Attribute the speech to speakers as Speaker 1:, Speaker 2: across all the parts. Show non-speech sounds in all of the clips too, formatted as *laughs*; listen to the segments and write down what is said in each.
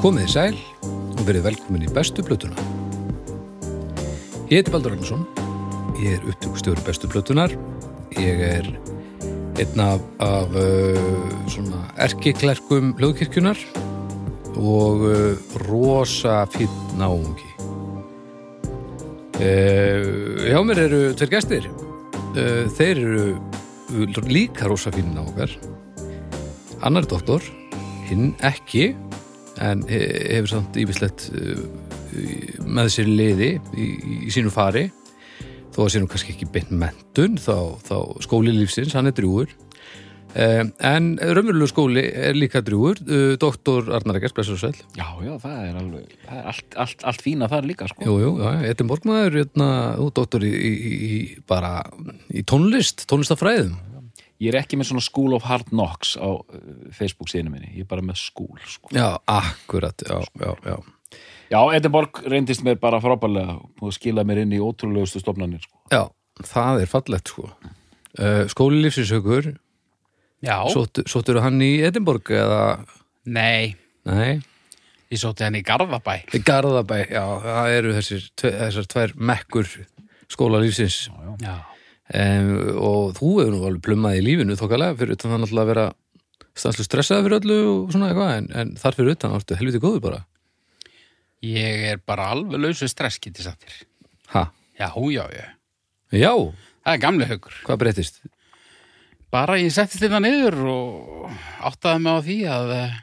Speaker 1: Komið í sæl og verið velkomin í bestu blötuna. Ég heiti Baldur Ragnarsson, ég er upptökustjóri bestu blötunar, ég er einn af, af uh, svona erkiklerkum hljóðkirkjunar og uh, rosa fýtt náungi. Uh, hjá mér eru tveir gestir, uh, þeir eru líka rosa fýtt náungar, annar er doktor, hinn ekki en he- hefur samt ívislegt með sér liði í, í- í sínu fari þó að sér nú kannski ekki beint mentun þá, þá skóli lífsins, hann er drjúur um, en raunverulegu skóli er líka drjúur uh, doktor Arnar Eggers, blessur og sæl
Speaker 2: Já, já, það er alveg, það er allt, allt, allt fína þar líka, sko.
Speaker 1: Jú, jú, já, Edinborg maður, hérna, þú doktor í, í, í, í bara í tónlist, tónlistafræðum
Speaker 2: Ég er ekki með svona School of Hard Knocks á uh, Facebook síðinu minni, ég er bara með School, sko.
Speaker 1: Já, akkurat, já, já, já
Speaker 2: Já, Edinborg reyndist mér bara frábælega og skilaði mér inn í ótrúlegustu stofnanir, sko.
Speaker 1: Já, það er fallegt, sko uh, Skóli lífsinshaukur
Speaker 3: Já,
Speaker 1: Sóttu- Sóttur hann í Edinborg eða,
Speaker 3: nei,
Speaker 1: nei,
Speaker 3: ég sótti hann í Garðabæ.
Speaker 1: Garðabæ, já, það eru þessir, tve, þessar tvær mekkur skóla lífsins
Speaker 3: Já,
Speaker 1: um, og þú hefur nú alveg plummað í lífinu þokkalega fyrir utan það náttúrulega að vera stanslu stressaði fyrir öllu og svona eitthvað en, en þar fyrir utan áttu helviti góður bara
Speaker 3: ég er bara alveg lausu stresskiti sattir.
Speaker 1: ha,
Speaker 3: Já, hú, já, já.
Speaker 1: já,
Speaker 3: Það er gamli haugur.
Speaker 1: hvað breytist
Speaker 3: Bara ég settist þetta niður og áttaði mig á því að eh,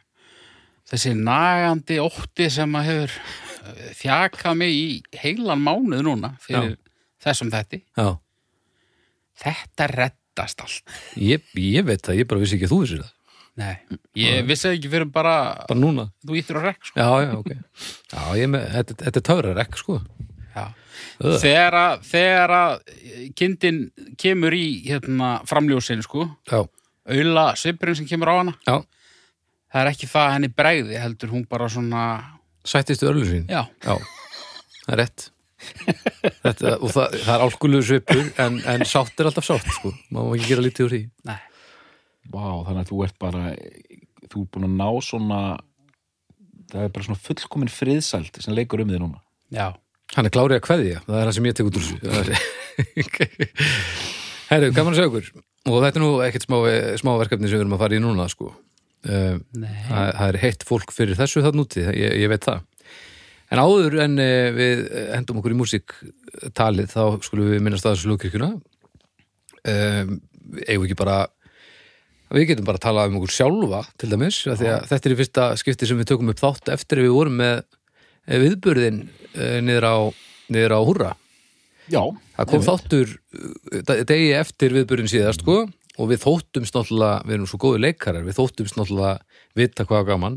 Speaker 3: þessi nagandi ótti sem að hefur eh, þjakað mig í heilan mánuð núna fyrir þessum þetti.
Speaker 1: já,
Speaker 3: Þetta reddast allt.
Speaker 1: ég, ég veit það, ég bara vissi ekki að þú vissir það
Speaker 3: Nei, ég vissi það ekki fyrir bara,
Speaker 1: bara núna,
Speaker 3: þú íttur á rekk, sko.
Speaker 1: já, já, ok já, ég með, þetta, þetta er töfrarekk, sko
Speaker 3: Já. Þegar að, þegar að kindin kemur í hérna, framljósin, sko,
Speaker 1: já,
Speaker 3: auðla svipurinn sem kemur á hana,
Speaker 1: já,
Speaker 3: það er ekki það að henni bregði, heldur hún bara svona,
Speaker 1: sættistu örlu sín
Speaker 3: já,
Speaker 1: Já, það er rétt Þetta, og það, það er álkulegu svipur en, en sátt er alltaf sátt sko. maður má ekki gera lítið úr því
Speaker 3: nei,
Speaker 2: Vá, þannig að þú ert bara, þú ert búin að ná svona, það er bara svona fullkomin friðsælt sem leikur um þig núna.
Speaker 3: já,
Speaker 1: hann er klárið að kveðja, það er það sem ég tek út úr þessu *laughs* Herru, gaman að segja okkur og þetta er nú ekkert smá, smá verkefni sem við erum að fara í núna sko. um,
Speaker 3: nei,
Speaker 1: það, það er heitt fólk fyrir þessu það núti, ég, ég veit það en áður en eh, við eh, hendum okkur í músiktalið þá skulum við minnast aðeins lúkirkjuna um, eigum við ekki bara við getum bara að tala um okkur sjálfa til dæmis, af því að þetta er í fyrsta skipti sem við tökum upp þátt eftir að við vorum með eh, viðburðin eh, niður á, niður á húrra
Speaker 2: Já.
Speaker 1: Það kom þáttur uh, da- degi eftir viðburðin síðast sko, og við þóttumst náttúrulega, við erum svo góði leikarar, við þóttumst náttúrulega vita hvað var gaman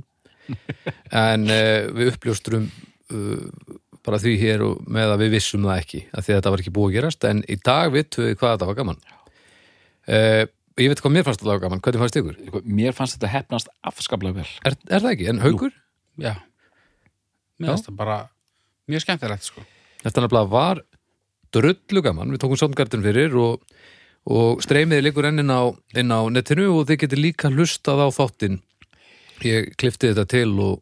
Speaker 1: en uh, við uppljóstrum uh, bara því hér og með að við vissum það ekki, af því að þetta var ekki búið að gerast en í dag vitum við hvað þetta var gaman uh, Ég veit hvað mér fannst þetta var gaman, hvernig fannst ykkur?
Speaker 2: Mér fannst þetta hefnast afskaplega vel.
Speaker 1: Er, er það ekki? En haukur?
Speaker 3: já, mér finnst það bara mjög skemmtilegt, sko.
Speaker 1: Þetta nefnilega var drullu gaman, við tókum samgartin fyrir og, og streymiði liggur enn inn á, inn á netinu og þið getur líka hlustað á þáttinn. Ég klifti þetta til og,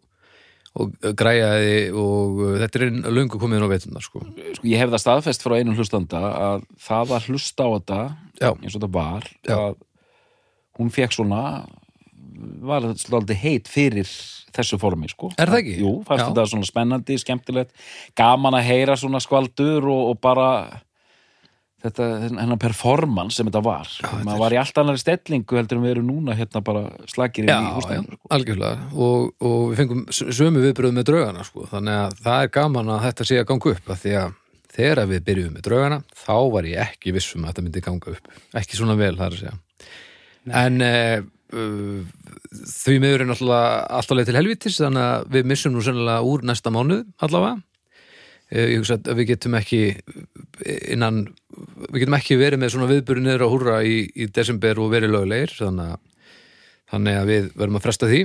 Speaker 1: og græjaði og uh, þetta er einn löngu komið inn á veitunar sko.
Speaker 2: sko, ég hef það staðfest frá einum hlustanda að það að hlusta á þetta
Speaker 1: Já.
Speaker 2: eins og þetta var
Speaker 1: Já.
Speaker 2: að hún fekk svona var svolítið heit fyrir þessu formi sko.
Speaker 1: Er það ekki?
Speaker 2: Jú, fannst
Speaker 1: Já.
Speaker 2: þetta svona spennandi, skemmtilegt gaman að heyra svona skvaldur og, og bara þetta, hennar performance sem þetta var já,
Speaker 1: þetta
Speaker 2: maður var í allt annari stellingu heldur en við erum núna hérna bara slagir í húsnæðinu sko.
Speaker 1: algjörlega og, og við fengum s- sömu viðbröð með draugana sko. þannig að það er gaman að þetta sé að ganga upp af því að þegar að við byrjuðum með draugana þá var ég ekki viss um að þetta myndi ganga upp ekki svona vel þar að segja en eh, uh, því miður er náttúrulega alltaf leið til helvitis þannig að við missum nú sennilega úr næsta mánuð allavega Eh, ég hugsa að við getum ekki eh, innan, við getum ekki verið með svona viðbyrju niður á húrra í, í desember og verið löglegir þannig að þannig að við verðum að fresta því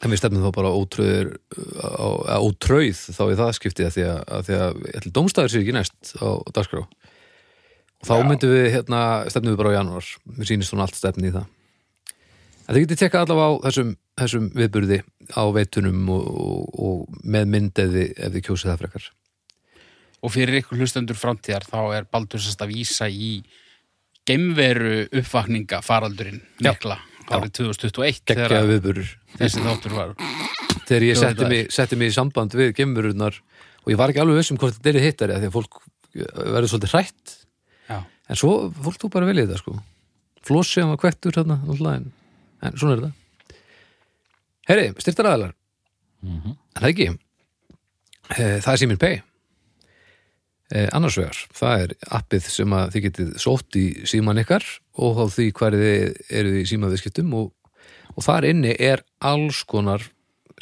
Speaker 1: en við stefnum þá bara ótröður á, á ótröð þá í það skiptið að því að, að, því að ætli, dómstæður sér ekki næst á dagskrá og þá myndum við hérna, stefnum við bara á janúar mér sýnist svona allt stefni í það en þið getið tekka allavega á þessum, þessum viðburði á veitunum og, og, og með mynd ef þið, ef þið kjósið það frekar
Speaker 3: Og fyrir ykkur hlustendur framtíðar þá er Baldur sérst að vísa í gemveru uppvakninga faraldurinn
Speaker 1: Já.
Speaker 3: mikla árið 2021
Speaker 1: geggja
Speaker 3: þegar
Speaker 1: viðburur
Speaker 3: þessi þáttur var.
Speaker 1: þegar ég
Speaker 3: Jú,
Speaker 1: setti
Speaker 3: þetta er.
Speaker 1: mig, setti mig í samband við gemururnar og ég var ekki alveg viss um hvort þetta er hittari af því að fólk verður svolítið hrætt
Speaker 3: Já.
Speaker 1: en svo fólk tók bara vel í þetta sko flósið hann var kvektur þarna alltaf, en, en svona er þetta Herri, styrtar aðalar en það ekki Eh, það er síminn pay Eh, annars vegar, það er appið sem að þið getið sótt í síman ykkar og þá því hvar þið eruð í símaviðskiptum og, og þar inni er alls konar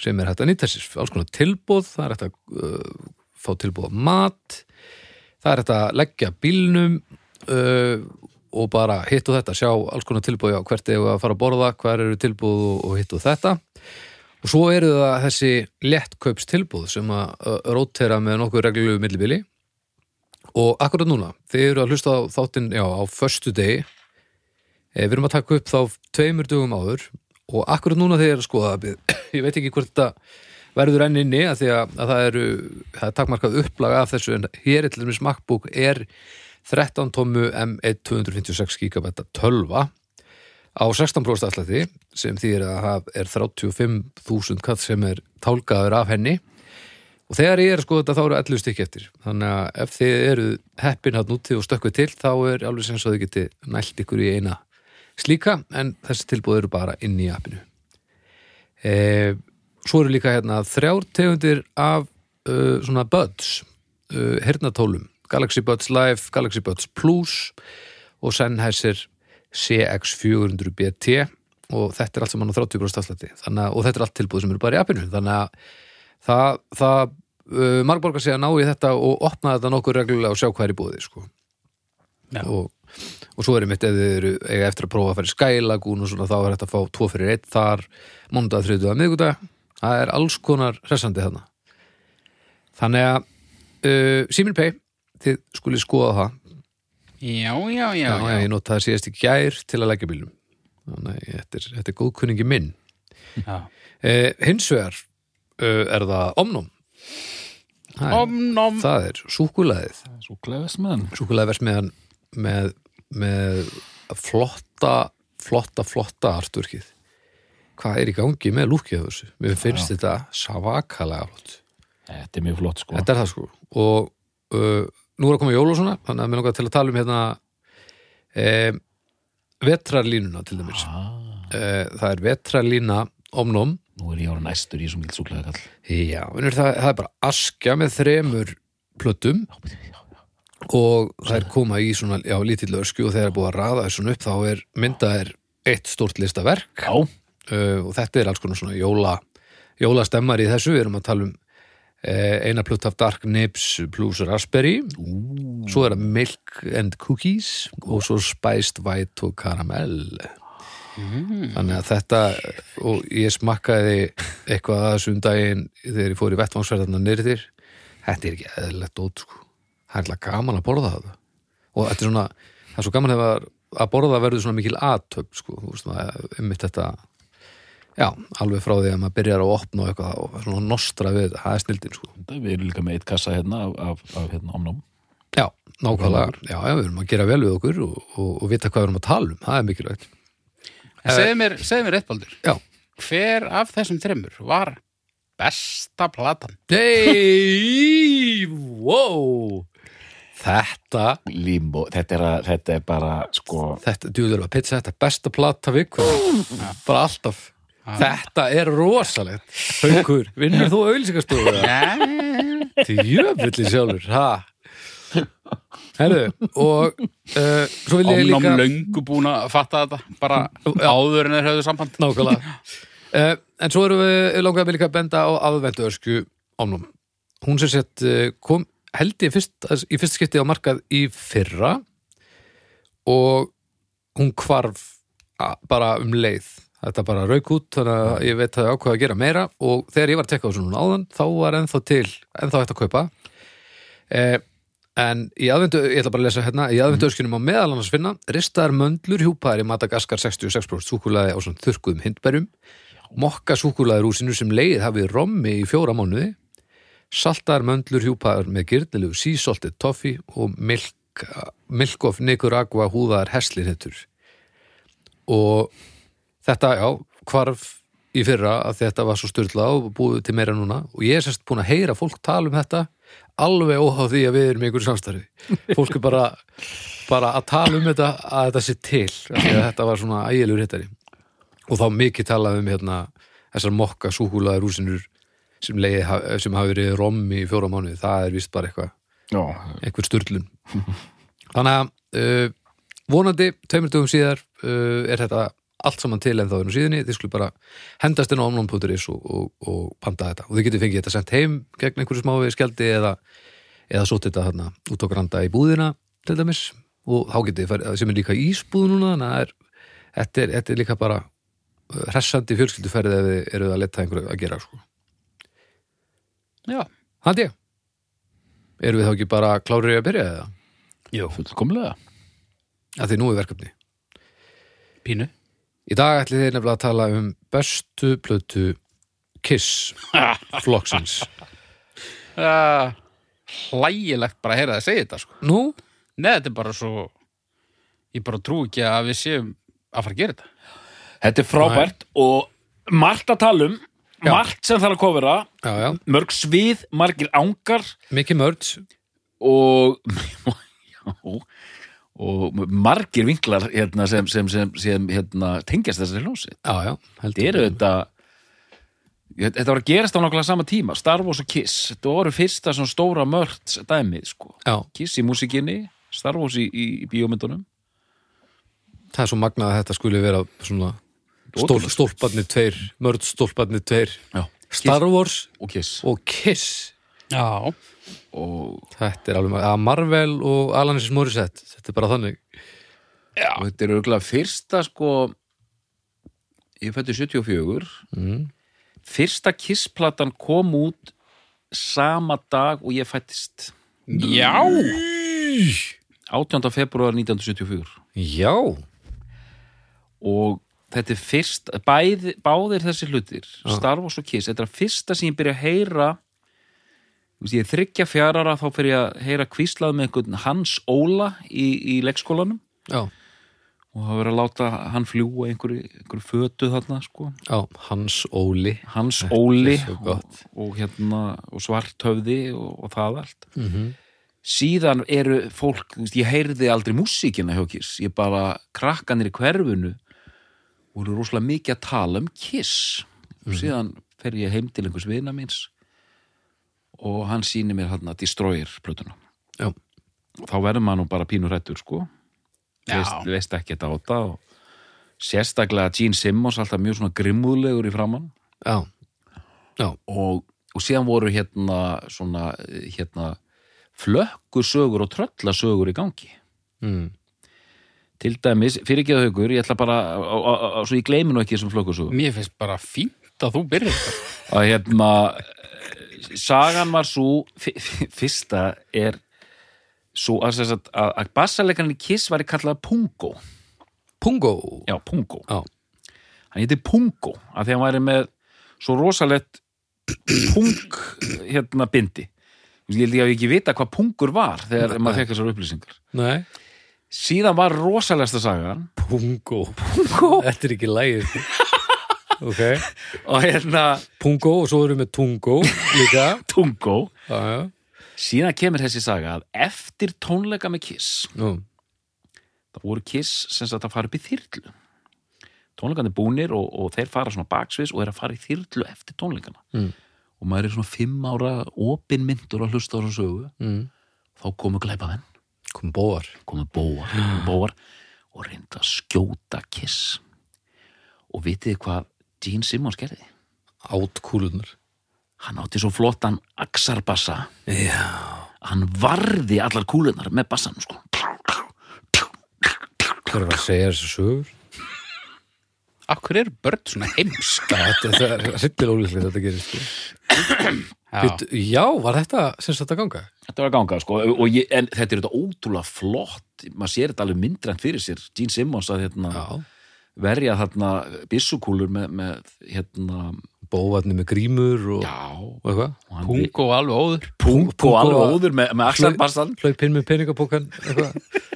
Speaker 1: sem er hægt að nýta sér, alls konar tilbúð það er hægt að uh, fá tilbúð á mat það er hægt að leggja bílnum uh, og bara hitt og þetta sjá alls konar tilbúð á hvert eða að fara að borða hver eru tilbúð og, og hitt og þetta og svo eru það þessi léttkaupstilbúð sem að uh, rótera með nokkuð reglulegu millibili Og akkurat núna, þið eru að hlusta á þáttinn, já, á förstu degi. Eh, Við erum að taka upp þá tveimur dugum áður og akkurat núna þið eru að skoða það. *coughs* Ég veit ekki hvort þetta verður enn inni að því að, að það eru það er takmarkað upplag af þessu en hér er til dæmis MacBook er 13 tommu M1 256 GB tölva á 16% allati sem því er að það er 35.000 kall sem er tálkaður af henni Og þegar ég er að skoða þetta þá eru 11 stykki eftir. Þannig að ef þið eru heppin hann úti og stökkuð til þá er alveg sem svo þið geti nælt ykkur í eina slíka en þessi tilbúð eru bara inn í appinu. E, svo eru líka hérna þrjár tegundir af uh, svona buds, uh, hernatólum. Galaxy Buds Live, Galaxy Buds Plus og Sennheiser CX400 BT og þetta er allt sem hann á 30% afslætti. Þannig að, og þetta er allt tilbúð sem eru bara í appinu. Þannig að það, það uh, margborgar sig að ná í þetta og opna þetta nokkuð reglulega og sjá hvað er í búði sko.
Speaker 3: Já.
Speaker 1: og, og svo er einmitt ef þið eru eiga eftir að prófa að fara í skælagún og svona þá er þetta að fá tvo fyrir einn þar mánudag, þriðudag, miðgudag það er alls konar hressandi þarna þannig að uh, Simin Pay, þið skulið skoða það
Speaker 3: Já, já, já.
Speaker 1: já, já, ég notaði síðast í gær til að leggja bílum þannig að þetta er, þetta er góðkunningi minn
Speaker 3: já.
Speaker 1: uh, hins vegar uh, er það omnum Það er-
Speaker 3: Om, nom,
Speaker 1: það er súkulaðið
Speaker 2: Svo glefis með hann.
Speaker 1: súkulaðið verðs með, með, með flotta flotta, flotta artverkið hvað er í gangi með lúkið af þessu mér finnst þetta savakalega flott
Speaker 2: Þetta er mjög flott sko.
Speaker 1: þetta er það sko og uh, nú er að koma jól og svona þannig að mér langar til að tala um hérna um, vetrarlínuna til dæmis ah.
Speaker 2: Ah,
Speaker 1: það er vetrarlína omnum
Speaker 2: nú er ég ára næstur í svo mjög svo glefi kall.
Speaker 1: Já, vinnur, það, það er bara askja með þremur plötum og þær koma í svona, já, lítill ösku og þegar er búið að raða þær svona upp þá er myndað er eitt stórt listaverk
Speaker 2: Ká.
Speaker 1: uh, og þetta er alls konar svona jóla, jólastemmar í þessu, við erum að tala um uh, eina plöt af Dark Nibs plus Raspberry svo er það Milk and Cookies og svo Spiced White og Caramel þannig að þetta og ég smakkaði eitthvað að þessum daginn þegar ég fór í vettvangsverðarna nyrðir þetta er ekki eðlilegt ótt sko. það er alltaf gaman að borða það og þetta er svona, það er svo gaman að, að borða verður svona mikil aðtöp sko, þú veist, það er einmitt þetta já, alveg frá því að maður byrjar að opna og eitthvað og svona nostra við þetta, það er snildin sko.
Speaker 2: Þetta við erum líka með eitt kassa hérna af, af, af hérna omnum.
Speaker 1: Já, nákvæmlega, já, já, við erum að gera vel við okkur og, og, og vita hvað við erum að tala um, það er mikilvægt. Eh.
Speaker 3: segðu mér, segðu mér rétt, Baldur.
Speaker 1: Já,
Speaker 3: Hver af þessum þreymur var besta platan?
Speaker 1: nei, wow, þetta,
Speaker 2: Limbo. Þetta er, að, þetta er bara sko.
Speaker 1: þetta, djúður að pizza, þetta er besta plata vikur, bara alltaf, þetta er rosalegt, haukur, vinnur þú auðlýsingastofu það?
Speaker 3: Nei,
Speaker 1: Djöfulli sjálfur, ha? Herðu, og uh, svo vil ég
Speaker 3: Omnám
Speaker 1: líka...
Speaker 3: löngu búin að fatta þetta, bara áður en þeir höfðu samband.
Speaker 1: Nákvæmlega. uh, en svo erum við langaðum við líka að benda á aðvendu ösku omnum. Hún sem sett eh, kom held ég fyrst, í fyrst skipti á markað í fyrra og hún hvarf a- bara um leið. Þetta bara rauk út þannig að ég veit að ég ákvað að gera meira og þegar ég var að tekka á þessu núna áðan þá var ennþá til, ennþá hægt að kaupa. Eh, En í aðvendu, ég ætla bara að lesa hérna, í aðvendu öskunum á meðal annars finna ristaðar möndlur hjúpaðar í Madagaskar 66% súkulaði á svona þurrkuðum hindberjum mokka súkulaður úr sinu sem leið hafið rommi í fjóra mánuði, saltar möndlur hjúpaðar með gyrnilegu sísoltið toffi og milk, milk of nikur agva húðaðar heslirhettur. Og þetta, já, hvarf í fyrra að þetta var svo styrla og búið til meira núna og ég er sérst búin að heyra fólk tala um þetta alveg óháð því að við erum í einhverju samstarfi fólk er bara, bara að tala um þetta að þetta sé til af því að þetta var svona ægilegur hittari og þá mikið talað um hérna þessar mokka súkulaður úsinur sem, leiði, sem hafi verið rommi í fjóra mánuði, það er vist bara eitthvað
Speaker 2: Já,
Speaker 1: einhver styrlun *laughs* þannig að uh, vonandi tveimur dögum síðar uh, er þetta allt saman til en þá erum síðunni þið skulle bara hendast inn á omlón.is og, og, og panta þetta og þið getið fengið þetta sent heim gegn einhverju smá skjaldi eða, eða svo þetta hérna út á granda í búðina til dæmis og þá getið þið farið sem er líka ísbúð núna þannig að það er, þetta, er, þetta er líka bara uh, hressandi fjölskylduferð ef þið eruð að leta einhverju að gera sko.
Speaker 3: Já,
Speaker 1: Hald ég Erum við þá ekki bara klárið að byrja eða?
Speaker 3: Jú.
Speaker 2: fullkomlega
Speaker 1: að því nú er verkefni.
Speaker 3: pínu.
Speaker 1: Í dag ætlið þið nefnilega að tala um bestu plötu Kiss flokksins.
Speaker 3: Uh, hlægilegt bara að heyra það að segja þetta, sko.
Speaker 1: Nú,
Speaker 3: Nei, þetta er bara svo, ég bara trú ekki að við séum að fara að gera þetta.
Speaker 2: Þetta er frábært og margt að tala um
Speaker 1: Já.
Speaker 2: margt sem þarf að kofra
Speaker 1: já, já,
Speaker 2: mörg svið, margir ángar
Speaker 1: Mickey Mörds,
Speaker 2: og *laughs* já, og margir vinklar hérna, sem, sem, sem, sem hérna, tengjast þessari hljósi
Speaker 1: já, já, heldur.
Speaker 2: þetta eru þetta þetta var að gerast á nákvæmlega sama tíma Star Wars og Kiss, þetta voru fyrsta svona stóra mörts dæmi, sko
Speaker 1: Já,
Speaker 2: Kiss í músikinni, Star Wars í, í, í bíómyndunum
Speaker 1: það er svo magnað að þetta skuli vera svona stól,
Speaker 2: Ótrúlegt.
Speaker 1: stólparnir tveir, Mörds stólparnir tveir,
Speaker 2: já,
Speaker 1: Star Wars
Speaker 2: og Kiss
Speaker 1: og Kiss.
Speaker 3: Já.
Speaker 2: og
Speaker 1: Þetta er alveg, ma- að Marvel og Alanis Morissette, þetta er bara þannig.
Speaker 2: og þetta er auðvitað fyrsta sko ég fætti 74
Speaker 1: Mm.
Speaker 2: fyrsta kissplatan kom út sama dag og ég fættist
Speaker 3: Já.
Speaker 2: 18. februar 1974
Speaker 1: Já,
Speaker 2: og þetta er fyrst bæði, báðir þessi hlutir Star Wars og Kiss, þetta er að fyrsta sem ég byrja að heyra þú veist, ég er þryggja fjárara þá fyrir ég að heyra kvíslað með einhvern Hans Óla í, í leikskólanum
Speaker 1: já,
Speaker 2: og það verið að láta hann fljúa einhverju, einhverju fötu þarna sko
Speaker 1: já, Hans Óli.
Speaker 2: Hans Óli
Speaker 1: svo
Speaker 2: og,
Speaker 1: gott.
Speaker 2: og, hérna, og svarthöfði og, og það allt
Speaker 1: Mm -hmm.
Speaker 2: síðan eru fólk, þú veist, ég heyrði aldrei músíkina hjá Kiss, ég bara krakkanir í hverfunu voru rosalega mikið að tala um Kiss og síðan fer ég heim til einhvers vina míns og hann sýnir mér hann að destroyer plötuna
Speaker 1: Já.
Speaker 2: þá verður maður nú bara pínur hættur sko
Speaker 3: Já.
Speaker 2: veist, veist ekki þetta á þetta og sérstaklega Gene Simmons alltaf mjög svona grimmúðlegur í framann
Speaker 1: Já,
Speaker 2: og, og síðan voru hérna svona eh, hérna flökkusögur og tröllasögur í gangi
Speaker 1: mm.
Speaker 2: til dæmis, fyrir ekki það haukur ég ætla bara, á- á- á- svo ég gleymi nú ekki þessum flökkusögum
Speaker 3: Mér finnst bara fínt að þú byrðir þetta.
Speaker 2: að hérna eh, sagan var svo fyrsta er svo að, sem sagt, að, að bassalekarinn í Kiss var kallað Pungo
Speaker 1: Pungo.
Speaker 2: já, Pungo
Speaker 1: Já.
Speaker 2: hann heiti Pungo af því að hann væri með svo rosalett pung hérna bindi ég held ég að ekki vita hvað pungur var þegar
Speaker 1: Nei.
Speaker 2: maður fekk þessar upplýsingar
Speaker 1: Nei.
Speaker 2: síðan var rosalegsta sagan
Speaker 1: Pungo Pungo? Þetta er ekki lægir Ok
Speaker 2: og hérna
Speaker 1: Pungo og svo erum við Tungo líka
Speaker 2: Tungo
Speaker 1: Já, já
Speaker 2: síðan kemur þessi saga að eftir tónleika með Kiss
Speaker 1: Nú,
Speaker 2: það voru Kiss sem sagt að fara upp í þyrlu tónleikandi búnir og, og þeir fara svona baksviðs og er að fara í þyrlu eftir tónleikana
Speaker 1: Mm.
Speaker 2: og maður er svona fimm ára opinmyndur að hlusta á þessu sögu
Speaker 1: mm.
Speaker 2: þá komu glæpamenn
Speaker 1: kom bóar
Speaker 2: komu bóar, *gasps* komu bóar og reyndu að skjóta kiss og vitið þið hvað Gene Simmons gerði?
Speaker 1: Átkúlunar
Speaker 2: Hann átti svo flottan axarbassa
Speaker 1: Já
Speaker 2: hann varði allar kúlunar með bassanum sko
Speaker 1: Hver er að segja þessu sögur?
Speaker 3: Akkur eru börn svona heimsk?
Speaker 1: Já, Þetta þetta er hryllir ólíklegt að þetta gerist sko. Bíddu, Já, var þetta sem sagt að ganga?
Speaker 2: Þetta var að ganga sko og ég, en þetta er þetta ótrúlega flott maður sér þetta alveg myndrænt fyrir sér Gene Simmons að hérna
Speaker 1: Já
Speaker 2: verja þarna byssukúlur með, með hérna,
Speaker 1: Bóvarni með grímur og,
Speaker 2: já,
Speaker 1: og eitthvað.
Speaker 2: og hann-
Speaker 3: Pungo alveg óður
Speaker 2: pung, pung
Speaker 1: og-
Speaker 2: og alveg óður með,
Speaker 1: Slö-
Speaker 2: með axlarbarsan
Speaker 1: Hlaup inn með peningapókan, eitthvað.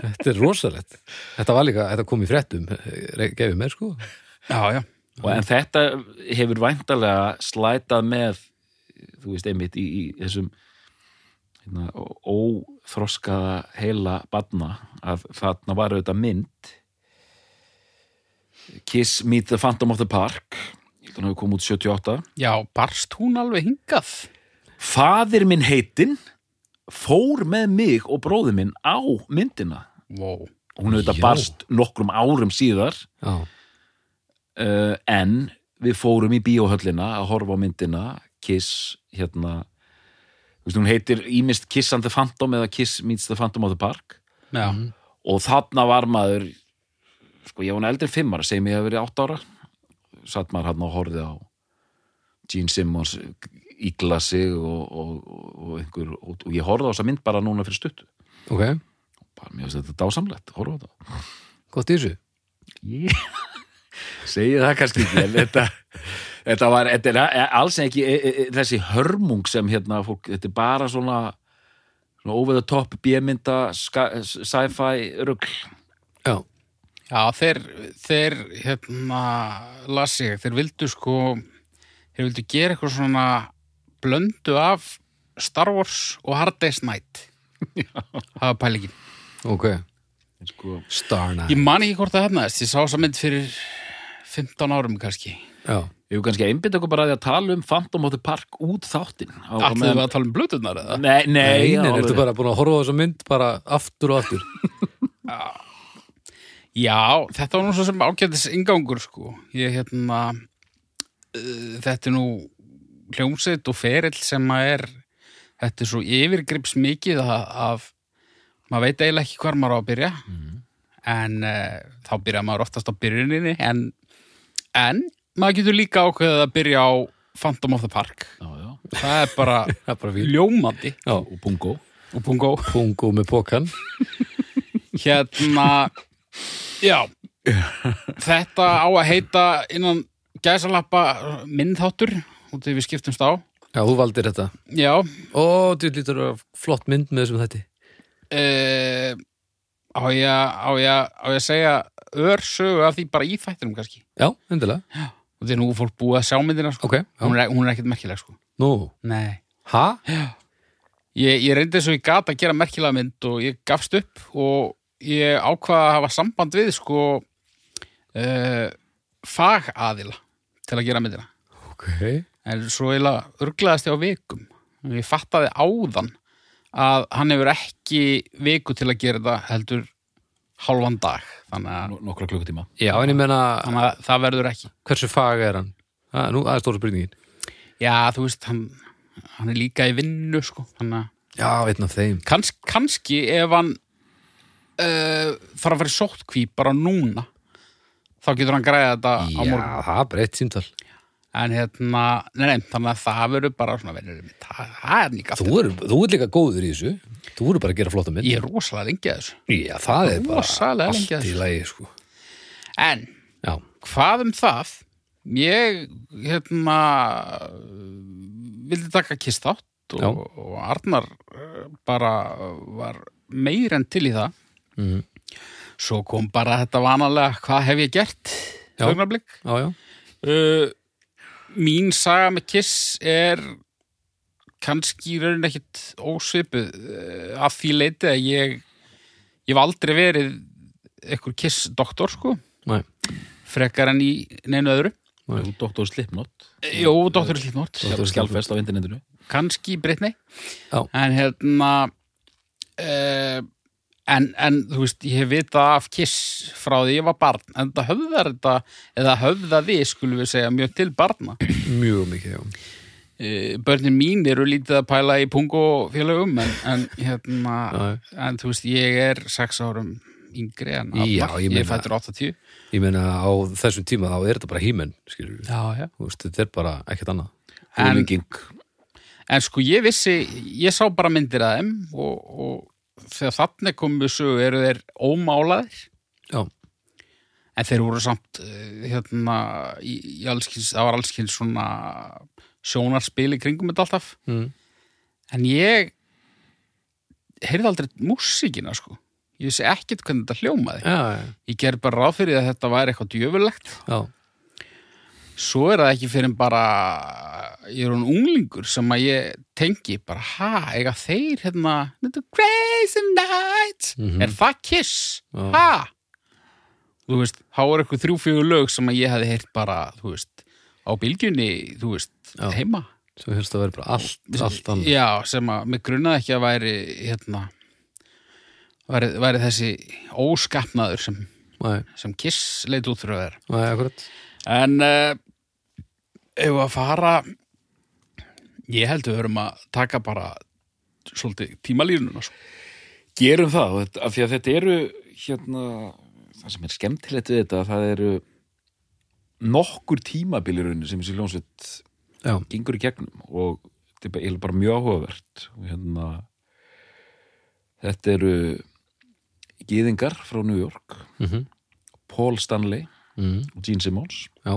Speaker 1: þetta er rosalegt. Þetta var líka, þetta kom í fréttum, eh, gefið mér sko.
Speaker 3: Já, já,
Speaker 2: og en þetta hefur væntalega slætað með þú veist einmitt í, í þessum hérna, ó- óþroskaða heila badna að þarna var auðvitað mynd Kiss Meet the Phantom of the Park ég held að hann hefur komið út 78
Speaker 3: já, barst hún alveg hingað
Speaker 2: Fadir minn heitinn fór með mig og bróði minn á myndina
Speaker 3: Vó,
Speaker 2: hún auðvitað
Speaker 1: Já.
Speaker 2: barst nokkrum árum síðar
Speaker 1: Já,
Speaker 2: uh, en við fórum í bíóhöllina að horfa á myndina Kiss hérna þú veist, hún heitir ímist Kiss and the Phantom eða Kiss meets the Phantom of the Park
Speaker 3: já,
Speaker 2: og þarna var maður sko ég var nú eldri en fimm ára segjum ég að verið átt ára satt maður hann og horfið á Gene Simmons ígla sig og, og, og, og einhver og, og ég horfði á þessa mynd bara núna fyrir stutt
Speaker 1: ok,
Speaker 2: bara mér finnst þetta dásamlegt, horfa á þetta
Speaker 1: gott í þessu.
Speaker 2: Yeah. segi það kannski ekki en þetta, þetta var þetta er alls ekki e, e, e, þessi hörmung sem hérna fólk, þetta er bara svona, svona over the top bjömynda sci-fi rugl
Speaker 1: Já,
Speaker 3: já þeir, þeir hérna, las ég þeir vildu sko þeir vildu gera eitthvað svona blöndu af Star Wars og Hard Day's Night það var pælingin
Speaker 1: ok.
Speaker 2: sko,
Speaker 1: Star Night.
Speaker 3: Ég man ekki hvort það hefnaðist, ég sá þessa mynd fyrir 15 árum kannski
Speaker 1: Já,
Speaker 2: við erum kannski að einbytta okkur bara að því að tala um Phantom of the Park út þáttinn á- á
Speaker 3: Allir við
Speaker 2: meðan-
Speaker 3: að tala um blötunar eða?
Speaker 2: Nei, nei,
Speaker 1: nei,
Speaker 2: já,
Speaker 1: nei,
Speaker 2: alveg.
Speaker 1: ertu bara búin að horfa á þessa mynd bara aftur og
Speaker 3: *laughs*
Speaker 1: aftur.
Speaker 3: Já, þetta var nú svo sem ágætis ingangur sko Ég hérna uh, Þetta er nú hljómsveit og ferill sem að er Þetta er svo yfirgrips mikið að, að maður veit eiginlega ekki hvar maður á að byrja en uh, þá byrja maður oftast á byrjuninni en, en maður getur líka ákveðið að byrja á Phantom of the Park
Speaker 2: já, já,
Speaker 3: Það er bara
Speaker 1: Það er bara fyrir.
Speaker 3: ljómandi
Speaker 1: Já,
Speaker 2: og pungo
Speaker 3: og pungo
Speaker 1: pungu með pokan.
Speaker 3: hérna já þetta á að heita innan gæsalappa myndháttur út þegar við skiptumst á
Speaker 1: Já, þú valdir þetta.
Speaker 3: já
Speaker 1: Ó, þú lítur að flott mynd með þessum þetta.
Speaker 3: e, á, ég, á, ég, á ég að segja örsögu af því bara í þættinum kannski
Speaker 1: Já, endilega.
Speaker 3: og því nú er fólk búið að sjá myndina sko.
Speaker 1: Ok, já.
Speaker 3: hún, er, hún er ekkert merkileg sko
Speaker 1: Nú,
Speaker 3: nei
Speaker 1: ha?
Speaker 3: Ég, ég reyndi svo ég gat að gera merkilega mynd og ég gafst upp og ég ákvaða að hafa samband við sko uh, fagaðila til að gera myndina.
Speaker 1: Ok.
Speaker 3: En svo eiginlega örglaðast ég á vikum. Ég fattaði áðan að hann hefur ekki viku til að gera þetta heldur hálfan dag. Þannig að,
Speaker 2: no- nokkra klukkutíma
Speaker 1: Já, en ég menna,
Speaker 3: þannig að það verður ekki.
Speaker 1: hversu fag er hann? Ha, nú, það er stóra spurningin.
Speaker 3: Já, þú veist, hann, hann er líka í vinnu sko. Þannig að
Speaker 1: Já, einn af þeim.
Speaker 3: Kans, kannski ef hann uh, þarf að fara í sóttkví bara núna þá getur hann græða þetta á
Speaker 1: Já,
Speaker 3: morgun
Speaker 1: það er bara eitt símtal.
Speaker 3: en hérna, nei, nei, þannig að það verður bara svona verður mitt, það, það er nýga
Speaker 1: Þú er, þú er líka góður í þessu. Þú eru bara að gera flotta mynd.
Speaker 3: ég er rosalega lengi að þessu
Speaker 1: Já, það er bara
Speaker 3: Rosalega
Speaker 1: allt
Speaker 3: lengi að
Speaker 1: í
Speaker 3: þessu.
Speaker 1: lagi, sko.
Speaker 3: en
Speaker 1: Já,
Speaker 3: hvað um það ég hérna vildi taka kist átt
Speaker 1: Já.
Speaker 3: og, og Arnar eh, bara var meir en til í það
Speaker 1: Mhm.
Speaker 3: svo kom bara þetta vanalega hvað hef ég gert
Speaker 1: Já.
Speaker 3: augnablik
Speaker 1: já, já.
Speaker 3: uh, mín saga með Kiss er kannski í raunin ekkit ósvipuð uh, af því leiti að ég ég hef aldrei verið ekkur Kiss-doktor sko
Speaker 1: Nei.
Speaker 3: frekar en í neinu öðru
Speaker 2: og Dr. Slipknot
Speaker 3: Eh, Jó, Dr. Slipnort,
Speaker 1: Dr. Slipknot.
Speaker 2: skjálfest á internetinu
Speaker 3: kannski Britney
Speaker 1: Já.
Speaker 3: en hérna uh, en, en þú veist, ég hef vitað af Kiss frá því ég var barn, en þetta höfðar þetta, eða höfðaði, skulum við segja mjög til barna
Speaker 1: Mjög mikið, já.
Speaker 3: Eh, börnin mín eru lítið að pæla í pungofélögum en, en hérna en þú veist, ég er sex árum yngri en
Speaker 1: Já,
Speaker 3: Arnar.
Speaker 1: ég
Speaker 3: ég
Speaker 1: meina-
Speaker 3: er fættur 80
Speaker 1: Ég meina á þessum tíma þá er þetta bara hímen, skilur við.
Speaker 3: já, já.
Speaker 1: Þú veist, þetta er bara ekkert annað.
Speaker 3: En,
Speaker 2: Rúlinging
Speaker 3: en sko ég vissi ég sá bara myndir að þeim og, og þegar þannig komu svo eru þeir ómálaðir
Speaker 1: Já,
Speaker 3: en þeir voru samt eh, hérna í, í allskins, það var allskins svona sjónarspil í kringum þetta alltaf
Speaker 1: mm.
Speaker 3: en ég heyrði aldrei músíkina sko ég vissi ekkert hvernig þetta hljómaði
Speaker 1: já, já,
Speaker 3: ég ger bara ráð fyrir að þetta væri eitthvað djöfulegt
Speaker 1: já,
Speaker 3: svo er það ekki fyrir en bara ég er hún unglingur sem að ég tengi bara, ha, eiga þeir hérna, þetta crazy night
Speaker 1: Mhm.
Speaker 3: er það kiss,
Speaker 1: Já.
Speaker 3: ha Mm. þú veist, þá er eitthvað þrjú fjögur lög sem að ég hefði heyrt bara, þú veist á bylgjunni, þú veist,
Speaker 1: Já.
Speaker 3: heima
Speaker 1: svo hérst að vera bara allt, allt annað
Speaker 3: já, sem að mig grunnaði ekki að væri hérna væri, væri þessi óskapnaður sem,
Speaker 1: Nei,
Speaker 3: sem kiss leit út fyrir að vera
Speaker 1: nei, akkurat
Speaker 3: En uh, ef að fara ég held við höfum að taka bara svolítið tímalínuna sko.
Speaker 2: gerum það, og þetta- af því að þetta eru hérna, það sem er skemmtilegt við þetta, það eru nokkur tímabilurinn sem þessi hljónsveit
Speaker 1: Já,
Speaker 2: gengur í gegnum og þetta er bara, eiginlega bara mjög áhugavert og hérna þetta eru gýðingar frá New York
Speaker 1: mhm,
Speaker 2: Paul Stanley
Speaker 1: mhm,
Speaker 2: og Gene Simmons
Speaker 1: já,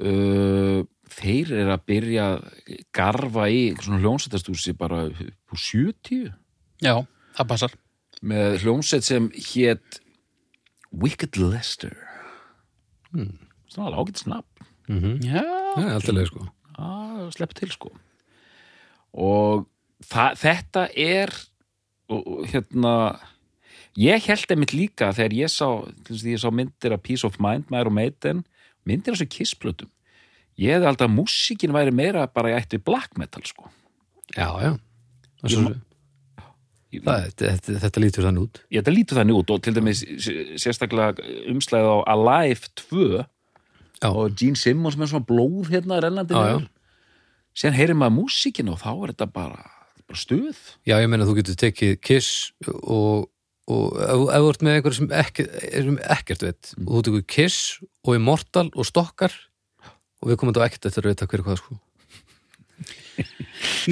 Speaker 2: uh, þeir eru að byrja að garfa í einhver svona hljómsættastúsi bara upp úr 70
Speaker 3: Já, það passar
Speaker 2: með hljómsætt sem hét Wicked Lester hmm. svona lágit snapp
Speaker 1: mhm
Speaker 3: Já,
Speaker 1: Það er alltaf leið sko
Speaker 2: að slepp til sko og það, þetta er og, og, hérna ég held einmitt líka þegar ég sá, til þess að ég sá myndir af Peace of Mind með Iron Maiden, myndir af þessu kissplötum ég hefði alltaf að músíkin væri meira bara í ættu black metal sko
Speaker 1: Já, já Og svo,
Speaker 2: Ég-
Speaker 1: það, er- þetta, þetta lítur þannig út
Speaker 2: ég þetta lítur þannig út og til dæmis s- sérstaklega umslæðið á Alive 2
Speaker 1: Já.
Speaker 2: og Gene Simmons með svona blóð hérna rennandi
Speaker 1: Já, já.
Speaker 2: niður. síðan heyrir maður músíkinu og þá er þetta bara, bara stuð
Speaker 1: Já, ég meina þú getur tekið kiss og, og ef, ef þú ert með einhverjum sem, ekki, sem ekkert veit og þú tekur kiss og immortal og stokkar og við komum þetta á ekkert eftir að vita hverju hvað sko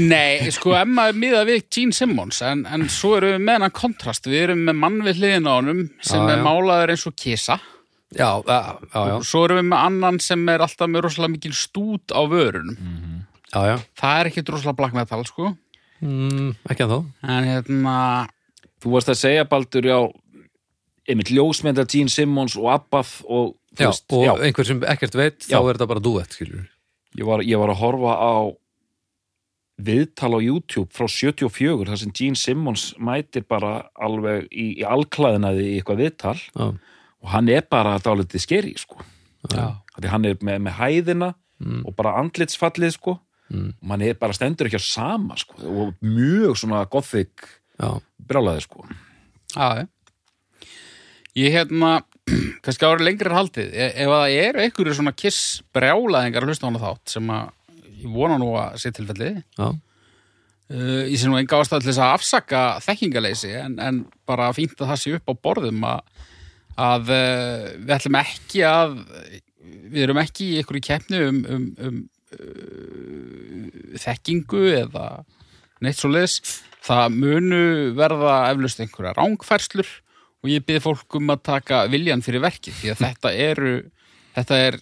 Speaker 3: nei, sko Emma er miða við Gene Simmons en, en svo erum við með hennan kontrast við erum með mann við hliðin á honum sem
Speaker 1: Já,
Speaker 3: er
Speaker 1: já.
Speaker 3: málaður eins og kisa
Speaker 1: Já, já, já, já,
Speaker 3: og svo erum við með annan sem er alltaf með rosalega mikil stút á vörunum
Speaker 1: Mm. já, já.
Speaker 3: það er ekkit rosalega black metal sko
Speaker 1: Mm, Ekki að þá
Speaker 3: en hérna,
Speaker 2: Þú varst að segja, Baldur, já einmitt ljósmynda Gene Simmons og Abbaf og, þú
Speaker 1: Já,
Speaker 2: veist,
Speaker 1: og
Speaker 2: já,
Speaker 1: einhver sem ekkert veit, þá
Speaker 2: Já.
Speaker 1: er þetta bara duett, skilur
Speaker 2: ég, var, ég var að horfa á viðtal á YouTube frá 74 þar sem Gene Simmons mætir bara alveg í, í allklæðinaði í eitthvað viðtal
Speaker 1: Já,
Speaker 2: og hann er bara dálítið skeri, sko
Speaker 1: já,
Speaker 2: Því hann er með, með hæðina
Speaker 1: Mm.
Speaker 2: og bara andlitsfallið, sko
Speaker 1: Mm.
Speaker 2: og hann er bara stendur ekki á sama, sko og mjög svona gothic
Speaker 1: já,
Speaker 2: brjálaði, sko
Speaker 3: Já, já. Ég hérna, *clears throat* kannski ára lengri er haldið, E- ef að það eru einhverju svona kiss brjálaðingar að hlusta á hana þátt sem að ég vona nú að sé tilfellið,
Speaker 1: já,
Speaker 3: uh, ég sé nú enga ástæð til þess að afsaka þekkingaleysi en, en bara fínt að það sé upp á borðum að, að uh, við ætlum ekki að, við erum ekki í einhverju keppni um, um, um uh, þekkingu eða neitt svo leis það munu verða eflust einhverja rángfærslur og ég byrði fólk um að taka viljan fyrir verkið því að þetta eru þetta er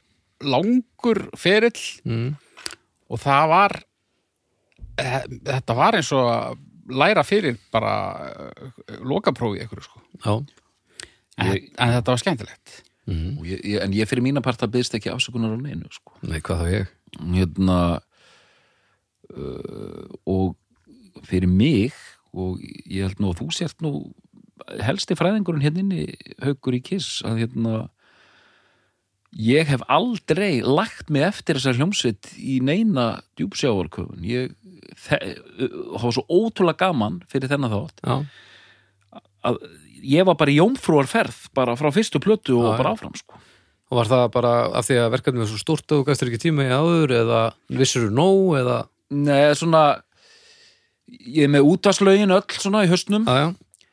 Speaker 3: langur ferill
Speaker 1: Mm.
Speaker 3: og það var eh, þetta var eins og að læra fyrir bara eh, lokaprófi ykkur sko
Speaker 1: já
Speaker 3: en,
Speaker 2: Ég-
Speaker 3: en þetta var skemmtilegt
Speaker 1: mm.
Speaker 2: Og ég, ég, en ég fyrir mína part að byggst ekki afsökunar á neinu, sko
Speaker 1: Nei, hvað þá ég?
Speaker 2: hérna uh, og fyrir mig og ég held nú að þú sért nú helsti fræðingurinn hérna inni haukur í kiss að hérna ég hef aldrei lagt mig eftir þessar hljómsveit í neina djúpsjávarköfun ég þe- hafa svo ótrúlega gaman fyrir þennan þátt
Speaker 1: Já,
Speaker 2: að ég var bara í jómfrúarferð bara frá fyrstu plötu og
Speaker 1: Já,
Speaker 2: bara
Speaker 1: já.
Speaker 2: áfram sko
Speaker 1: og var það bara af því að verkefnið var svo stórt og þú gæstir ekki tíma í áður eða vissur nóg eða,
Speaker 2: Nei, svona ég er með útaslaugin öll svona í höstnum
Speaker 1: já, já,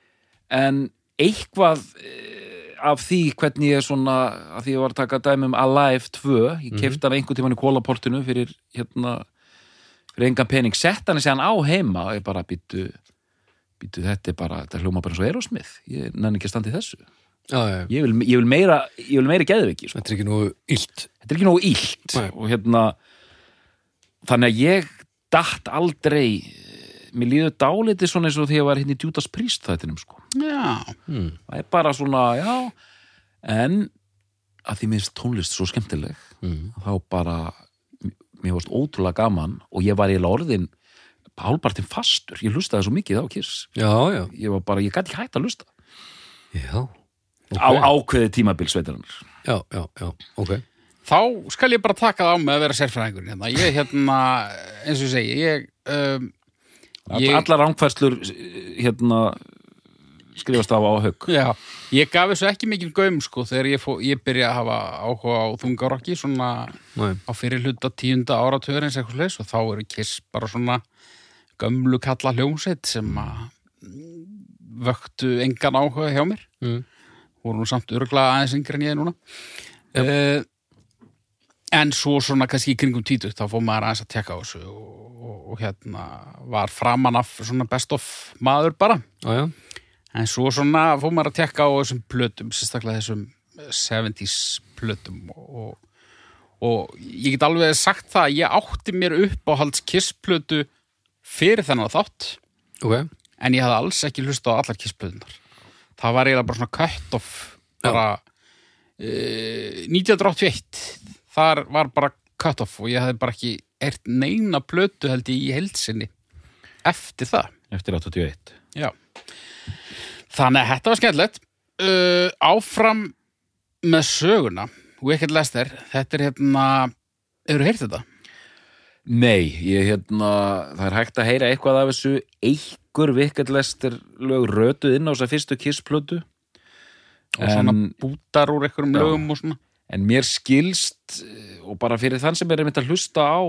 Speaker 2: en eitthvað eh, af því hvernig ég svona af því ég var að taka dæmi um Alive 2 ég kefti hann einhvern tímann í kólaportinu fyrir hérna fyrir engan pening, sett hann séðan á heima og ég bara býttu býttu þetta er bara, þetta hljóma bara eins og Erosmith ég nenni ekki að standa í þessu
Speaker 1: já, já.
Speaker 2: ég vil, ég vil meira, ég vil meira geðveiki sko.
Speaker 1: Þetta er ekki nú illt
Speaker 2: þetta er ekki nógu illt
Speaker 1: Nei.
Speaker 2: og hérna þannig að ég datt aldrei eh, mér líður dálítið svona eins og því að ég var hérna í djútas príst þættinum sko
Speaker 3: Já,
Speaker 2: það er bara svona, já en að því minnst tónlist svo skemmtileg
Speaker 1: mm.
Speaker 2: þá bara, mér varst ótrúlega gaman og ég var í orðin hálpartin fastur, ég hlustaði svo mikið á Kiss
Speaker 1: Já, já,
Speaker 2: ég var bara, ég gæti ekki hægt að hlusta
Speaker 1: já Ok.
Speaker 2: á ákveði tímabil sveitarinnar
Speaker 1: Já, já, já, ok
Speaker 3: þá skal ég bara taka það á mig að vera sérfræðingur hérna. Ég hérna, eins og ég segi, ég, um,
Speaker 2: All,
Speaker 3: Ég-
Speaker 2: allar rángfærslur hérna skrifast af á högg
Speaker 3: já, ég gaf þessu ekki mikil gaum sko þegar ég, fó, ég byrja að hafa áhuga á þungarokki svona
Speaker 1: Nei.
Speaker 3: á fyrir hluta tíunda áratugurins eitthvað leis og þá eru Kiss bara svona gömlu kalla hljómsveit sem að mm, vöktu engan áhuga hjá mér
Speaker 1: Mm.
Speaker 3: voru nú samt örglega aðeins yngri en ég er núna yep. en svo svona kannski í kringum tvítugt þá fór maður aðeins að tekka á þessu og, og, og hérna var framan af svona best of maður bara
Speaker 1: Já, já,
Speaker 3: en svo svona fór maður að tekka á þessum plötum sérstaklega þessum 70s plötum og, og ég get alveg sagt það að ég átti mér upp á halds kissplötu fyrir þennan þátt
Speaker 1: ok
Speaker 3: en ég hafði alls ekki hlusta á allar kissplöðunar það var eiginlega bara svona cut off bara e, 1981 þar var bara cut off og ég hafði bara ekki eirt neina plötu held ég í heilsinni eftir það
Speaker 2: eftir 81
Speaker 3: Já. þannig að þetta var skemmtilegt uh, áfram með söguna Wicked Lester, þetta er hérna hefur heyrt þetta?
Speaker 2: Nei, ég hérna, það er hægt að heyra eitthvað af þessu einhver vikallestir lög rötuð inn á þess að fyrstu kissplötu
Speaker 3: og svona
Speaker 2: En-
Speaker 3: bútar úr einhverjum
Speaker 2: Já.
Speaker 3: lögum og svona
Speaker 2: en mér skilst eh, og bara fyrir þann sem er einmitt að hlusta á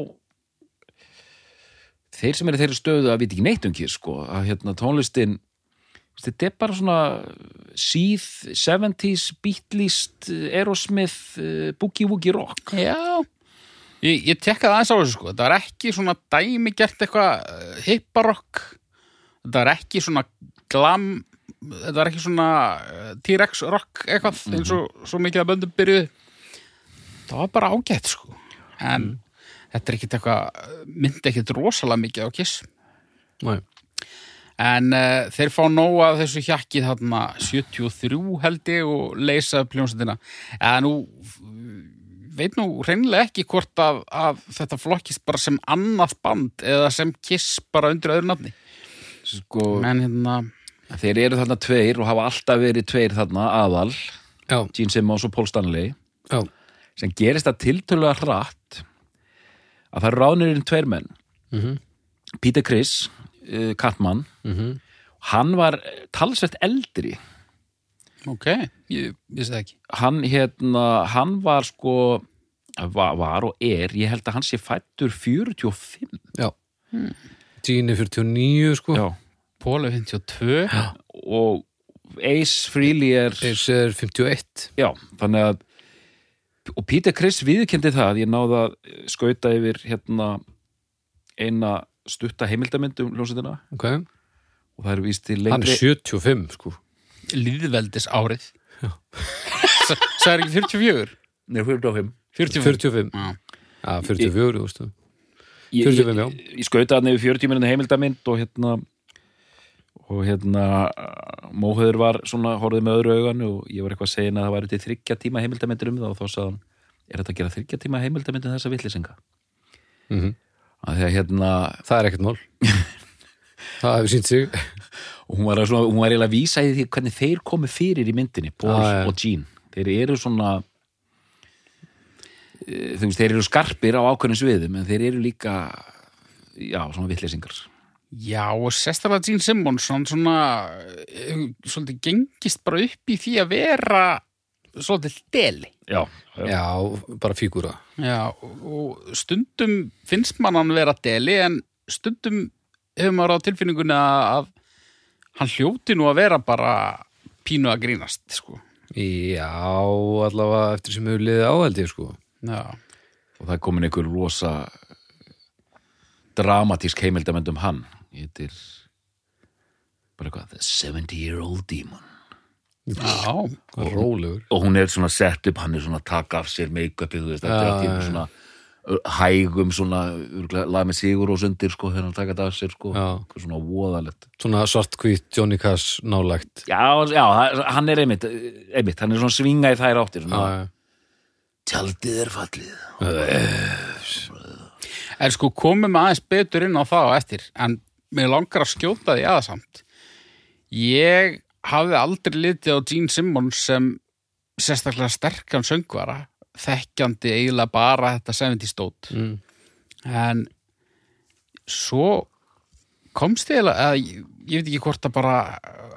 Speaker 2: þeir sem eru í þeirri stöðu að vita ekki neitt um kiss sko, að hérna tónlistin þetta er bara svona síð, 70s, Beatlist Aerosmith, eh, Boogie Woogie Rock
Speaker 3: Já Ég, ég tekka það aðeins á þessu sko Þetta var ekki svona dæmi gert eitthvað eh, hipparokk Þetta var ekki svona glam Þetta var ekki svona eh, T-Rex rock eitthvað eins og svo mikið að böndum byrjuð Það var bara ágætt sko En þetta er ekkit eitthvað eh, myndi ekkit rosalega mikið á kiss
Speaker 1: Nei.
Speaker 3: En uh, þeir fá nóg af þessu hjakki þarna 73 held ég og leysa upp hljómsveitina. Eða nú f- veit nú hreinlega ekki hvort að, að þetta flokkist bara sem annað band eða sem kiss bara undir öðru nafni.
Speaker 2: sko,
Speaker 3: En hérna,
Speaker 2: þeir eru þarna tveir og hafa alltaf verið tveir þarna aðal
Speaker 1: Já,
Speaker 2: Gene Simmons og Paul Stanley
Speaker 1: já,
Speaker 2: sem gerist það tiltölulega hratt að það eru ránirinn tveir menn
Speaker 1: Mhm.
Speaker 2: Peter Criss, uh, Kattmann
Speaker 1: mhm.
Speaker 2: hann var eh, talsvert eldri
Speaker 3: ok, ég vissi það ekki.
Speaker 2: hann, hérna, hann var sko var, var og er, ég held að hann sé fættur 45
Speaker 1: já Gene er 49 sko
Speaker 2: Já.
Speaker 3: Póla 52,
Speaker 2: og Ace Freely er
Speaker 1: Ace er 51
Speaker 2: já, þannig að og Peter Criss viðurkendi það ég náði að eh, skauta yfir hérna eina stutta heimildamynd um ljónsetina
Speaker 1: ok Hann
Speaker 2: og það er víst til
Speaker 1: er
Speaker 2: lengri
Speaker 1: 75 sko
Speaker 3: líðveldis árið. S- Það er ekki 44?
Speaker 2: Nei, 45
Speaker 3: 45.
Speaker 1: 45
Speaker 3: Já.
Speaker 1: Já, 44 þú veist það.
Speaker 2: Ég-
Speaker 1: 45, já.
Speaker 2: Ég, ég skauta hann yfir 40 minna heimildamind og hérna og hérna móhauður var svona, horfði með öðru augan og ég var eitthvað að segja henni að það væri til þryggja tíma heimildamindir um það og þá sagði hann er þetta að gera þryggja tíma heimildamindir um þessa vitlisinga?
Speaker 1: Mhm.
Speaker 2: að því að hérna
Speaker 1: Það er ekkert mál Það hefur sínt sig
Speaker 2: og hún var, að svona, hún var eiginlega að vísa í því hvernig þeir komu fyrir í myndinni, Paul
Speaker 1: Ah, Já, já.
Speaker 2: og Jean þeir eru svona eh, þú veist, þeir eru skarpir á ákveðnum sviðum en þeir eru líka já, svona vitlisingar
Speaker 3: Já, og sérstaklega Gene Simmons hann svona, eh, svolítið gengist bara upp í því að vera svolítið deli.
Speaker 2: já, já.
Speaker 1: Já, bara fígúra
Speaker 3: Já, og- og stundum finnst man hann vera deli en stundum hefur maður á tilfinningunni að, að hann hljóti nú að vera bara pínu að grínast, sko.
Speaker 1: Já, allavega eftir sem hefur liðið áhaldi sko
Speaker 3: Já,
Speaker 2: og það er komin einhver rosa dramatísk heimildamönd um hann heitir bara eitthvað The 70 Year Old Demon
Speaker 3: Já,
Speaker 1: Hvað er rólegur
Speaker 2: og hún er svona sett upp, hann er svona að taka af sér make-upið, þú veist, þetta
Speaker 1: Já,
Speaker 2: er allt í einu
Speaker 1: já, já.
Speaker 2: svona ö, hægum svona, örugglega lag með sigur og sundir sko, þegar hann taka þetta af sér sko
Speaker 1: Já.
Speaker 2: eitthvað svona voðalegt
Speaker 1: Svona svartkvít Johnny Cash nálægt
Speaker 2: já, já, hann er einmitt, einmitt hann er svona svinga í þær áttir svona,
Speaker 1: Já, já.
Speaker 2: tjaldið er fallið
Speaker 3: En sko komum aðeins betur inn á það á eftir en mér langar að skjóta því aða samt. Ég hafði aldrei litið á Gene Simmons sem sérstaklega sterkan söngvara þekkjandi eiginlega bara þetta 70 stót
Speaker 1: Mm.
Speaker 3: en svo komst ég eiginlega að ég, ég veit ekki hvort að bara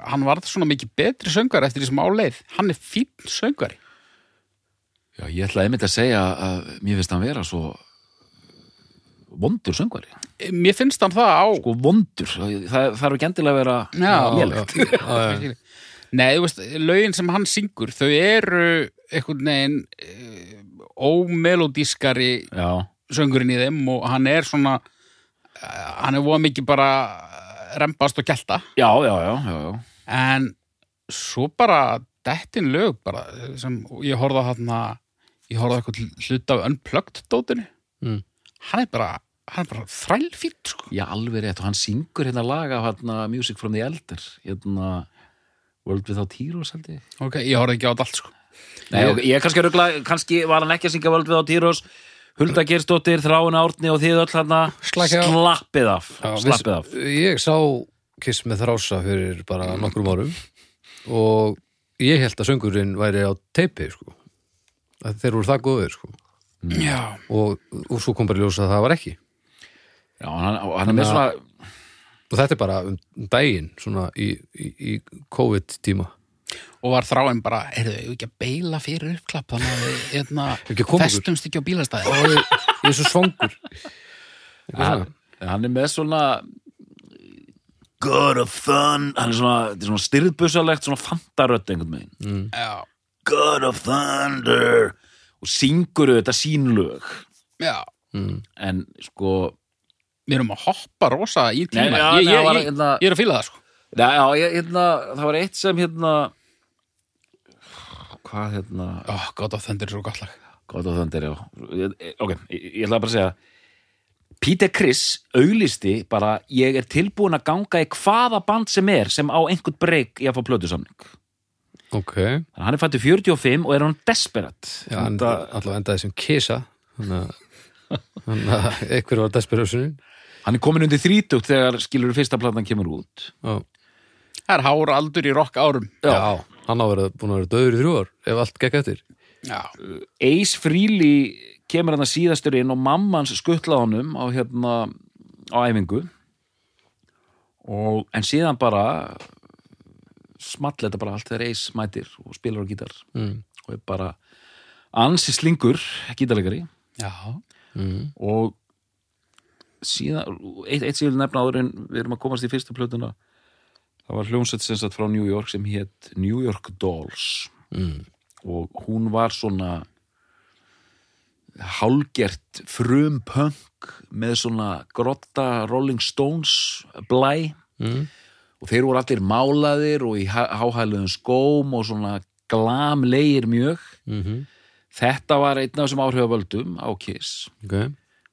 Speaker 3: hann varð svona mikið betri söngvari eftir því sem á leið hann er fínn söngvari
Speaker 2: já, ég ætla einmitt að segja að mér finnst hann vera svo vondur söngvari
Speaker 3: mér finnst hann það á
Speaker 2: sko vondur, það þarf ekki endilega að vera
Speaker 3: Já,
Speaker 2: lélegt.
Speaker 1: já,
Speaker 3: *laughs*
Speaker 1: já, já.
Speaker 3: Nei, þú veist, lögin sem hann syngur, þau eru einhvern veginn eh, ómelodískari
Speaker 2: já,
Speaker 3: söngurinn í þeim og hann er svona, eh, hann er voða mikið bara rempast og gelta
Speaker 2: já, já, já, já, já.
Speaker 3: en svo bara dettin lög bara eh, sem ég horfði á þarna ég horfði á eitthvað hlut af unplugged dótinu
Speaker 1: Mm.
Speaker 3: hann er bara, hann er bara þrælfýtt sko.
Speaker 2: Já, alveg rétt og hann syngur hérna lag af hérna Music from the Elder hérna World Without Heroes held ég
Speaker 3: ok, ég horfði ekki á þetta allt sko
Speaker 2: Nei, ok, ég er kannski rugla, kannski var hann ekki að syngja World Without Heroes Hulda Gerstóttir, Þráin Árni og þið öll hérna
Speaker 1: Slakið á.
Speaker 2: slappið af
Speaker 1: Já, við-
Speaker 2: slappið af
Speaker 1: Ég sá Kiss með þrása fyrir bara nokkrum árum og ég held að söngurinn væri á teipi sko. að þeir voru það góður sko.
Speaker 3: já,
Speaker 1: og, og svo kom bara í ljós að það var ekki
Speaker 2: Já, hann, og hann er með svona
Speaker 1: og þetta er bara um daginn svona í, í, í COVID tíma
Speaker 3: og var þráin bara, heyrðu, ég ekki að beila fyrir uppklapp þannig að við hérna,
Speaker 1: *laughs* Ekki að koma okkur.
Speaker 3: festumst ekki á bílastæði
Speaker 1: og ég, ég er svo svangur
Speaker 2: hann, hann er með svona God of Fun hann er svona, þetta er svona styrðbusalegt svona fantarödd einhvern veginn
Speaker 3: já,
Speaker 2: God of Thunder og syngur auðvitað sín lög
Speaker 3: já,
Speaker 2: en sko
Speaker 3: við erum að hoppa rosa í tíma
Speaker 2: Nei, já,
Speaker 3: ég,
Speaker 2: nei,
Speaker 3: ég,
Speaker 2: var
Speaker 3: ég,
Speaker 2: hérna-
Speaker 3: ég er að fíla það sko
Speaker 2: Já, já, ég, hérna, það var eitt sem hérna Hvað hérna
Speaker 3: oh, God of Thunder er svo gott lag
Speaker 2: God of Thunder, já Ég- Ok, ég, ég ætla bara að segja Peter Criss auglisti bara ég er tilbúin að ganga í hvaða band sem er sem á einhvern breyk í að fá plötusamning
Speaker 1: ok,
Speaker 2: Þannig að hann er fættu 45 og er hann desperat
Speaker 1: já, hann
Speaker 2: Þetta-
Speaker 1: allavega endaði sem kisa þannig að- þannig að einhver var desperjósunin
Speaker 2: hann er komin undir 30 þegar skilur fyrsta platan kemur út
Speaker 1: já,
Speaker 3: það er hára aldur í rokk árum
Speaker 1: já, hann á verið búin að vera döður í þrjú ár ef allt gekk eftir
Speaker 3: já,
Speaker 2: Ace Freely kemur hann að síðastur inn og mammans skuttla honum á hérna á æfingu og en síðan bara small þetta bara allt þegar Ace mætir og spilar á gítar
Speaker 1: Mm.
Speaker 2: og er bara ansi slingur gítarleikari
Speaker 3: já,
Speaker 1: Mm.
Speaker 2: og síðan, eitt, eitt sem ég vil nefna áður en við erum að komast í fyrstu plötuna það var hljómsveit sem sagt frá New York sem hétt New York Dolls mm. og hún var svona hálgert frumpunk með svona grotta Rolling Stones blæ
Speaker 1: mm.
Speaker 2: og þeir voru allir málaðir og í há- háhæluðum skóm og svona glamlegir mjög
Speaker 1: Mm
Speaker 2: þetta var einn af þessum áhrifavöldum á Kiss
Speaker 1: ok,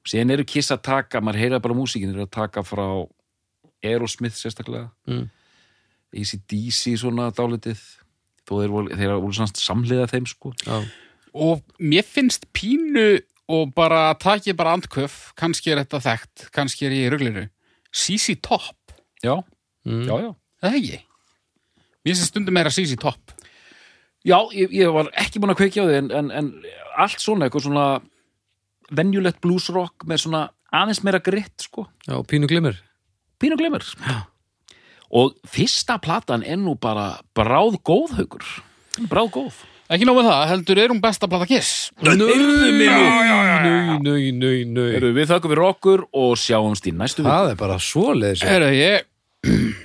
Speaker 2: síðan eru Kiss að taka, maður heyra bara músíkin eru að taka frá Aerosmith sérstaklega
Speaker 1: Mm.
Speaker 2: ACDC svona dálitið þó þeir voru, þeir voru svona samliða þeim sko
Speaker 1: já,
Speaker 3: og mér finnst pínu og bara takið bara andköf kannski er þetta þekkt, kannski er ég í ruglinu CC Top,
Speaker 2: já,
Speaker 1: mm.
Speaker 2: já, já
Speaker 3: er það ekki mér finnst stundum meira CC Top
Speaker 2: Já, ég, ég var ekki búin að kveikja á því en, en, en allt svona, eitthvað svona venjulegt bluesrock með svona aðeins meira gritt sko
Speaker 1: já, pínu glimmer
Speaker 2: pínu glemur og fyrsta platan er nú bara bráð góð haugur bráð góð
Speaker 3: ekki nóg með það, heldur er hún besta blata Kiss
Speaker 1: Nau, nau, nau, nau
Speaker 2: Við þakkum við okkur og sjáumst í næstu viku.
Speaker 1: Það er bara svoleiðis
Speaker 3: Herru, ég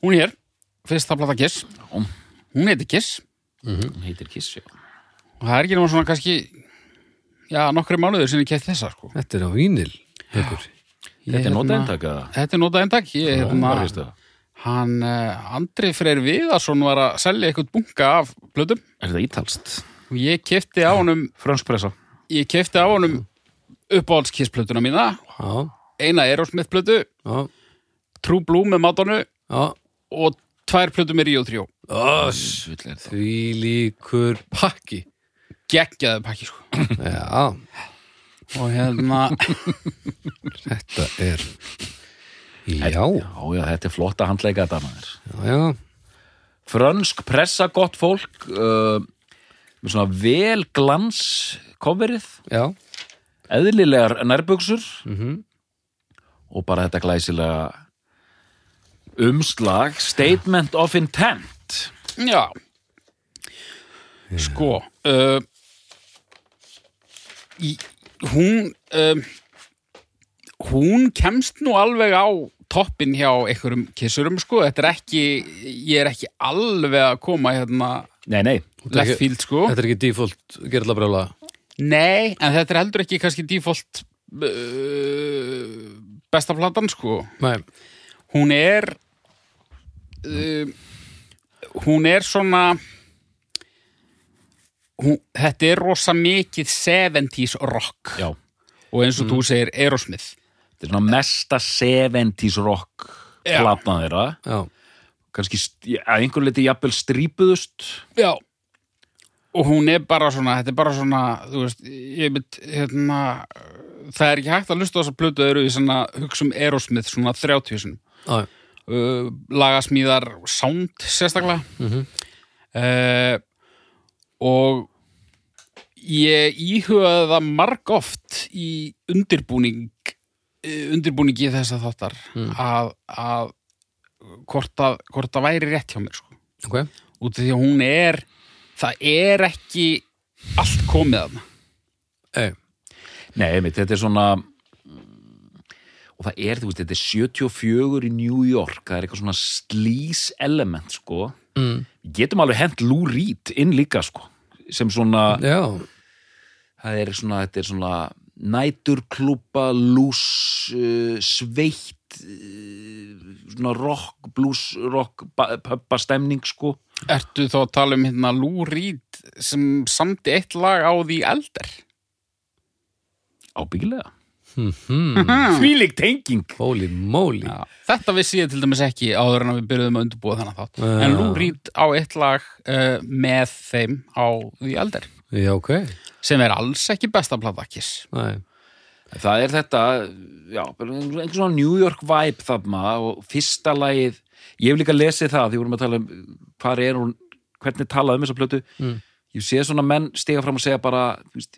Speaker 3: Hún er hér Fyrsta plata Kiss Hún heiti Kiss
Speaker 2: Hún heitir Kiss, já.
Speaker 3: Og það er ekki náttúrulega svona kannski Já, nokkri mánuður sem ég kætt þessa sko
Speaker 1: Þetta er á vínil Haukur.
Speaker 3: Ég,
Speaker 2: Þetta er
Speaker 3: hérna,
Speaker 2: notaðintak eða?
Speaker 3: Þetta er nota eintak Ég
Speaker 2: Hún
Speaker 3: hérna,
Speaker 2: var fyrst það.
Speaker 3: Hann, uh, Andri Freyr Viðarsson var að selja eitthvað bunga af blöðum
Speaker 2: Er það ítalst?
Speaker 3: og ég kefti á honum,
Speaker 2: Frönspressa
Speaker 3: ég kefti á honum uppáhaldskissblöðuna mína,
Speaker 1: já,
Speaker 3: eina Erosmith-blöðu,
Speaker 1: já,
Speaker 3: True Blue með Madonu
Speaker 1: já
Speaker 3: og tvær plötu með Rio 3.
Speaker 1: Oss, því líkur
Speaker 3: *laughs*
Speaker 1: pakki
Speaker 3: Gekkjaði pakki, sko.
Speaker 1: Já,
Speaker 3: Og hérna,
Speaker 1: þetta er Já, já,
Speaker 2: Já, já, þetta er flotta handleika þetta maður
Speaker 1: já
Speaker 2: Frönsk pressa gott fólk uh, með svona vel glans coverið,
Speaker 1: Já,
Speaker 2: eðlilegar nærbuxur
Speaker 3: Mhm.
Speaker 2: og bara þetta glæsilega umslag statement of intent
Speaker 3: já, sko, uh, í, hún, um, hún kemst nú alveg á toppin hjá einhverjum kissurum, sko. Þetta er ekki, ég er ekki alveg að koma hérna
Speaker 2: Nei, nei,
Speaker 1: er
Speaker 3: left
Speaker 1: ekki-
Speaker 3: field, sko.
Speaker 1: þetta er ekki default gerðlabrjála
Speaker 3: Nei, en þetta er heldur ekki kannski default uh, besta platan, sko.
Speaker 1: Nei,
Speaker 3: hún er uh, hún er svona hún, þetta er rosa mikið 70s rock
Speaker 2: já
Speaker 3: og eins og þú segir Aerosmith
Speaker 2: Þetta er svona mesta 70s rock
Speaker 3: Já.
Speaker 2: platna þeirra
Speaker 1: já,
Speaker 2: kannski st- að einhver liti jafnvel strípuðust
Speaker 3: já og hún er bara svona, þetta er bara svona þú veist, ég mynd hérna, það er ekki hægt að lusta á þessa plötu eru í svona hugsa um Aerosmith svona 30 sinum
Speaker 1: já,
Speaker 3: uh, lagasmíðar sound sérstaklega mm og ég íhugaði það marg oft í undirbúning eh, undirbúningi þess að þáttar að, að hvort, að hvort að væri rétt hjá mér sko.
Speaker 1: ok
Speaker 3: út af því að hún er það er ekki allt komið að
Speaker 1: Ei,
Speaker 2: Nei, einmitt, þetta er svona mm, og það er, þú veist, þetta er 74 í New York, það er eitthvað svona slís element, sko
Speaker 1: mm,
Speaker 2: Við getum alveg hent Lou Reed inn líka, sko sem svona,
Speaker 1: Já,
Speaker 2: það er svona, þetta er svona næturklúpa lús, uh, sveitt uh, svona rock, blues rock, pöppa stemning, sko
Speaker 3: Ertu þá að tala um hérna Lou Reed sem samti eitt lag á því elder?
Speaker 2: ábyggilega
Speaker 1: hmm,
Speaker 3: Mm.
Speaker 2: Þvílík tenging
Speaker 1: holy moly
Speaker 3: Já. Þetta vissi ég til dæmis ekki áður en að við byrjuðum að undirbúa þannig þátt.
Speaker 1: Já.
Speaker 3: En Lou Reed á eitt lag uh, með þeim á The Elder
Speaker 1: Já, ok,
Speaker 3: sem er alls ekki besta plata Kiss.
Speaker 1: nei
Speaker 2: Það er þetta, já, bara einhver svona New York vibe þarna og fyrsta lagið, ég hef líka lesið það því vorum að tala um hvað er hún hvernig talaði um þessa plötu
Speaker 1: Mm.
Speaker 2: ég sé svona menn stiga fram og segja bara þú veist,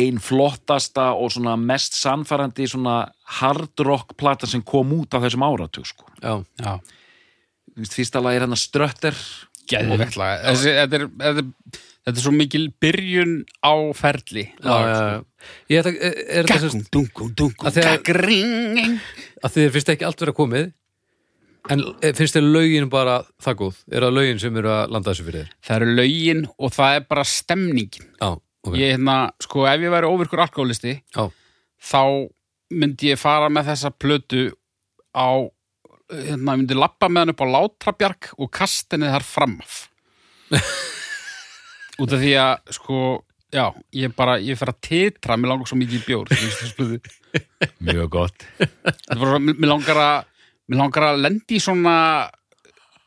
Speaker 2: ein flottasta og svona mest sannfærandi svona hard rock plata sem kom út á þessum áratug sko.
Speaker 1: Já,
Speaker 3: Já.
Speaker 2: Þú veist, fyrsta lagið er hérna hennar strötter
Speaker 3: Geðvegt lag. Þessi, þetta, er, þetta, er, þetta er svo mikil byrjun á ferli.
Speaker 1: já, já, já. Ég ætla, er, er þetta sem
Speaker 3: Gakkum, dunkum, dunkum,
Speaker 1: Að þegar-
Speaker 3: gakring.
Speaker 1: að þið finnst ekki allt vera komið en eh, finnst þið lögin bara það góð? Er það lögin sem eru að landa þessu fyrir þér?
Speaker 3: Það eru lögin og það er bara stemningin.
Speaker 1: Já, ok
Speaker 3: Ég, hérna, sko, ef ég væri ofirkur alkoholisti,
Speaker 1: Já,
Speaker 3: þá myndi ég fara með þessa plötu á hérna, ég myndi lappa með hann upp á Látrabjarg og kasta henni þar fram af út af því að sko, já, ég bara ég fer að titra, mér langar svo mikið í bjór þú veist, þessi plötu.
Speaker 2: mjög gott
Speaker 3: Þetta er bara svo- mér mér langar að mér langar að lendi í svona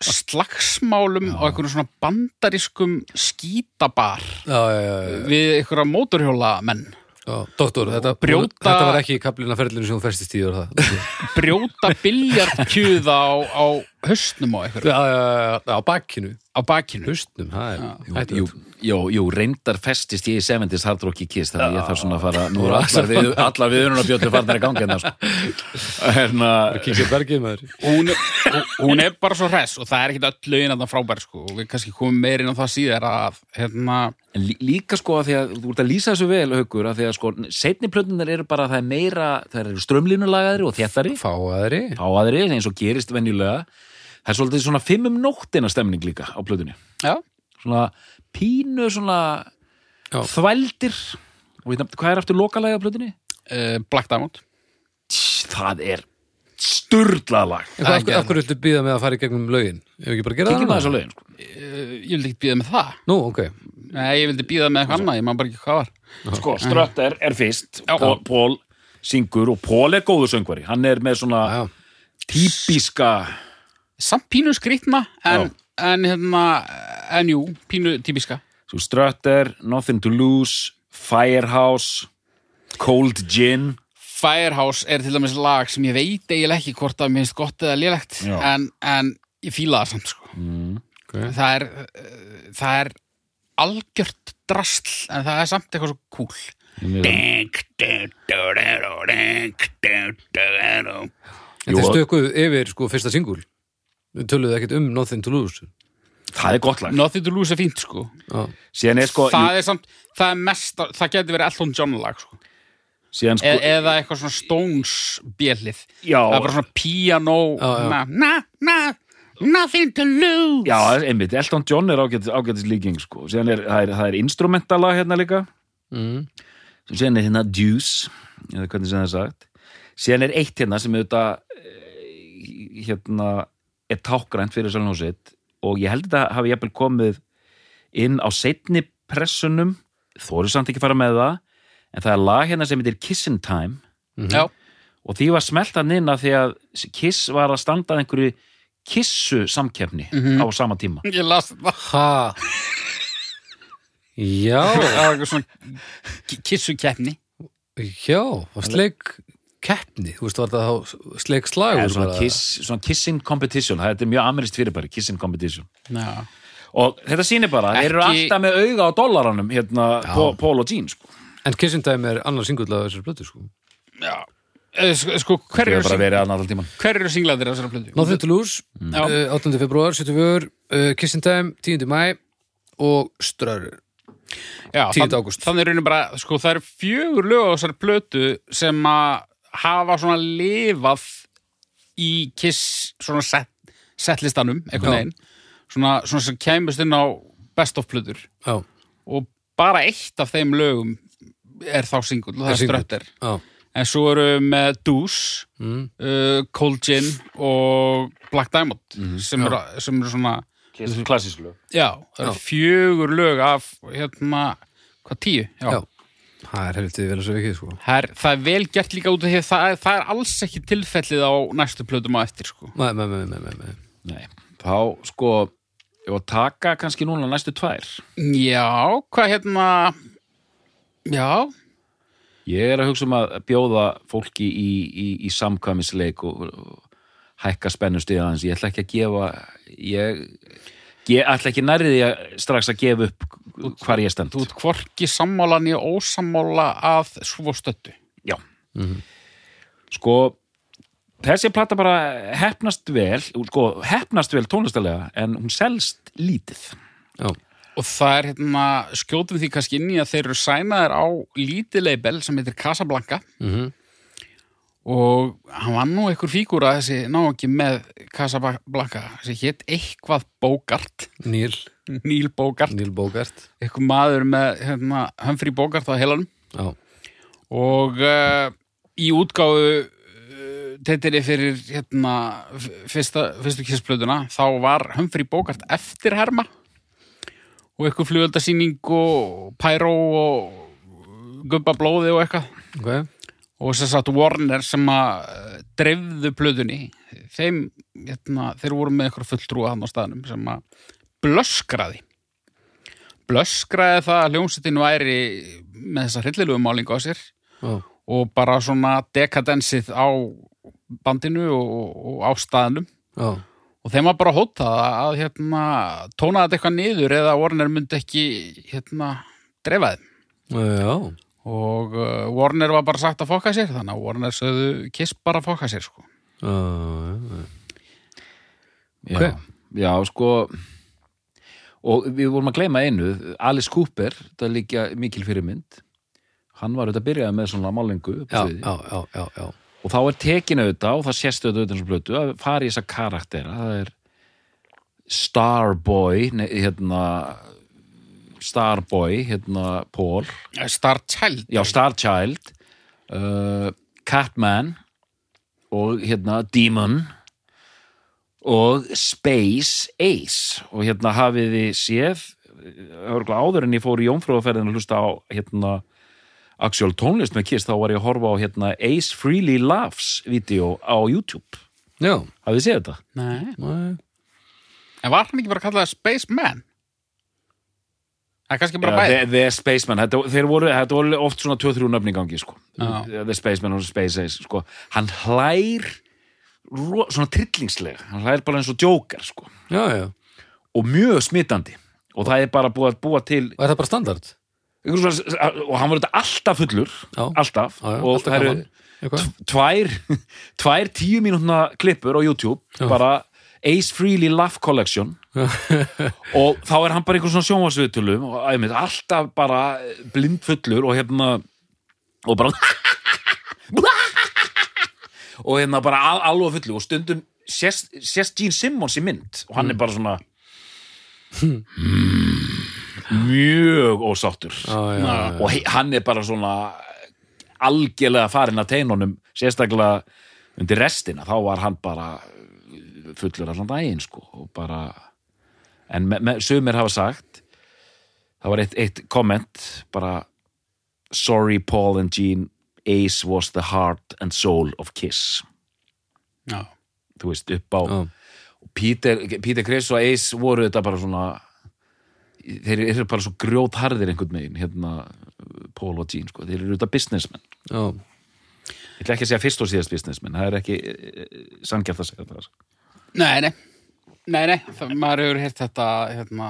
Speaker 3: slagsmálum á einhvern svona bandarískum skítabar
Speaker 1: já, já, já, já,
Speaker 3: við einhverja mótorhjóla menn
Speaker 1: já. Doktor, þetta,
Speaker 3: Brjóta-
Speaker 1: þetta var ekki kaplina ferlinu sem þú festist í og *laughs* það
Speaker 3: brjóta biljartkjöða á, á höstnum á einhverju
Speaker 1: Já, já, já, já, á bakkinu
Speaker 3: á bakinu
Speaker 1: Hustnum, það er hættulegt.
Speaker 2: Jú, jú, jú, reyndar festist ég í 70s hardrocki kiss þannig að ég þarf svona að fara nú eru allar, við, *laughs* allar viðunar bjóttur farnar í gangi hérna *laughs* sko. en að
Speaker 1: Kíkja bergið maður
Speaker 3: og hún, og, hún er bara svo hress og það er ekkit öll lögin að það frábær sko og við kannski komum meir inn á það síðar að hérna,
Speaker 2: En lí- líka sko að því að þú ert að lýsa þessu vel haukur að því að sko setni plötunar eru bara það er meira, það eru strömlínulagaðri og þéttari,
Speaker 1: Fáaðri
Speaker 2: fáaðri eins og gerist venjulega, það er svolítið svona fimm um nóttina stemning líka á plötunni
Speaker 3: já,
Speaker 2: svona pínu svona
Speaker 1: Já.
Speaker 2: þvældir
Speaker 3: eh,
Speaker 2: og veit, hvað er aftur lokalagi á plötunni?
Speaker 3: uh, Black Diamond
Speaker 2: Tss, Það er Sturlað lag
Speaker 1: En hvað, af, af hverju viltu býða með að fara í gegnum lögin? Ef ekki bara gera
Speaker 2: Kikið maður
Speaker 1: það?
Speaker 2: þess að
Speaker 1: núna?
Speaker 2: lögin sko.
Speaker 3: Eh, Ég vildi ekki býða með það.
Speaker 1: Nú, ok.
Speaker 3: Nei, ég vildi býða með eitthvað annað, ég maður bara ekki hvað var.
Speaker 2: sko, Strötter er fyrst Pól, Pól syngur og Pól er góðu söngvari hann er með svona
Speaker 1: Já,
Speaker 2: típiska
Speaker 3: Samt pínu skrýtna, en, en hérna, en jú, pínu típiska.
Speaker 2: svo Strötter, Nothing to Lose Firehouse Cold Gin
Speaker 3: Firehouse er til dæmis lag sem ég veit eiginlega ekki hvort að mér finnst gott eða lélegt,
Speaker 2: Já.
Speaker 3: en, en ég fíla það samt, sko.
Speaker 1: ok.
Speaker 3: það er, eh, það er algjört drasl en það er samt eitthvað svo cool
Speaker 1: En þeir
Speaker 2: Jú,
Speaker 1: stökuðu yfir sko fyrsta singul. Við töluðu ekkert um Nothing to Lose.
Speaker 2: það er gott lag
Speaker 3: Nothing to lose er fínt sko,
Speaker 1: Já.
Speaker 2: síðan er sko,
Speaker 3: það er samt það er mest, það getur verið Elton John lag sko.
Speaker 2: síðan
Speaker 3: e
Speaker 2: sko
Speaker 3: eða eitthvað svona Stones bjellið
Speaker 2: Já.
Speaker 3: það er bara svona piano
Speaker 1: Já, já.
Speaker 3: na, na, na, nothing to lose
Speaker 2: já, einmitt, Elton John er ágætis, ágætis líking sko, síðan er, það er, það er instrumentala hérna líka
Speaker 1: Mm.
Speaker 2: síðan er hérna Juice eða hvernig sem það er sagt síðan er eitt hérna sem auðvitað eh, hérna er tákgrænt fyrir Sölnhúsitt og ég held að þetta hafi jafnvel komið inn á seinni pressunum þó eru samt ekki að fara með það en það er lag hérna sem heitir Kissin' Time
Speaker 3: Já.
Speaker 2: og því var smelt hann inn að því að Kiss var að standa að einhverju kissu samkefni
Speaker 1: Mhm.
Speaker 2: á sama tíma
Speaker 3: ég las það
Speaker 1: Ha. Já.
Speaker 3: það var eitthvað svona kissukeppni
Speaker 1: Já, og sleik keppni, þú veist, var það þá sleik
Speaker 2: Eða
Speaker 1: slagur
Speaker 2: svona,
Speaker 1: bara?
Speaker 2: kiss, svona kissing competition þetta er mjög amerist fyrirbæri, kissing competition
Speaker 3: já
Speaker 2: og þetta sýnir bara, þeir eru
Speaker 3: Ekki-
Speaker 2: alltaf með auga á dollaranum hérna, Pó- Pól og Jean sko.
Speaker 1: En Kissing Time er annar singullega þessar blötu, sko.
Speaker 3: Já. Eh, sko- sko, hver
Speaker 2: þeir
Speaker 3: eru
Speaker 2: eru bara
Speaker 3: sing-
Speaker 2: verið aðnáttal tíman
Speaker 3: hver eru singlaðir þessara plötu?
Speaker 1: Nothing to Lose,
Speaker 3: Já.
Speaker 1: eh, 8. februar, 74, uh, Kissing Time, 10. mæ og Strörur.
Speaker 3: Já,
Speaker 1: 10.
Speaker 3: þann-
Speaker 1: ágúst.
Speaker 3: Þannig er raunin bara, sko, það eru fjögur lög á þessari plötu sem að hafa svona lifað í Kiss svona set, setlistanum, einhvern
Speaker 1: Já.
Speaker 3: veginn svona, svona sem kæmust inn á best of plötur
Speaker 1: Já,
Speaker 3: og bara eitt af þeim lögum er þá singull og það
Speaker 1: Er
Speaker 3: er
Speaker 1: singull.
Speaker 3: ströttir
Speaker 1: já,
Speaker 3: en svo eru með Deuce
Speaker 1: Mm.
Speaker 3: uh, Cold Gin og Black Diamond
Speaker 1: Mhm,
Speaker 3: sem, eru, sem eru svona
Speaker 2: klassíslu
Speaker 3: Já, það eru
Speaker 1: Já.
Speaker 3: fjögur lög af hérna, hvað tíu? Já.
Speaker 1: já. Það er helvitið vel að segja ekki, sko.
Speaker 3: Það, er, það er vel gert líka út af því að það, er- það er alls ekki tilfellið á næstu plötum á eftir sko.
Speaker 1: Nei, nei, nei, nei, nei, nei.
Speaker 2: Nei. þá sko ég var að taka kannski núna næstu tvær
Speaker 3: Já, hvað hérna Já,
Speaker 2: ég er að hugsa um að bjóða fólki í, í, í samkvæmisleik og, og hækka spennustið aðeins ég ætla ekki að gefa ég, ég ætla ekki nærið því að strax að gefa upp hvar ég stend
Speaker 3: þú ert hvorki sammála nýja ósammála að svo stöttu
Speaker 2: Já.
Speaker 1: Mhm.
Speaker 2: Sko, þessi plata bara hefnast vel, sko, hefnast vel tónlistalega, en hún selst lítið.
Speaker 1: Já,
Speaker 3: og það er hérna, skjótum því kannski inn í að þeir eru sænaðir á lítið label sem heitir Casablanca
Speaker 1: mhm,
Speaker 3: og hann var nú einhver fígúra þessi ná ekki með Casablanca sem hétt eitthvað Bogart *laughs*
Speaker 1: Níl,
Speaker 3: Neil Bogart,
Speaker 1: Níl Bógart.
Speaker 3: eitthvað maður með hérna, Humphrey Bogart á heilanum
Speaker 1: Já,
Speaker 3: og uh, í útgáfu uh, teitinni fyrir hérna, f- fyrsta, fyrstu kissplötuna þá var Humphrey Bogart eftir herma og eitthvað flugöldasýning og pæró og gubba blóði og eitthvað
Speaker 1: ok.
Speaker 3: og sem sagt Warner sem að eh, dreifðu plöðunni þeim, hérna, þeir voru með eitthvað fulltrúa hann á staðnum sem að blöskraði blöskraði það að hljómsettin væri með þessa hryllilegu málingu á sér
Speaker 1: Já,
Speaker 3: og bara svona dekadensið á bandinu og, og á staðnum
Speaker 1: já,
Speaker 3: og þeim var bara hótað að, að hérna, tóna þetta eitthvað niður eða Warner myndi ekki hérna, dreifa þeim
Speaker 1: já,
Speaker 3: og uh, Warner var bara sagt að fokka sér þannig að Warner sögðu Kiss bara að fokka sér sko.
Speaker 1: já, já, já.
Speaker 2: Já,
Speaker 1: Ok.
Speaker 2: já sko, og við vorum að gleyma einu, Alice Cooper, það er líka mikil fyrirmynd, hann var auðvitað að byrjaði með svona málingu upp á
Speaker 1: Já,
Speaker 2: sviði.
Speaker 1: já, já, já, já.
Speaker 2: og þá er tekin auðvitað og það sést auðvitað auðvitað eins og blötu að fara í þessa karaktera það er Starboy ne, hérna Starboy, hérna Paul
Speaker 3: Eh, Star Child
Speaker 2: já, Starchild uh, Catman og hérna Demon og Space Ace og hérna hafið þið séð örgla áður en ég fór í jómfrúðaferðin að hlusta á hérna actual tónlist með Kiss þá var ég að horfa á hérna Ace Freely Laughs vídeo á YouTube
Speaker 1: Já,
Speaker 2: hafið þið séð þetta?
Speaker 3: Nei.
Speaker 1: nei.
Speaker 3: En var hann ekki bara að kalla það Spaceman? Það er kannski bara
Speaker 2: Já,
Speaker 3: bæði.
Speaker 2: the, the Spaceman, þetta, þeir voru, þetta voru oft svona 2-3 nöfning gangi, sko
Speaker 3: Já.
Speaker 2: The Spaceman og Space Ace, sko Hann hlær ro, svona trillingslega, hann hlær bara eins og jókar, sko
Speaker 1: já, já.
Speaker 2: og mjög smitandi og það er bara búið að búa til
Speaker 1: Og er það bara standard?
Speaker 2: einhver svona, og hann var þetta alltaf fullur
Speaker 1: Já.
Speaker 2: alltaf,
Speaker 1: Já, já,
Speaker 2: og
Speaker 1: alltaf
Speaker 2: það eru
Speaker 1: gaman. Eitthvað?
Speaker 2: tvær, tvær tíu mínútna klippur á YouTube
Speaker 1: Já.
Speaker 2: bara Ace Freely Laugh
Speaker 1: *laughs*
Speaker 2: Collection og þá er hann bara einhver svona sjónvarsviðtölum og einmitt, alltaf bara blindfullur og hérna og bara *laughs* og hérna bara al alveg fullu og stundum sést, sést Gene Simmons í mynd og hann
Speaker 1: Mm.
Speaker 2: er bara svona hmm, mjög ósáttur
Speaker 1: Já, já, já, já.
Speaker 2: og he- hann er bara svona algjörlega farinn að teinunum sérstaklega undir restina þá var hann bara fullur allan daginn sko og bara en me, me, sumir hafa sagt það var eitt, eitt komment bara sorry Paul and Gene Ace was the heart and soul of Kiss
Speaker 3: Já.
Speaker 2: þú veist upp á
Speaker 1: Já.
Speaker 2: Peter, Peter Chris og Ace voru þetta bara svona þeir eru bara svo grjótharðir einhvern veginn hérna Paul og Gene sko, þeir eru þetta businessmen
Speaker 1: Já.
Speaker 2: ég ætla ekki að segja fyrst og síðast businessmen það er ekki sangjart að segja það sko.
Speaker 3: Nei, nei. Nei, nei. Það, maður hefur heyrt þetta, hérna,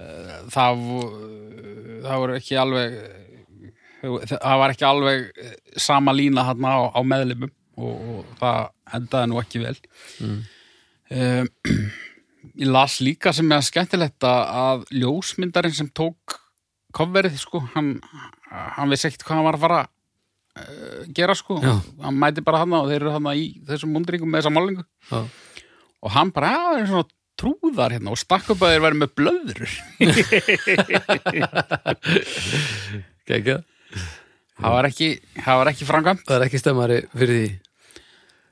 Speaker 3: uh, það, vo- það voru ekki alveg, eh, það var ekki alveg eh, sama lína hérna á, á meðlumum og, og það endaði nú ekki vel. Mm. ég las líka sem er skemmtilegt að að ljósmyndarinn sem tók coverið, sko, hann, hann vissi ekkert hvað hann var að fara að gera, sko.
Speaker 1: Já.
Speaker 3: Hann mæti bara hann og þeir eru hann í þessum mundringum með þessa málingu
Speaker 1: Já.
Speaker 3: og hann bara, já, það er svona trúðar hérna og stakk upp að þeir væri með blöður
Speaker 1: Gekka.
Speaker 3: það var ekki, það var ekki framkvæmt
Speaker 1: Það er ekki stemmari fyrir því.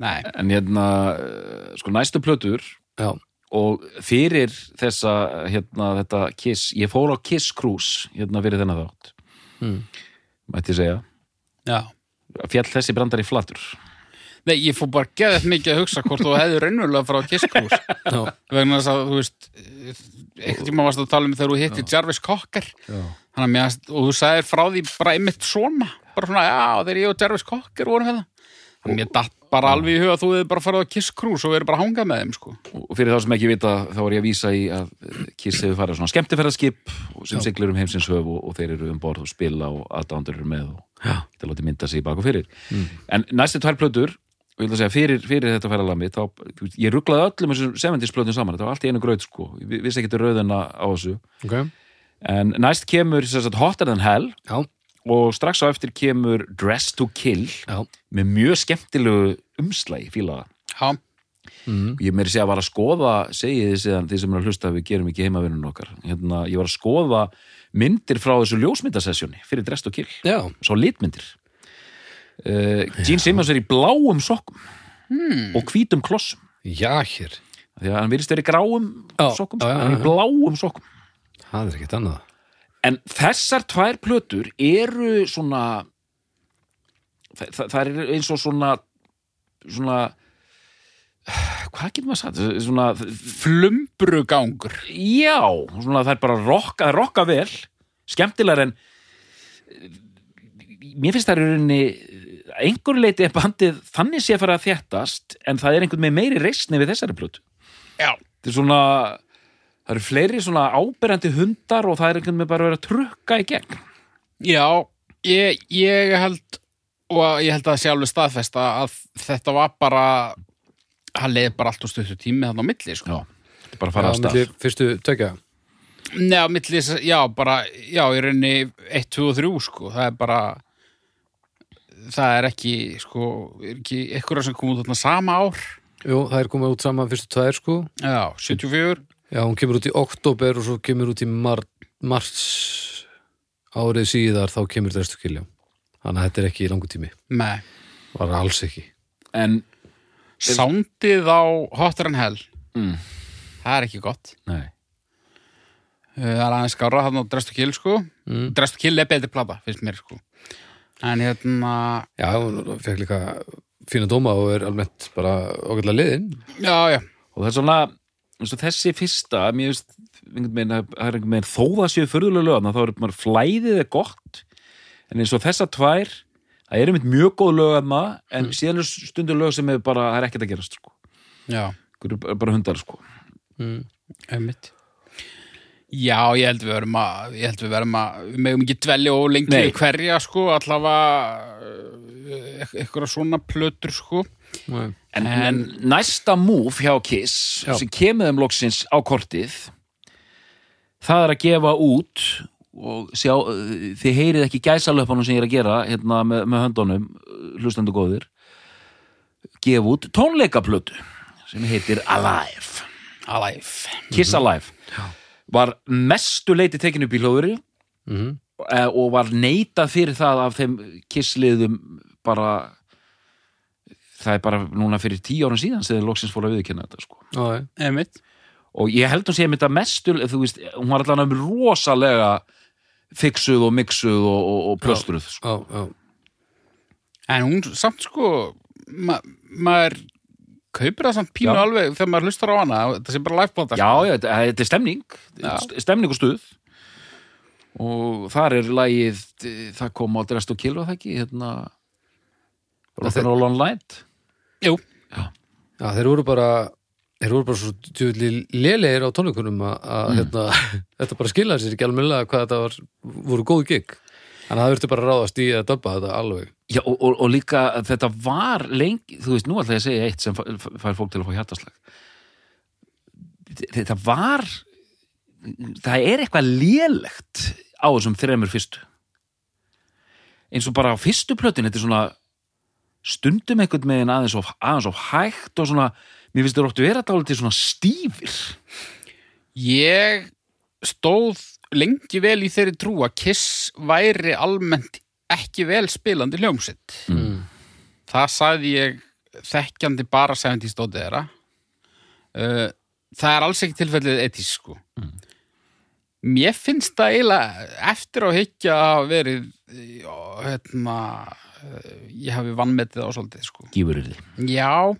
Speaker 3: nei,
Speaker 2: en hérna, eh, sko næstu plötur
Speaker 1: Já.
Speaker 2: og fyrir þessa, hérna, þetta Kiss, ég fór á Kiss Cruise hérna fyrir þennan þátt
Speaker 1: Mm.
Speaker 2: mætti segja,
Speaker 3: já
Speaker 2: fjall þessi brandar í flatur
Speaker 3: nei, ég fór bara geðið mikið að hugsa hvort þú hefði raunverulega frá kisskús
Speaker 1: Já.
Speaker 3: vegna þess að, þú veist einhvern tíma varst að tala um þegar þú hittir Jarvis Cocker
Speaker 2: Já.
Speaker 3: Þannig að mér fannst- og þú sagðir frá því bara einmitt svona bara svona, já, þegar ég og Jarvis Cocker vorum hérna þannig að mér datt bara alveg í huga að þú hefði bara farið á Kiss Cruise og verið bara að hanga með þeim, sko
Speaker 2: og fyrir þá sem ekki vita þá er ég að vísa í að eh, Kiss hefur farið á svona skemmtifæraskip sem siglir um heimsins höf og, og þeir eru um borð og spila og aðdándur eru með og
Speaker 1: Já.
Speaker 2: geta látið mynda sig í bak og fyrir en næstu tvær plötur og ég vil að segja fyrir, fyrir þetta færalag mitt þá, þú veist, ég rugglaði öllum þessum 70s plötum saman þetta var allt í einu graut sko, ég vissi ekki rauðina á þessu
Speaker 1: Ok.
Speaker 2: en næst kemur sem sagt, Hotter Than Hell
Speaker 1: Já.
Speaker 2: og strax á eftir kemur Dress to Kill
Speaker 1: Já.
Speaker 2: með mjög skemmtilegu umslæg fílaða
Speaker 3: já,
Speaker 1: Mm.
Speaker 2: ég meiri segja að var að skoða segið þið síðan, þið sem er að hlusta að við gerum ekki heimavinnun okkar hérna, ég var að skoða myndir frá þessu ljósmyndasessjóni fyrir Drest og Kill,
Speaker 1: Já.
Speaker 2: svo litmyndir uh, Gene Simmons er í bláum sokkum hmm. og hvítum klossum
Speaker 1: Já, hér.
Speaker 2: því að hann virðist verið í gráum
Speaker 1: Já,
Speaker 2: sokkum
Speaker 1: já,
Speaker 2: sko,
Speaker 1: já,
Speaker 2: hann er
Speaker 1: já.
Speaker 2: í bláum sokkum
Speaker 1: Það er ekkert annað.
Speaker 2: En þessar tvær plötur eru svona þa- þa- það er eins og svona svona hvað getur maður sagt? Svona,
Speaker 3: flumbrugangur
Speaker 2: já, svona það er bara rokka, þær rokka vel skemmtilegar en eh, mér finnst það er rauninni eh, að einhver leiti er bandið þannig sé að fara að þéttast en það er einhvern með meiri reisni við þessari plötu
Speaker 3: já,
Speaker 2: þetta er svona það eru fleiri svona áberandi hundar og það er einhvern með bara að vera að trukka í gegn
Speaker 3: Já, ég, ég held og ég held að það sé alveg staðfest að, að þetta var bara hann leiði bara allt og stuttur tími þannig á milli sko.
Speaker 2: Já, bara fara
Speaker 1: Já,
Speaker 2: að stað
Speaker 1: milli Fyrstu tökja.
Speaker 3: Nei, á milli, þess- já, bara já, ég reyni 1, 2 og 3 sko. það er bara það er ekki, sko er ekki eitthvað sem kom út þarna sama ár
Speaker 1: Jú, það er komið út saman fyrstu tvær sko.
Speaker 3: já, 74
Speaker 1: Já, hún kemur út í oktober og svo kemur út í mar mars árið síðar þá kemur drestu kilja. Þannig að þetta er ekki í langu tími.
Speaker 3: Nei,
Speaker 1: Var alls ekki.
Speaker 2: en,
Speaker 3: Sándið á Hotter en Hell
Speaker 2: Mm.
Speaker 3: Það er ekki gott
Speaker 2: nei
Speaker 3: Uh, Það er aðeins skára þarna á Drest og Kill sko mm. Drest og Kill er betri plata, finnst mér sko En hérna
Speaker 1: Já, hún fekk líka fína dóma og er almennt bara ágætlega liðin
Speaker 3: Já, já,
Speaker 2: og það er svona, eins og þessi fyrsta mér veist, einhvern veginn að- það er einhvern veginn þó það séu furðulega lögana þá er maður flæðið er gott en eins og þessa tvær, það er einmitt mjög góð lögana, en síðan er stundur lög sem er bara, það er ekkert að gerast sko.
Speaker 3: já
Speaker 2: Einhver er bara- bara hundar sko
Speaker 3: Einmitt. Já, ég held við verum að, ég held við verum að, við megum ekki dvelja og lengi
Speaker 2: Nei.
Speaker 3: Nei. hverja, sko, allavega uh, eitthvað svona plötur, sko.
Speaker 1: Nei.
Speaker 2: en, en næsta múf hjá Kiss
Speaker 1: Já.
Speaker 2: sem kemur þeim loksins á kortið það er að gefa út og sjá, eh, þið heyrið ekki gæsalöpunum sem ég er að gera hérna með, með höndunum, eh, hlustendur góðir gefa út tónleikaplötu sem heitir Alive
Speaker 3: Alive.
Speaker 2: Kiss Alive var mestu leiti tekin upp í hlóðuri
Speaker 1: Mhm.
Speaker 2: eh, og var neitað fyrir það af þeim kissliðum bara það er bara núna fyrir tíu árum síðan sem þeir loksins fór að viðkynna þetta sko
Speaker 1: Já,
Speaker 3: Einmitt.
Speaker 2: og ég held hún sé einmitt að mestu þú veist, hún var allan að rosalega fiksuð og miksuð og, og, og plöstruð sko.
Speaker 1: já, já.
Speaker 3: En hún samt, sko, ma maður kaupir það samt pínu
Speaker 2: Já.
Speaker 3: alveg þegar maður hlustar á hana, það sé bara sko. liveplata.
Speaker 2: já, já, þetta eh, þetta er stemning
Speaker 3: Já.
Speaker 2: St- stemning og stuð og þar er lagið eh, það kom á Drest og Kill var það ekki hérna Rock'n'Roll on Light
Speaker 3: Jú,
Speaker 1: Já, þeir voru bara þeir voru bara svo tjóðli lélegir á tónleikunum að mm. hérna, *laughs* þetta bara skilaði sér ekki almennilega hvað þetta var, voru góð gig þannig að það þurfti bara að ráðast í að döbba þetta alveg
Speaker 2: já, og, og, og líka að þetta var lengi þú veist, nú ætla ég að segja eitt sem fa- fa- fær fólk til að fá hjartaslag þetta var það er eitthvað lélegt á þessum þremur fyrstu eins og bara á fyrstu plötin þetta er svona stundum einhvern megin aðeins of, aðeins of hægt og svona, mér finnst þér óttu vera dálítið svona stífir
Speaker 3: ég stóð lengi vel í þeirri trú að Kiss væri almennt ekki vel spilandi hljómsitt.
Speaker 2: Mm.
Speaker 3: Það sagði ég þekkjandi bara 70s dótið þeirra. Uh, það er alls ekki tilfellið etís, sko. Mér finnst það eiginlega eftir á higgja að hafa verið, já, hérna, eh, ég hafi vannmetið á svolítið, sko.
Speaker 2: gífur er þið
Speaker 3: Já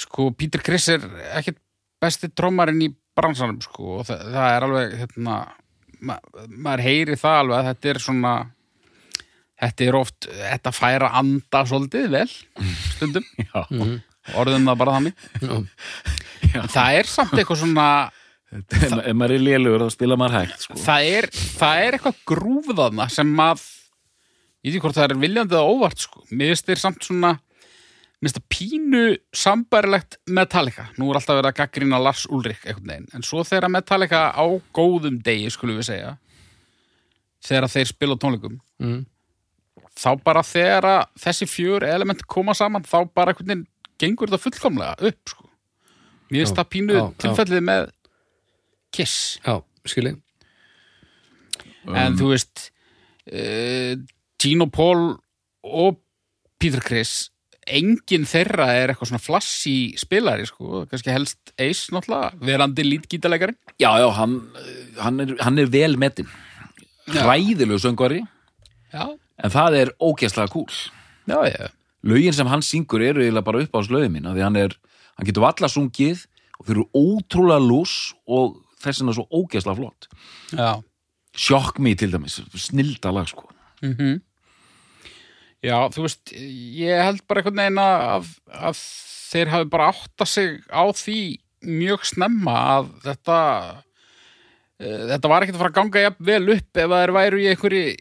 Speaker 3: sko, Pítur Chris er ekkert besti trómarinn í bransanum sko, og það, það er alveg hérna, ma maður heyri það alveg að þetta er svona þetta er oft, þetta fær að anda svolítið vel, stundum
Speaker 2: Já.
Speaker 3: orðum það bara þannig
Speaker 1: Já,
Speaker 2: Já.
Speaker 3: það er samt eitthvað svona
Speaker 2: *laughs* ef ef maður er lélugur þá spila maður hægt sko.
Speaker 3: það er, það er eitthvað grúfðaðna sem að ég veit ekki hvort það er viljandi eða óvart sko. mér finnst þeir samt svona mér finnst það pínu sambærilegt Metallica, nú er alltaf verið að gaggrina Lars Ulrik einhvern veginn, en svo þegar Metallica á góðum degi, skulum við segja þegar þeir spila á tónleikum
Speaker 1: Mm.
Speaker 3: þá bara þegar að þessi fjör element koma saman, þá bara einhvern veginn gengur þetta fullkomlega upp sko. mér finnst
Speaker 1: Já,
Speaker 3: það pínu
Speaker 1: já, já.
Speaker 3: tilfellið með Kiss
Speaker 1: já skilji
Speaker 3: en þú veist uh, Gino Paul og Peter Criss enginn þeirra er eitthvað svona flassi spilari sko, kannski helst Ace náttúrulega, verandi lítgítalegari
Speaker 2: Já, já, hann, hann, er, hann er vel metinn Hræðilegu söngvari
Speaker 3: já,
Speaker 2: En það er ógeðslega kúl
Speaker 3: já, já
Speaker 2: Lögin sem hann syngur eru eiginlega bara upp á slögin mín af Því hann, er, hann getur valla sungið Og þeir eru ótrúlega lús Og þess vegna svo ógeðslega flott
Speaker 3: já,
Speaker 2: Sjokk mig til dæmis, snilda lag sko
Speaker 3: já þú veist, ég held bara einhvern veginn að, að, að þeir hafi bara átta sig á því mjög snemma að þetta eh, þetta var ekkert að fara að ganga jafn vel upp ef að þeir væru í einhverju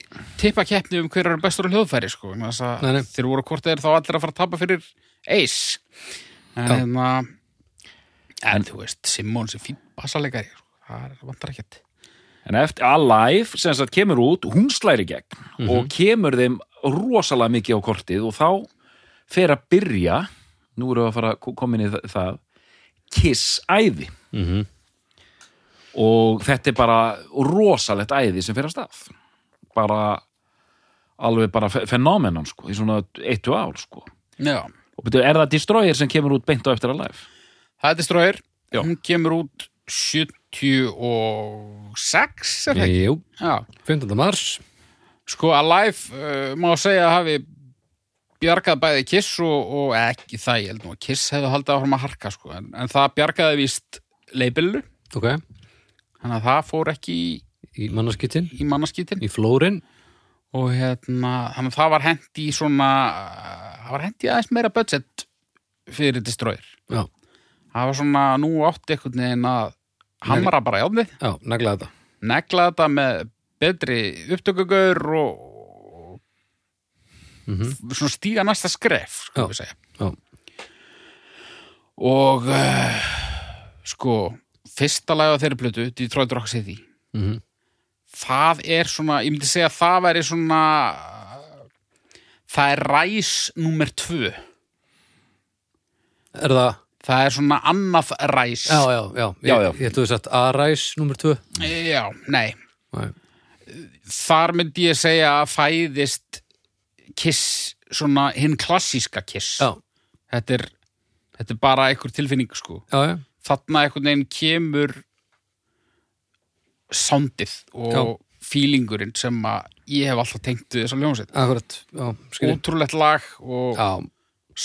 Speaker 3: tippakeppni um hverjar eru bestur á hljóðfæri sko. vegna þess að
Speaker 1: Nei, nei.
Speaker 3: þeir voru hvort þeir þá allir að fara að tapa fyrir eis en,
Speaker 1: Já.
Speaker 3: hérna, en þú veist, Simons er fín basalegari, sko. það er vantar ekkert
Speaker 2: En eftir Alive, sem sagt, kemur út Hún slæri gegn Og kemur þeim rosalega mikið á kortið Og þá fer að byrja Nú erum við að fara að koma inn í þa- það Kiss æði
Speaker 1: mm -hmm.
Speaker 2: og þetta er bara rosalegt æði sem fyrir að stað bara alveg bara fe- fenómenan sko, í svona eittu ál sko
Speaker 3: já,
Speaker 2: og Og byrju, er það Destroyer sem kemur út beint á eftir að live?
Speaker 3: Það er Destroyer,
Speaker 2: Já.
Speaker 3: hún kemur út 76 er það ekki?
Speaker 1: Jú,
Speaker 3: Já,
Speaker 1: 15. mars
Speaker 3: sko Alive uh, má segja að hafi bjargað bæði Kiss og, og eh, ekki það, ég held nú að Kiss hefði haldið áfram að harka sko, en, en það bjargaði víst leibilu,
Speaker 1: Ok,
Speaker 3: þannig að það fór ekki í,
Speaker 1: í mannaskittin,
Speaker 3: í mannaskítin
Speaker 1: í flórin
Speaker 3: og hérna, þannig að það var hendi í svona, eh, það var hendi aðeins meira budget fyrir Destroyer
Speaker 1: Já,
Speaker 3: það var svona, nú átti einhvern veginn að hamra bara jafnið
Speaker 1: já, nagla þetta
Speaker 3: negla þetta með betri upptökugaur og
Speaker 1: mm
Speaker 3: svona stíga næsta skref
Speaker 1: Já,
Speaker 3: sko við segja
Speaker 1: já.
Speaker 3: og uh, sko fyrsta lagi á þeirri plötu Detroit Rock City
Speaker 1: -hmm.
Speaker 3: það er svona, ég myndi segja að það væri svona það er ræs nummer tvö
Speaker 1: Er það,
Speaker 3: það er svona annað ræs
Speaker 1: já, já, já Ég,
Speaker 2: Já, já.
Speaker 1: ég ættu þess að Aræs nummer 2
Speaker 3: já nei
Speaker 1: Nei.
Speaker 3: þar myndi ég segja að fæðist kiss, svona hinn klassíska kiss
Speaker 1: Já,
Speaker 3: þetta er, þetta er bara einhver tilfinning sko
Speaker 1: já, já,
Speaker 3: þarna einhvern veginn kemur soundið og
Speaker 1: Já.
Speaker 3: feelingurinn sem að ég hef alltaf tengt við þessa hljómsveit
Speaker 1: akkurat Já, skilji
Speaker 3: ótrúlegt lag og
Speaker 1: Já,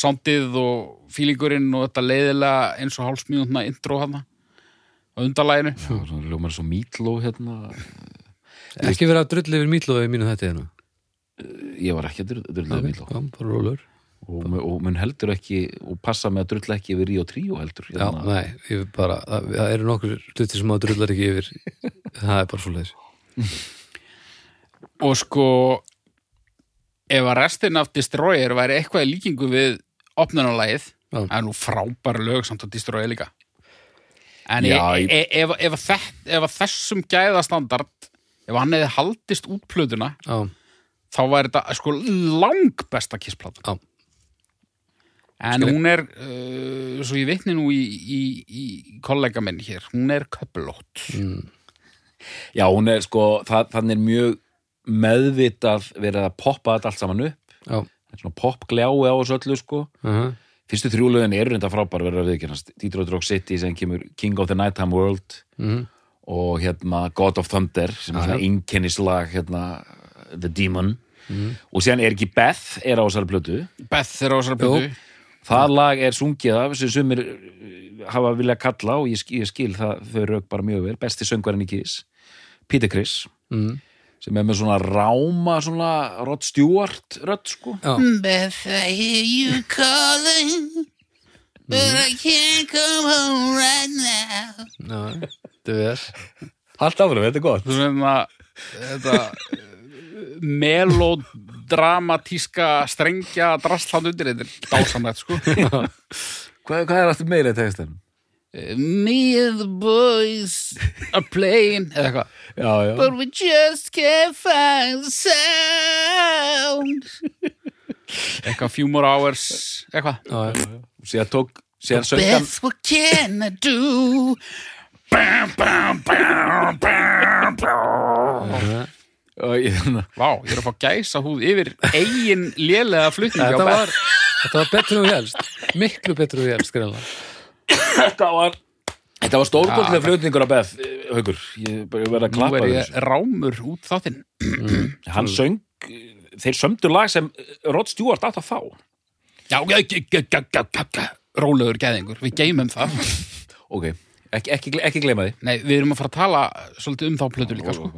Speaker 3: soundið og feelingurinn og þetta leiðilega eins og hálfsmínútna intro hana á undarlæginu
Speaker 2: Svona Ljómar svo Meatloaf hérna.
Speaker 1: ekki verið að drulla yfir mýtlófi mínu þetta hérna
Speaker 2: Ég var ekki að drulla drulla okay. Meatloaf.
Speaker 1: Já, bara rólur
Speaker 2: Og, mun- og mun heldur ekki, og passa með að drulla ekki yfir Rio Trio heldur. hérna.
Speaker 1: Já, nei, ég bara, það, það eru nokkur hluti sem maður drullar ekki yfir *laughs* Það er bara svo leiðis
Speaker 3: og sko ef að restin af Destroyer væri eitthvað í líkingu við opnunarlægið
Speaker 1: Já.
Speaker 3: það er nú frábær lög samt að Destroyer líka en
Speaker 2: Já,
Speaker 3: ég,
Speaker 2: ég-
Speaker 3: e, ef, ef, ef, ef að þessum gæðastandard ef hann hefði haldist út plötuna
Speaker 1: Já,
Speaker 3: þá væri þetta sko lang besta
Speaker 1: Já.
Speaker 3: kissplata en
Speaker 1: Skilja.
Speaker 3: hún er uh, svo ég vitni nú í, í, í kollega minn hér, hún er köpulótt
Speaker 1: mm,
Speaker 2: Já, hún er sko, það, þannig er mjög meðvitað verið að poppa þetta allt saman upp.
Speaker 1: já,
Speaker 2: Það er svona popgljáu á þessu öllu sko.
Speaker 1: uh
Speaker 2: Fyrstu þrjúlegin eru reynda frábær verður að viðkjörnast. Detroit Rock City sem kemur King of the Nighttime World
Speaker 1: Mhm.
Speaker 2: og hérna God of Thunder sem er svona einkennislag hérna The Demon
Speaker 1: Mhm.
Speaker 2: og síðan er ekki Beth er á þessari plötu.
Speaker 3: Beth er á þessar plötu
Speaker 2: Það lag er sungið af sem sumir uh, hafa viljað kalla og ég skil, ég skil það þau rauk bara mjög vel. Besti söngvarinn í Kiss, Peter Criss
Speaker 1: mm,
Speaker 2: sem er með svona ráma svona Rod Stewart rödd sko.
Speaker 1: já,
Speaker 3: Beth, I hear you calling But I can't come home right now
Speaker 1: já, þetta er
Speaker 2: Allt áfram, þetta er gott.
Speaker 3: Svona um þetta eh, melodramatíska strengja drastland undir þetta er dásamlegt sko
Speaker 2: Hvað, hvað er aftur meira í textin?
Speaker 3: Me and the boys are playing eða eitthvað
Speaker 2: Já, já.
Speaker 3: But we just can't find the sound Eitthvað few more hours eitthvað
Speaker 1: Já, já,
Speaker 2: Síðan tók, síðan söng hann
Speaker 3: Beth, what can I do? Bam, bam, bam, bam, bam.
Speaker 2: og ég-
Speaker 3: Vá, ég er að fá gæsa húð yfir eigin lélega flutningi á
Speaker 1: Þetta
Speaker 3: Beth.
Speaker 1: var, þetta var betur og helst Miklu betur og helst, greinlega
Speaker 2: Þetta var Þetta var
Speaker 3: Já,
Speaker 2: stórkotlega flutningur af Beth eh, Haukur, ég bara- ég verð að
Speaker 3: Nú
Speaker 2: klappa
Speaker 3: er
Speaker 2: þér
Speaker 3: ég rámur út þáttinn.
Speaker 2: Hann söng, eh, þeir sömdu lag sem eh, Rod Stewart átt að fá
Speaker 3: Já, já, já, já, já, já, já, já. Rólegur gæðingur, við geymum það.
Speaker 2: Ok, ekki, ekki, ekki gleyma því
Speaker 3: Nei, við erum að fara að tala svolítið um þá plötu líka, sko.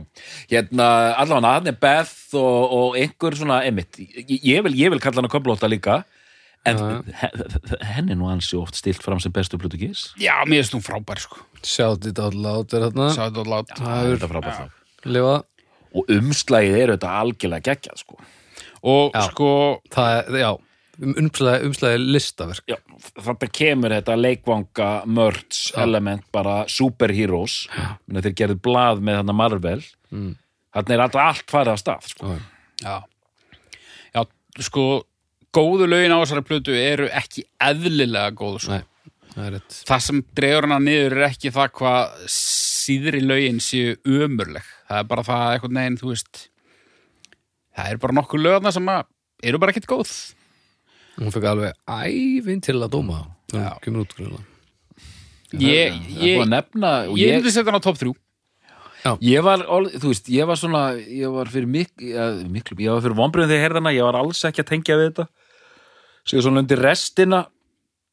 Speaker 2: Hérna, allavega hann er Beth og, og einhver svona, einmitt ég, ég, vil, ég vil kalla hann að köflóta líka En he- henni nú hans er oft stilt fram sem bestu plötu gís
Speaker 3: Já, mér finnst hún frábær, sko.
Speaker 1: Sjátt í dál lát er þarna
Speaker 3: Sáðu þetta lát.
Speaker 2: Þetta er frábært lag.
Speaker 1: Lifa,
Speaker 2: Og umslagið er þetta algjörlega geggjað sko.
Speaker 3: Og sko,
Speaker 1: það er, já umslæði, umslæði listaverk
Speaker 2: já, þetta kemur þetta leikvanga mörds element bara superheroes Minna, þeir gerðu blað með þarna Marvel mm. þarna er alltaf allt farið af stað sko.
Speaker 1: Já,
Speaker 3: já, já, sko, góðu lögin á þessari plötu eru ekki eðlilega góðu, sko.
Speaker 1: Nei, það er rétt
Speaker 3: það sem dregur hana niður er ekki það hvað síðri lögin séu ömurleg það er bara það að einhvern veginn, þú veist það eru bara nokkur lögna sem að eru bara ekkert góð
Speaker 1: Hún fekk alveg ævinn til að dóma það. Hún kemur út grunna.
Speaker 3: Ég,
Speaker 2: Það er búið að
Speaker 3: ég,
Speaker 2: nefna og
Speaker 3: ég myndi setja hann á topp þrjú.
Speaker 2: Ég var, ol- þú veist, ég var svona ég var fyrir mik, ja, miklu ég var fyrir vonbröðum þegar herðana, ég var alls ekki að tengja við þetta Sér svona undir restina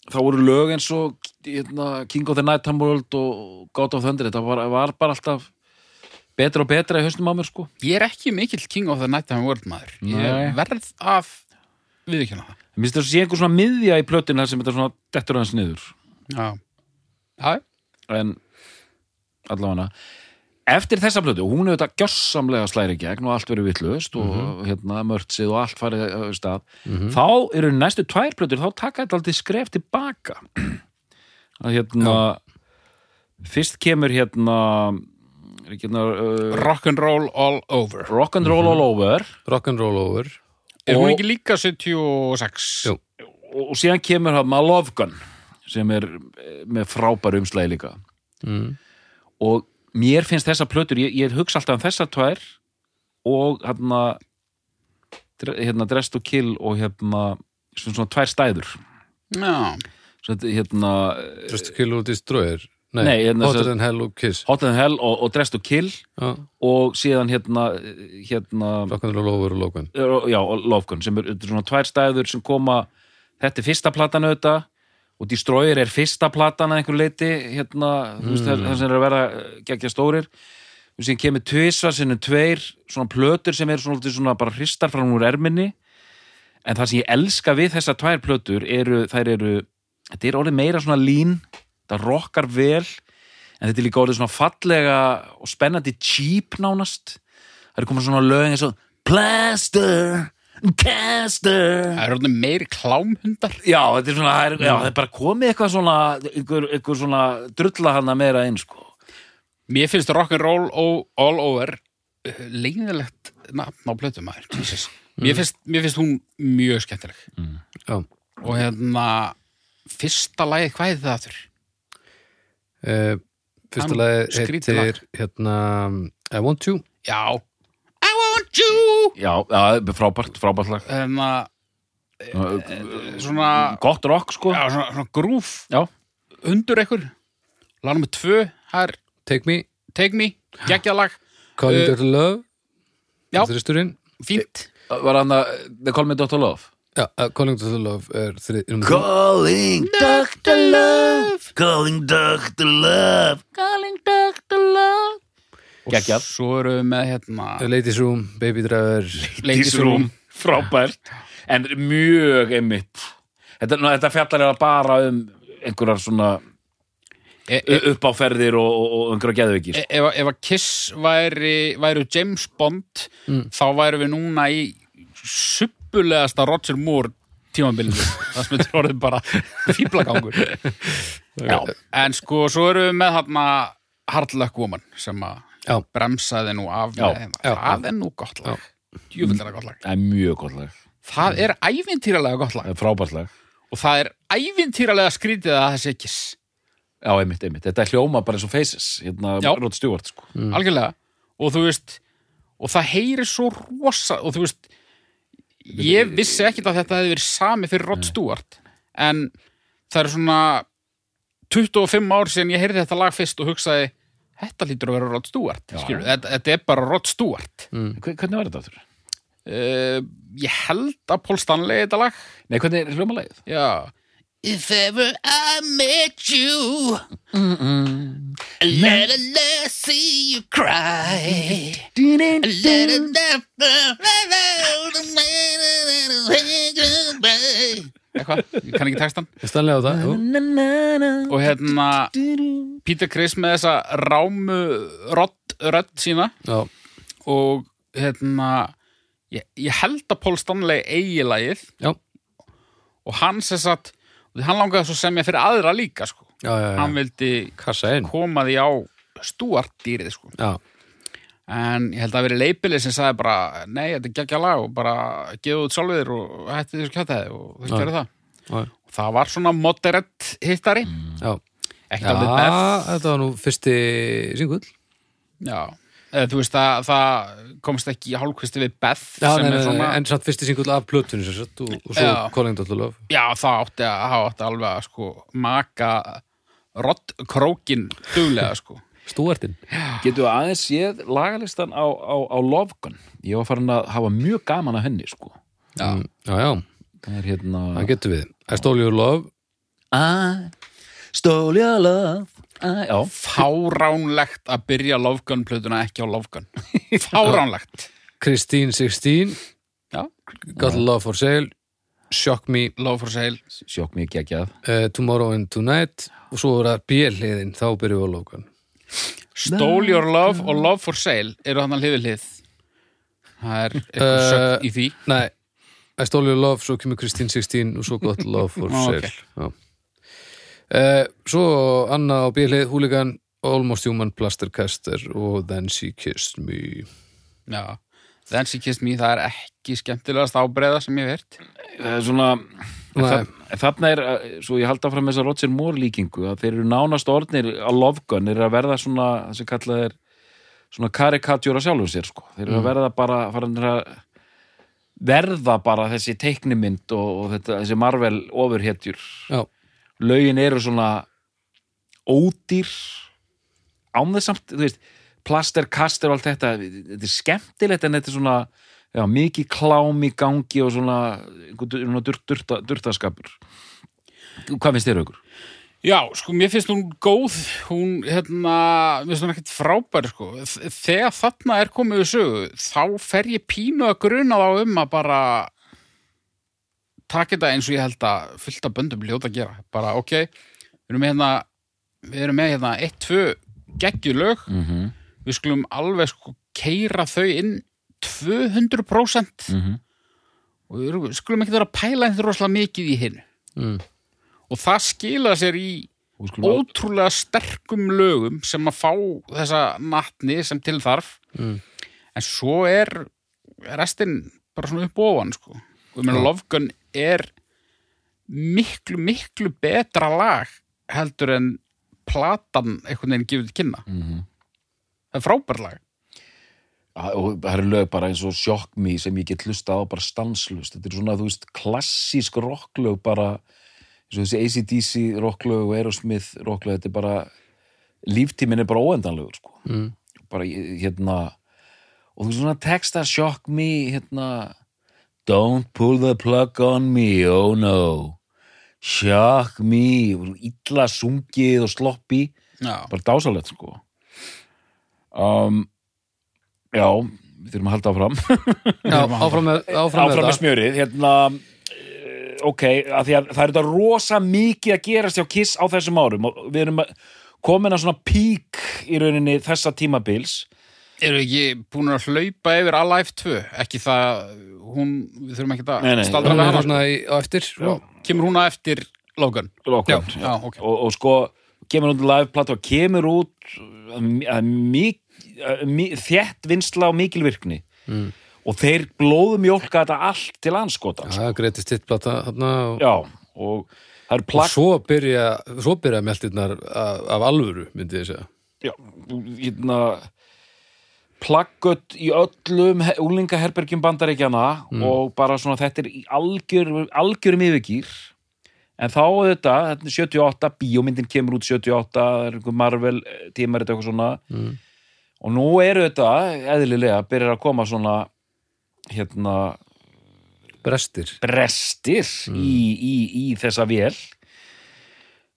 Speaker 2: þá voru lög eins og hérna, King of the Night World og God of Thunder, þetta var, var bara alltaf betra og betra í höstum á mér sko
Speaker 3: Ég er ekki mikill King of the Night and World maður.
Speaker 2: Nei.
Speaker 3: Ég verð að viðkjöna það.
Speaker 2: Mér finnst þess að sé einhver svona miðja í plötinu þar sem þetta svona dettur hans niður
Speaker 3: Já. Já,
Speaker 2: en allavega eftir þessa plötu, hún hefur þetta gjörsamlega slæri gegn og allt verið vittlust og hérna mörtsið og allt farið eh, af stað þá eru næstu tvær plötur þá taka þetta aldrei skref tilbaka *clears throat* að hérna fyrst kemur hérna er ekki hérna uh,
Speaker 3: rock'n'roll all over.
Speaker 2: rock and roll all over
Speaker 1: Rock'n'roll over.
Speaker 3: Er hún
Speaker 2: Og-
Speaker 3: ekki líka 76?
Speaker 1: Jú.
Speaker 2: og, og síðan kemur hann Love Gun sem er eh, með frábæru umslæði líka
Speaker 1: Mm.
Speaker 2: og mér finnst þessa plötur ég, ég hugsa alltaf um þessar tvær og hérna dre- hérna Dress to Kill og hérna svona, svona tvær stæður
Speaker 3: Já.
Speaker 2: svona, hérna
Speaker 1: Just kill or destroy. Nei,
Speaker 2: Nei, hérna
Speaker 1: Hotter
Speaker 2: sem-
Speaker 1: than hell og kiss.
Speaker 2: Hot and Hell og, og Dress to Kill
Speaker 1: Já,
Speaker 2: og síðan hérna eh, hérna
Speaker 1: rock'n'roll over og lókun.
Speaker 2: er- já, og Love Gun sem er þetta eru svona tvær stæður sem koma þetta er fyrsta platan auðvitað og Destroyer er fyrsta platan að einhver leiti hérna, þú veist, þar- þar sem er að vera eh, geggja stórir og síðan kemur tvisvar sinnum tveir svona plötur sem eru svona, svolítið svona bara hristar fram úr erminni en það sem ég elska við þessar tvær plötur eru, þær eru þetta er orðið meira svona lín þetta rockar vel en þetta er líka orðið svona fallega og spennandi cheap nánast það er komin svona lög eins og Plaster, Caster
Speaker 3: Það er orðin meiri klámhundar.
Speaker 2: Já, þetta er svona, það er, já, það er bara komið eitthvað svona, einhver, einhver svona drulla hana meira einn, sko.
Speaker 3: Mér finnst rock'n'roll o- all over uh, leiðilegt nafn á plötum maður. Jesus. Mér, finnst, mér finnst hún mjög skemmtileg.
Speaker 1: Já.
Speaker 3: Og hérna, fyrsta lagið, hvað er það aftur?
Speaker 1: Uh, fyrsta
Speaker 3: Hann
Speaker 1: lagi
Speaker 3: skrýtið lag.
Speaker 1: heitir hérna I want you.
Speaker 3: Já. I want you!
Speaker 2: Já, já, frábært, frábært lag.
Speaker 3: Hérna,
Speaker 2: Eh,
Speaker 3: svona,
Speaker 2: Gott rock, sko.
Speaker 3: já, svona, svona grúf
Speaker 2: Já.
Speaker 3: undur ekkur. Lag nummer tvö, það er
Speaker 1: Take me,
Speaker 3: Take Me, geggjað lag,
Speaker 1: call
Speaker 3: Eh,
Speaker 1: you dirty love.
Speaker 3: já.
Speaker 1: Þristurinn.
Speaker 3: fínt.
Speaker 2: Var hann að, The Call Me Dr. Love?
Speaker 1: Já, uh, Calling to the Love er þrið, um,
Speaker 2: Calling Dr. Love, calling Dr. Love, calling Dr. Love. Geggjað.
Speaker 3: Svo eru við með hérna
Speaker 1: Ladies Room, Baby
Speaker 3: *laughs*
Speaker 1: Driver
Speaker 3: Ladies Room.
Speaker 2: frábært. En mjög einmitt. Þetta, ná, þetta fjallar er bara um einhverjar svona
Speaker 3: E, e,
Speaker 2: u- uppáferðir og, og, og einhverjar geðveikir.
Speaker 3: e, ef, ef að Kiss væri, væri James Bond
Speaker 1: Mm.
Speaker 3: þá væri við núna í suppulegasta Roger Moore tímabilið það sem þetta orðið bara fýblagangur Já, en sko svo eru við með hérna Hardluck Woman sem að
Speaker 1: Já.
Speaker 3: bremsaði nú af
Speaker 2: Já,
Speaker 3: með hérna.
Speaker 1: já.
Speaker 3: það er nú gott lag djúvillara gott lag
Speaker 2: Það er mjög gott lag.
Speaker 3: það er ævintýralega gott lag
Speaker 2: Það er frábært lag.
Speaker 3: og það er ævintýralega skrítið að það sé Kiss
Speaker 2: Já, einmitt, einmitt. Þetta er hljóma bara eins og Faces, hérna
Speaker 3: Já.
Speaker 2: Rod Stewart, sko.
Speaker 3: algjörlega og þú veist og það heyri svo rosa og þú veist ég vissi ekkit að þetta hefði verið sami fyrir Rod Stewart en það er svona 25 ár síðan ég heyrði þetta lag fyrst og hugsaði þetta lítur að vera Rod Stewart skilur, þetta, þetta er bara Rod Stewart mm.
Speaker 2: Hve- Hvernig var þetta aftur?
Speaker 3: ég held að Paul Stanley þetta lag
Speaker 2: Nei, hvernig er hljóma lagið?
Speaker 3: já If ever I met you Let a let see you cry *laughs* eitthvað, ég kann ekki textan
Speaker 1: Stanley á það jú.
Speaker 3: og hérna Peter Criss með þessa rámu rott, rödd sína
Speaker 1: Já,
Speaker 3: og hérna ég, ég held að Paul Stanley eigi lagið
Speaker 1: já,
Speaker 3: og hann sem sagt og hann langaði svo semja fyrir aðra líka sko.
Speaker 1: já, já, já.
Speaker 3: hann vildi
Speaker 1: Kassa inn
Speaker 3: koma því á stúartýrið sko.
Speaker 1: Já,
Speaker 3: en ég held að veri leipilið sem sagði bara nei, þetta er geggja lag og bara geðu út sjálfur og hætti þessu kjátaði og þau
Speaker 1: Já.
Speaker 3: gerðu það
Speaker 1: já,
Speaker 3: og það var svona moderate hittari
Speaker 1: já.
Speaker 3: ekki
Speaker 1: Mm. já
Speaker 3: alveg best
Speaker 1: þetta var nú fyrsti singull
Speaker 3: já. eða, þú veist að það komst ekki í hálfkvisti við Beth
Speaker 1: Já,
Speaker 3: sem
Speaker 1: nei, nei,
Speaker 3: er svona,
Speaker 1: nei, en samt fyrsti singull af plötunni sem sagt, og, og svo
Speaker 3: Já.
Speaker 1: Calling Dr. Love
Speaker 3: já það átti að hafa átti alveg að sko maka rott krókin duglega
Speaker 1: *laughs*
Speaker 3: sko
Speaker 1: Stúartinn
Speaker 2: Getur aðeins séð lagalistan á, á, á Lofgun Ég var farin að hafa mjög gaman að henni sko
Speaker 1: Já, Mm, já, já
Speaker 2: Það er hérna
Speaker 1: það getur við I Stole Your Love
Speaker 2: I stole your love I, Já,
Speaker 3: fáránlegt að byrja Lofgun plötuna ekki á Lofgun fáránlegt
Speaker 1: Christine 16
Speaker 3: Já.
Speaker 1: Got Love for Sale Shock Me
Speaker 3: Love for Sale
Speaker 2: sjokk mjög geggjað
Speaker 1: uh, Tomorrow and Tonight og svo er það bjelliðin þá byrjuðu á lókan
Speaker 3: Stole Your Love og Love for Sale eru þannig hlið við hlið það er eitthvað
Speaker 1: Eh,
Speaker 3: sögn í því
Speaker 1: Nei, I Stole Your Love, svo kemur Kristín 16 og svo gott Love for
Speaker 3: Ó,
Speaker 1: Sale
Speaker 3: ok.
Speaker 1: Já. Eh, Svo Anna á bjelið Húligan, Almost Human Plastercaster og Then She Kissed Me
Speaker 3: Já, Then She Kissed Me, það er ekki skemmtilegast ábreiða sem ég hef heyrt.
Speaker 2: Það er svona
Speaker 1: Nei.
Speaker 2: þa- Þarna er, uh, svo ég halda fram þess að Roger Moore líkingu að þeir eru nánast orðnir á Lofgun er að verða svona, það sem kallað er svona karikatjur á sjálfum sér sko. þeir eru að verða bara farinir að verða bara þessi teiknimynd og, og þetta, þessi Marvel ofurhetjur
Speaker 1: Já,
Speaker 2: lögin eru svona ódýr ánþessamt, þú veist plaster, kastur og allt þetta þetta er skemmtilegt en þetta er svona já, mikið klám í gangi og svona, einhver dur- svona dur, durta, durtaskapur hvað finnst þér aukur?
Speaker 3: Já, sko, mér finnst hún góð, hún, hérna, mér finnst hún ekkert frábær, sko. Þ- Þegar þarna er komið við sögu, þá fer ég pínu að gruna þá um að bara taka þetta eins og ég held að fullt af böndum ljóta að gera. Bara, ok, við erum með hérna, við erum með hérna eitt, tvö geggjulög,
Speaker 2: Mm -hmm.
Speaker 3: við skulum alveg sko keira þau inn 200%
Speaker 2: Mm -hmm.
Speaker 3: og við erum- skulum ekki vera að pæla einhver rosalega mikið í hinn
Speaker 1: mm.
Speaker 3: og það skila sér í ótrúlega sterkum lögum sem að fá þessa natni sem til þarf
Speaker 1: Mm.
Speaker 3: en svo er restin bara svona upp og ofan sko. og ég meina
Speaker 1: Já.
Speaker 3: Love Gun er miklu, miklu betra lag heldur en platan einhvern veginn gefið til kynna það er frábær lag
Speaker 2: og það eru lög bara eins og Shock Me sem ég get hlusta á bara stanslust þetta er svona, þú veist, klassísk rocklög bara, eins og þessi ACDC rocklög og Aerosmith rocklög þetta er bara, líftíminn er bara óendanlegur, sko
Speaker 1: Mm.
Speaker 2: bara, ég- hérna og þú veist, svona texta Shock Me, hérna Don't pull the plug on me, oh no Shock me og illa sungið og sloppy
Speaker 3: Já.
Speaker 2: bara dásalegt sko um, já við þurfum að halda áfram
Speaker 1: Já, áfram með, áfram
Speaker 2: áfram með
Speaker 1: með það
Speaker 2: smjörið hérna eh, ok, af því að það er þetta rosa mikið að gerast hjá Kiss á þessum árum og við erum að- komin að svona pík í rauninni þessa tímabils
Speaker 3: eru ekki búin að hlaupa yfir Alive 2 ekki það, hún, við þurfum ekki
Speaker 2: Nei, nei.
Speaker 3: að
Speaker 1: Hún
Speaker 3: staldra
Speaker 1: er
Speaker 3: með hana
Speaker 1: svona hérna í- á eftir
Speaker 3: sko. kemur hún að eftir Love Gun
Speaker 2: Lokum,
Speaker 3: Já, já, ok.
Speaker 2: og, og sko kemur út live plata og kemur út uh, mi- uh, mi- uh, mi- þétt vinsla og mikil virkni
Speaker 1: Mm.
Speaker 2: og þeir blóðum jólka þetta allt til anskota
Speaker 1: Já, greitist hitt plata þarna og,
Speaker 2: já, og það eru
Speaker 1: og
Speaker 2: plak
Speaker 1: svo byrja, svo byrja meltirnar af, af alvöru, myndi ég segja
Speaker 2: já, hérna, plakkut í öllum he- úlingaherbergjum bandaríkjana og bara svona þetta er í algjör, algjörum yfirgýr en þá þetta, þetta er 78 bíómyndin kemur út 78 það er einhver Marvel eh, tímar þetta eitthvað svona
Speaker 1: Mm.
Speaker 2: og nú eru þetta eðlilega byrjar að koma svona hérna
Speaker 1: Brestir
Speaker 2: brestir í, í, í þessa vél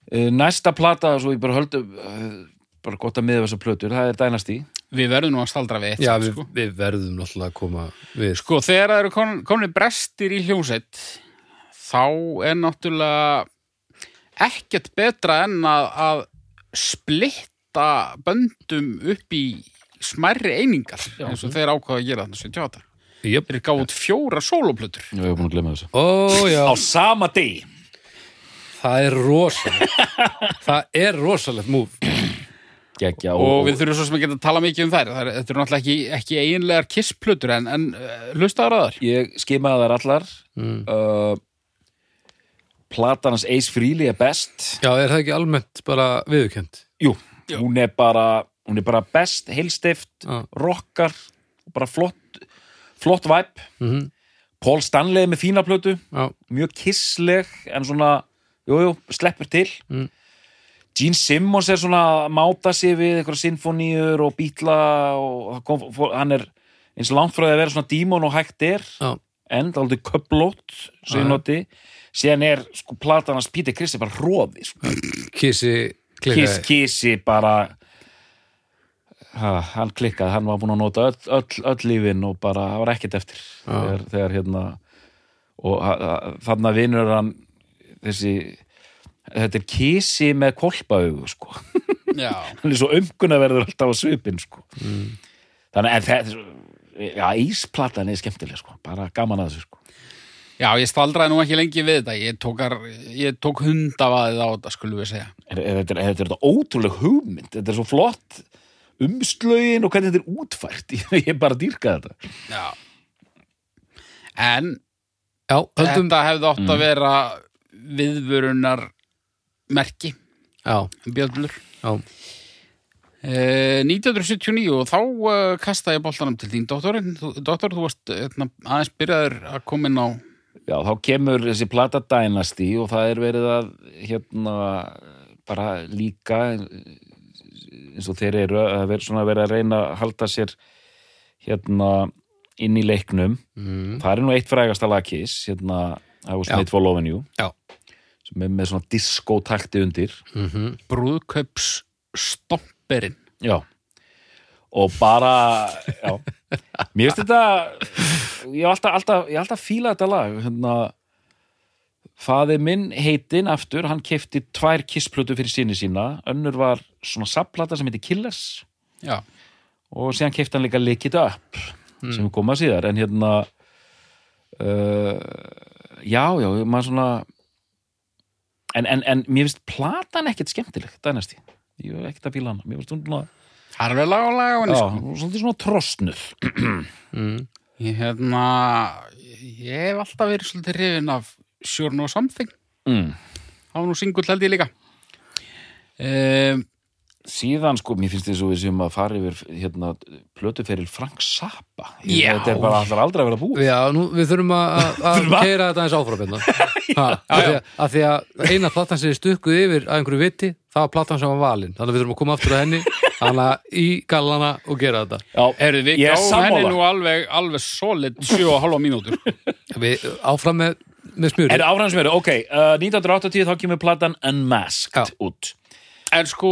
Speaker 2: Eh, næsta plata svo ég bara höldu eh, bara gott að miða þessa plötur, það er Dynasty
Speaker 3: við verðum nú að staldra við eitt
Speaker 1: Já,
Speaker 3: sinn,
Speaker 1: við,
Speaker 3: sko.
Speaker 1: við verðum náttúrulega að koma við sko.
Speaker 3: sko, þegar það eru kon, komin brestir í hljómsveit þá er náttúrulega ekkert betra en að, að splitta böndum upp í smærri einingar eins og þeir ákvaða að gera þarna 78
Speaker 1: Jöp
Speaker 3: þeir gáðu út fjóra sólóplötur
Speaker 2: Já, ég er búin að glemma þessu.
Speaker 1: Ó, já
Speaker 2: Á sama degi.
Speaker 1: Það er rosalegt Það er rosalegt múf
Speaker 2: Gekja,
Speaker 3: og við þurfum svo sem að geta að tala mikið um þær Það er- þetta eru náttúrulega ekki, ekki eiginlegar kissplötur en, en uh, hlustaður að þar
Speaker 2: Ég skimaði þar allar. Mm. Uh, platanans Ace Frehley er best.
Speaker 1: Já, er það ekki almennt bara viðurkend?
Speaker 2: Jú, hún er bara, hún er bara best, heilstift
Speaker 1: Já.
Speaker 2: rockar, bara flott flott væp
Speaker 1: mm
Speaker 2: Paul Stanley með fína plötu
Speaker 1: já,
Speaker 2: mjög kissleg en svona, jújú, jú, sleppur til
Speaker 1: Mm.
Speaker 2: Gene Simmons er svona að máta sig við einhverja sinfoníur og bítla og það kom, fór, hann er eins og langt frá því að vera svona dímon og hægt er
Speaker 1: já,
Speaker 2: en það er aldrei köplót sem
Speaker 1: Já,
Speaker 2: ég
Speaker 1: já.
Speaker 2: noti síðan er sko platan hans Peter Chris er bara hróði sko.
Speaker 1: kissi
Speaker 2: kiss,
Speaker 1: klikkaði
Speaker 2: kissi bara ha, hann klikkaði, hann var búin að nota öll, öll, öll lífin og bara, það var ekkert eftir þegar, þegar hérna og ha- ha- þarna vinur hann þessi þetta er kissi með kolpaug sko. *laughs*
Speaker 3: já,
Speaker 2: hann er svo umkunna verður alltaf á svipin sko. þannig en þetta já, ísplatan er skemmtileg sko. bara gaman að þessu sko.
Speaker 3: *laughs* já, ég staldraði nú ekki lengi við þetta ég tók, ar, ég tók hundavaðið á þetta skulum við segja
Speaker 2: er, er, þetta er, þetta er þetta ótrúleg hugmynd þetta er svo flott umslögin og hvernig þetta er útfært *laughs* ég er bara að dýrka þetta
Speaker 3: já. en
Speaker 1: já, höldum,
Speaker 3: þetta hefði átt að vera viðvörunar merki,
Speaker 1: já,
Speaker 3: bjöllur
Speaker 1: já,
Speaker 3: Eh, 1979 og þá uh, kastaði ég boltanum til þín doktorinn, þú, doktor, þú varst etna, aðeins byrjaður að koma inn á
Speaker 2: já, þá kemur þessi plata Dynasty og það er verið að hérna bara líka eins og þeir eru að vera svona verið að reyna að halda sér hérna inn í leiknum
Speaker 1: mm,
Speaker 2: það er nú eitt frægasta lagkis hérna á
Speaker 1: Já.
Speaker 2: Smithfall Avenue
Speaker 1: Já.
Speaker 2: sem er með svona diskotakti undir
Speaker 1: mm -hmm,
Speaker 3: brúðkaups stomperinn
Speaker 2: Já og bara já. mér finnst þetta ég hef alltaf, alltaf, ég hef alltaf fílað þetta lag hérna faði minn heitinn aftur hann kefti tvær kissplötu fyrir sinni sína önnur var svona sapplata sem heiti Killers
Speaker 3: Já,
Speaker 2: og síðan kefti hann líka Lick It Up sem við koma síðar en hérna uh, já, já, maður svona en, en, en mér finnst platan ekkert skemmtileg dænast ég, ég hef ekkert að fíla hana mér finnst hún svona
Speaker 3: það er vel laga og laga á henni
Speaker 2: Já,
Speaker 3: sko.
Speaker 2: hún er svolítið svona trostnuð
Speaker 1: mm,
Speaker 3: Ég, hérna, ég hef alltaf verið svolítið hrifin af Sure No Something
Speaker 2: mm.
Speaker 3: á nú singull held ég líka um,
Speaker 2: Síðan sko, mér finnst þið svo við séum að fara yfir hérna, plötuferil Frank Zappa Ég-
Speaker 3: Já.
Speaker 2: Þetta er bara allar aldrei að vera búið
Speaker 1: já, nú við þurfum að- að að keira þetta aðeins áfram hérna Ha, af því að- af því að eina platan sem er stukkuð yfir að einhverju viti, það var platan sem var valin þannig að við þurfum að koma aftur að henni þannig að í gallana og gera þetta
Speaker 2: Já,
Speaker 3: Herðu, við
Speaker 2: Ég er
Speaker 3: gáum henni
Speaker 2: sammála.
Speaker 3: nú alveg, alveg solid 7,5 mínútur
Speaker 1: við áfram með, með smjúri
Speaker 2: er áfram sem eru, ok uh, 1980 þá kemur platan Unmasked
Speaker 1: Já.
Speaker 2: út
Speaker 3: En sko,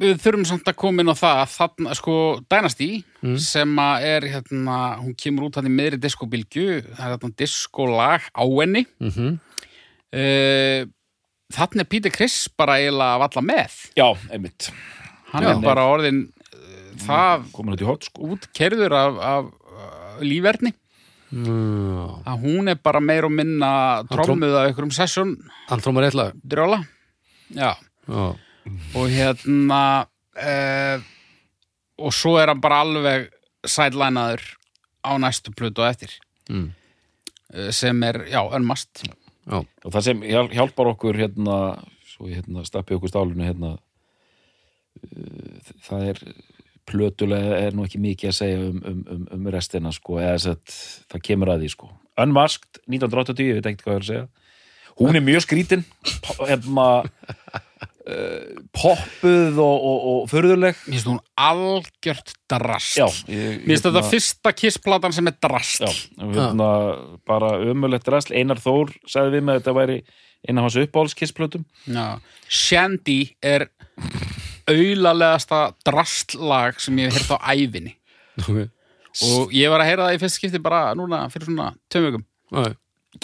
Speaker 3: við þurfum samt að koma inn á það að þarna, sko, Dynasty
Speaker 2: Mm.
Speaker 3: sem að er, hérna, hún kemur út hann í meðri diskobylgju það er hérna diskolag á henni mm
Speaker 1: Mhm.
Speaker 3: Þannig er Peter Criss bara eiginlega að valla með
Speaker 2: Já, einmitt,
Speaker 3: Hann
Speaker 2: Já.
Speaker 3: er bara orðin uh, það
Speaker 2: komin út í hot sko
Speaker 3: útkerður af, af uh, lífverni
Speaker 1: Já,
Speaker 3: að hún er bara meir og minna
Speaker 1: tróm-
Speaker 3: trómuð af einhverjum sessjón
Speaker 1: hann trómar eitt lag
Speaker 3: drjóla já,
Speaker 1: Já,
Speaker 3: og hérna uh, og svo er hann bara alveg sædlænaður á næstu plötu og eftir
Speaker 1: Mm.
Speaker 3: Eh, sem er, já, önmast
Speaker 1: já,
Speaker 2: og það sem hjál- hjálpar okkur hérna, svo ég hérna stappi okkur stálinu hérna uh, það er plötulega er nú ekki mikið að segja um, um, um, um restina sko, eða satt, það kemur að því sko Unmasked, 1980, ég veit ekkert hvað ég er að segja hún er mjög skrítin po- hérna uh, poppuð og, og, og förðuleg
Speaker 3: mér finnst hún algjört drast
Speaker 2: já, Hérna-
Speaker 3: mér finnst þetta fyrsta kissplatan sem er drast
Speaker 2: Já, hérna, bara ömulegt rast Einar Þór sagði við með að þetta væri einn af hans uppáhalskissplötum
Speaker 3: Já. Shandy er aulalegasta drastlag sem ég hef heyrt á ævinni
Speaker 1: ok
Speaker 3: og ég var að heyra það í fyrst skipti bara núna fyrir svona tveim vikum
Speaker 1: Já,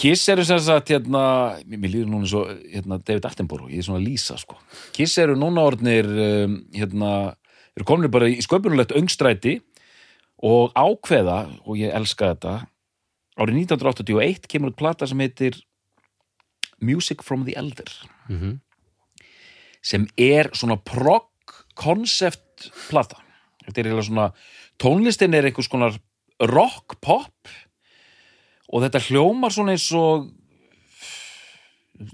Speaker 2: Kiss eru sem sagt hérna, mér mér líður núna svo hérna, David Attenborough, ég er svona að lýsa sko. Kiss eru núna orðnir um, hérna, eru komin bara í sköpunulegt öngstræti og ákveða, og ég elska þetta árið 1981 kemur út plata sem heitir Music from the Elder
Speaker 1: mhm,
Speaker 2: sem er svona prog concept plata þetta er eiginlega svona tónlistin er einhvers konar rock pop og þetta hljómar svona eins og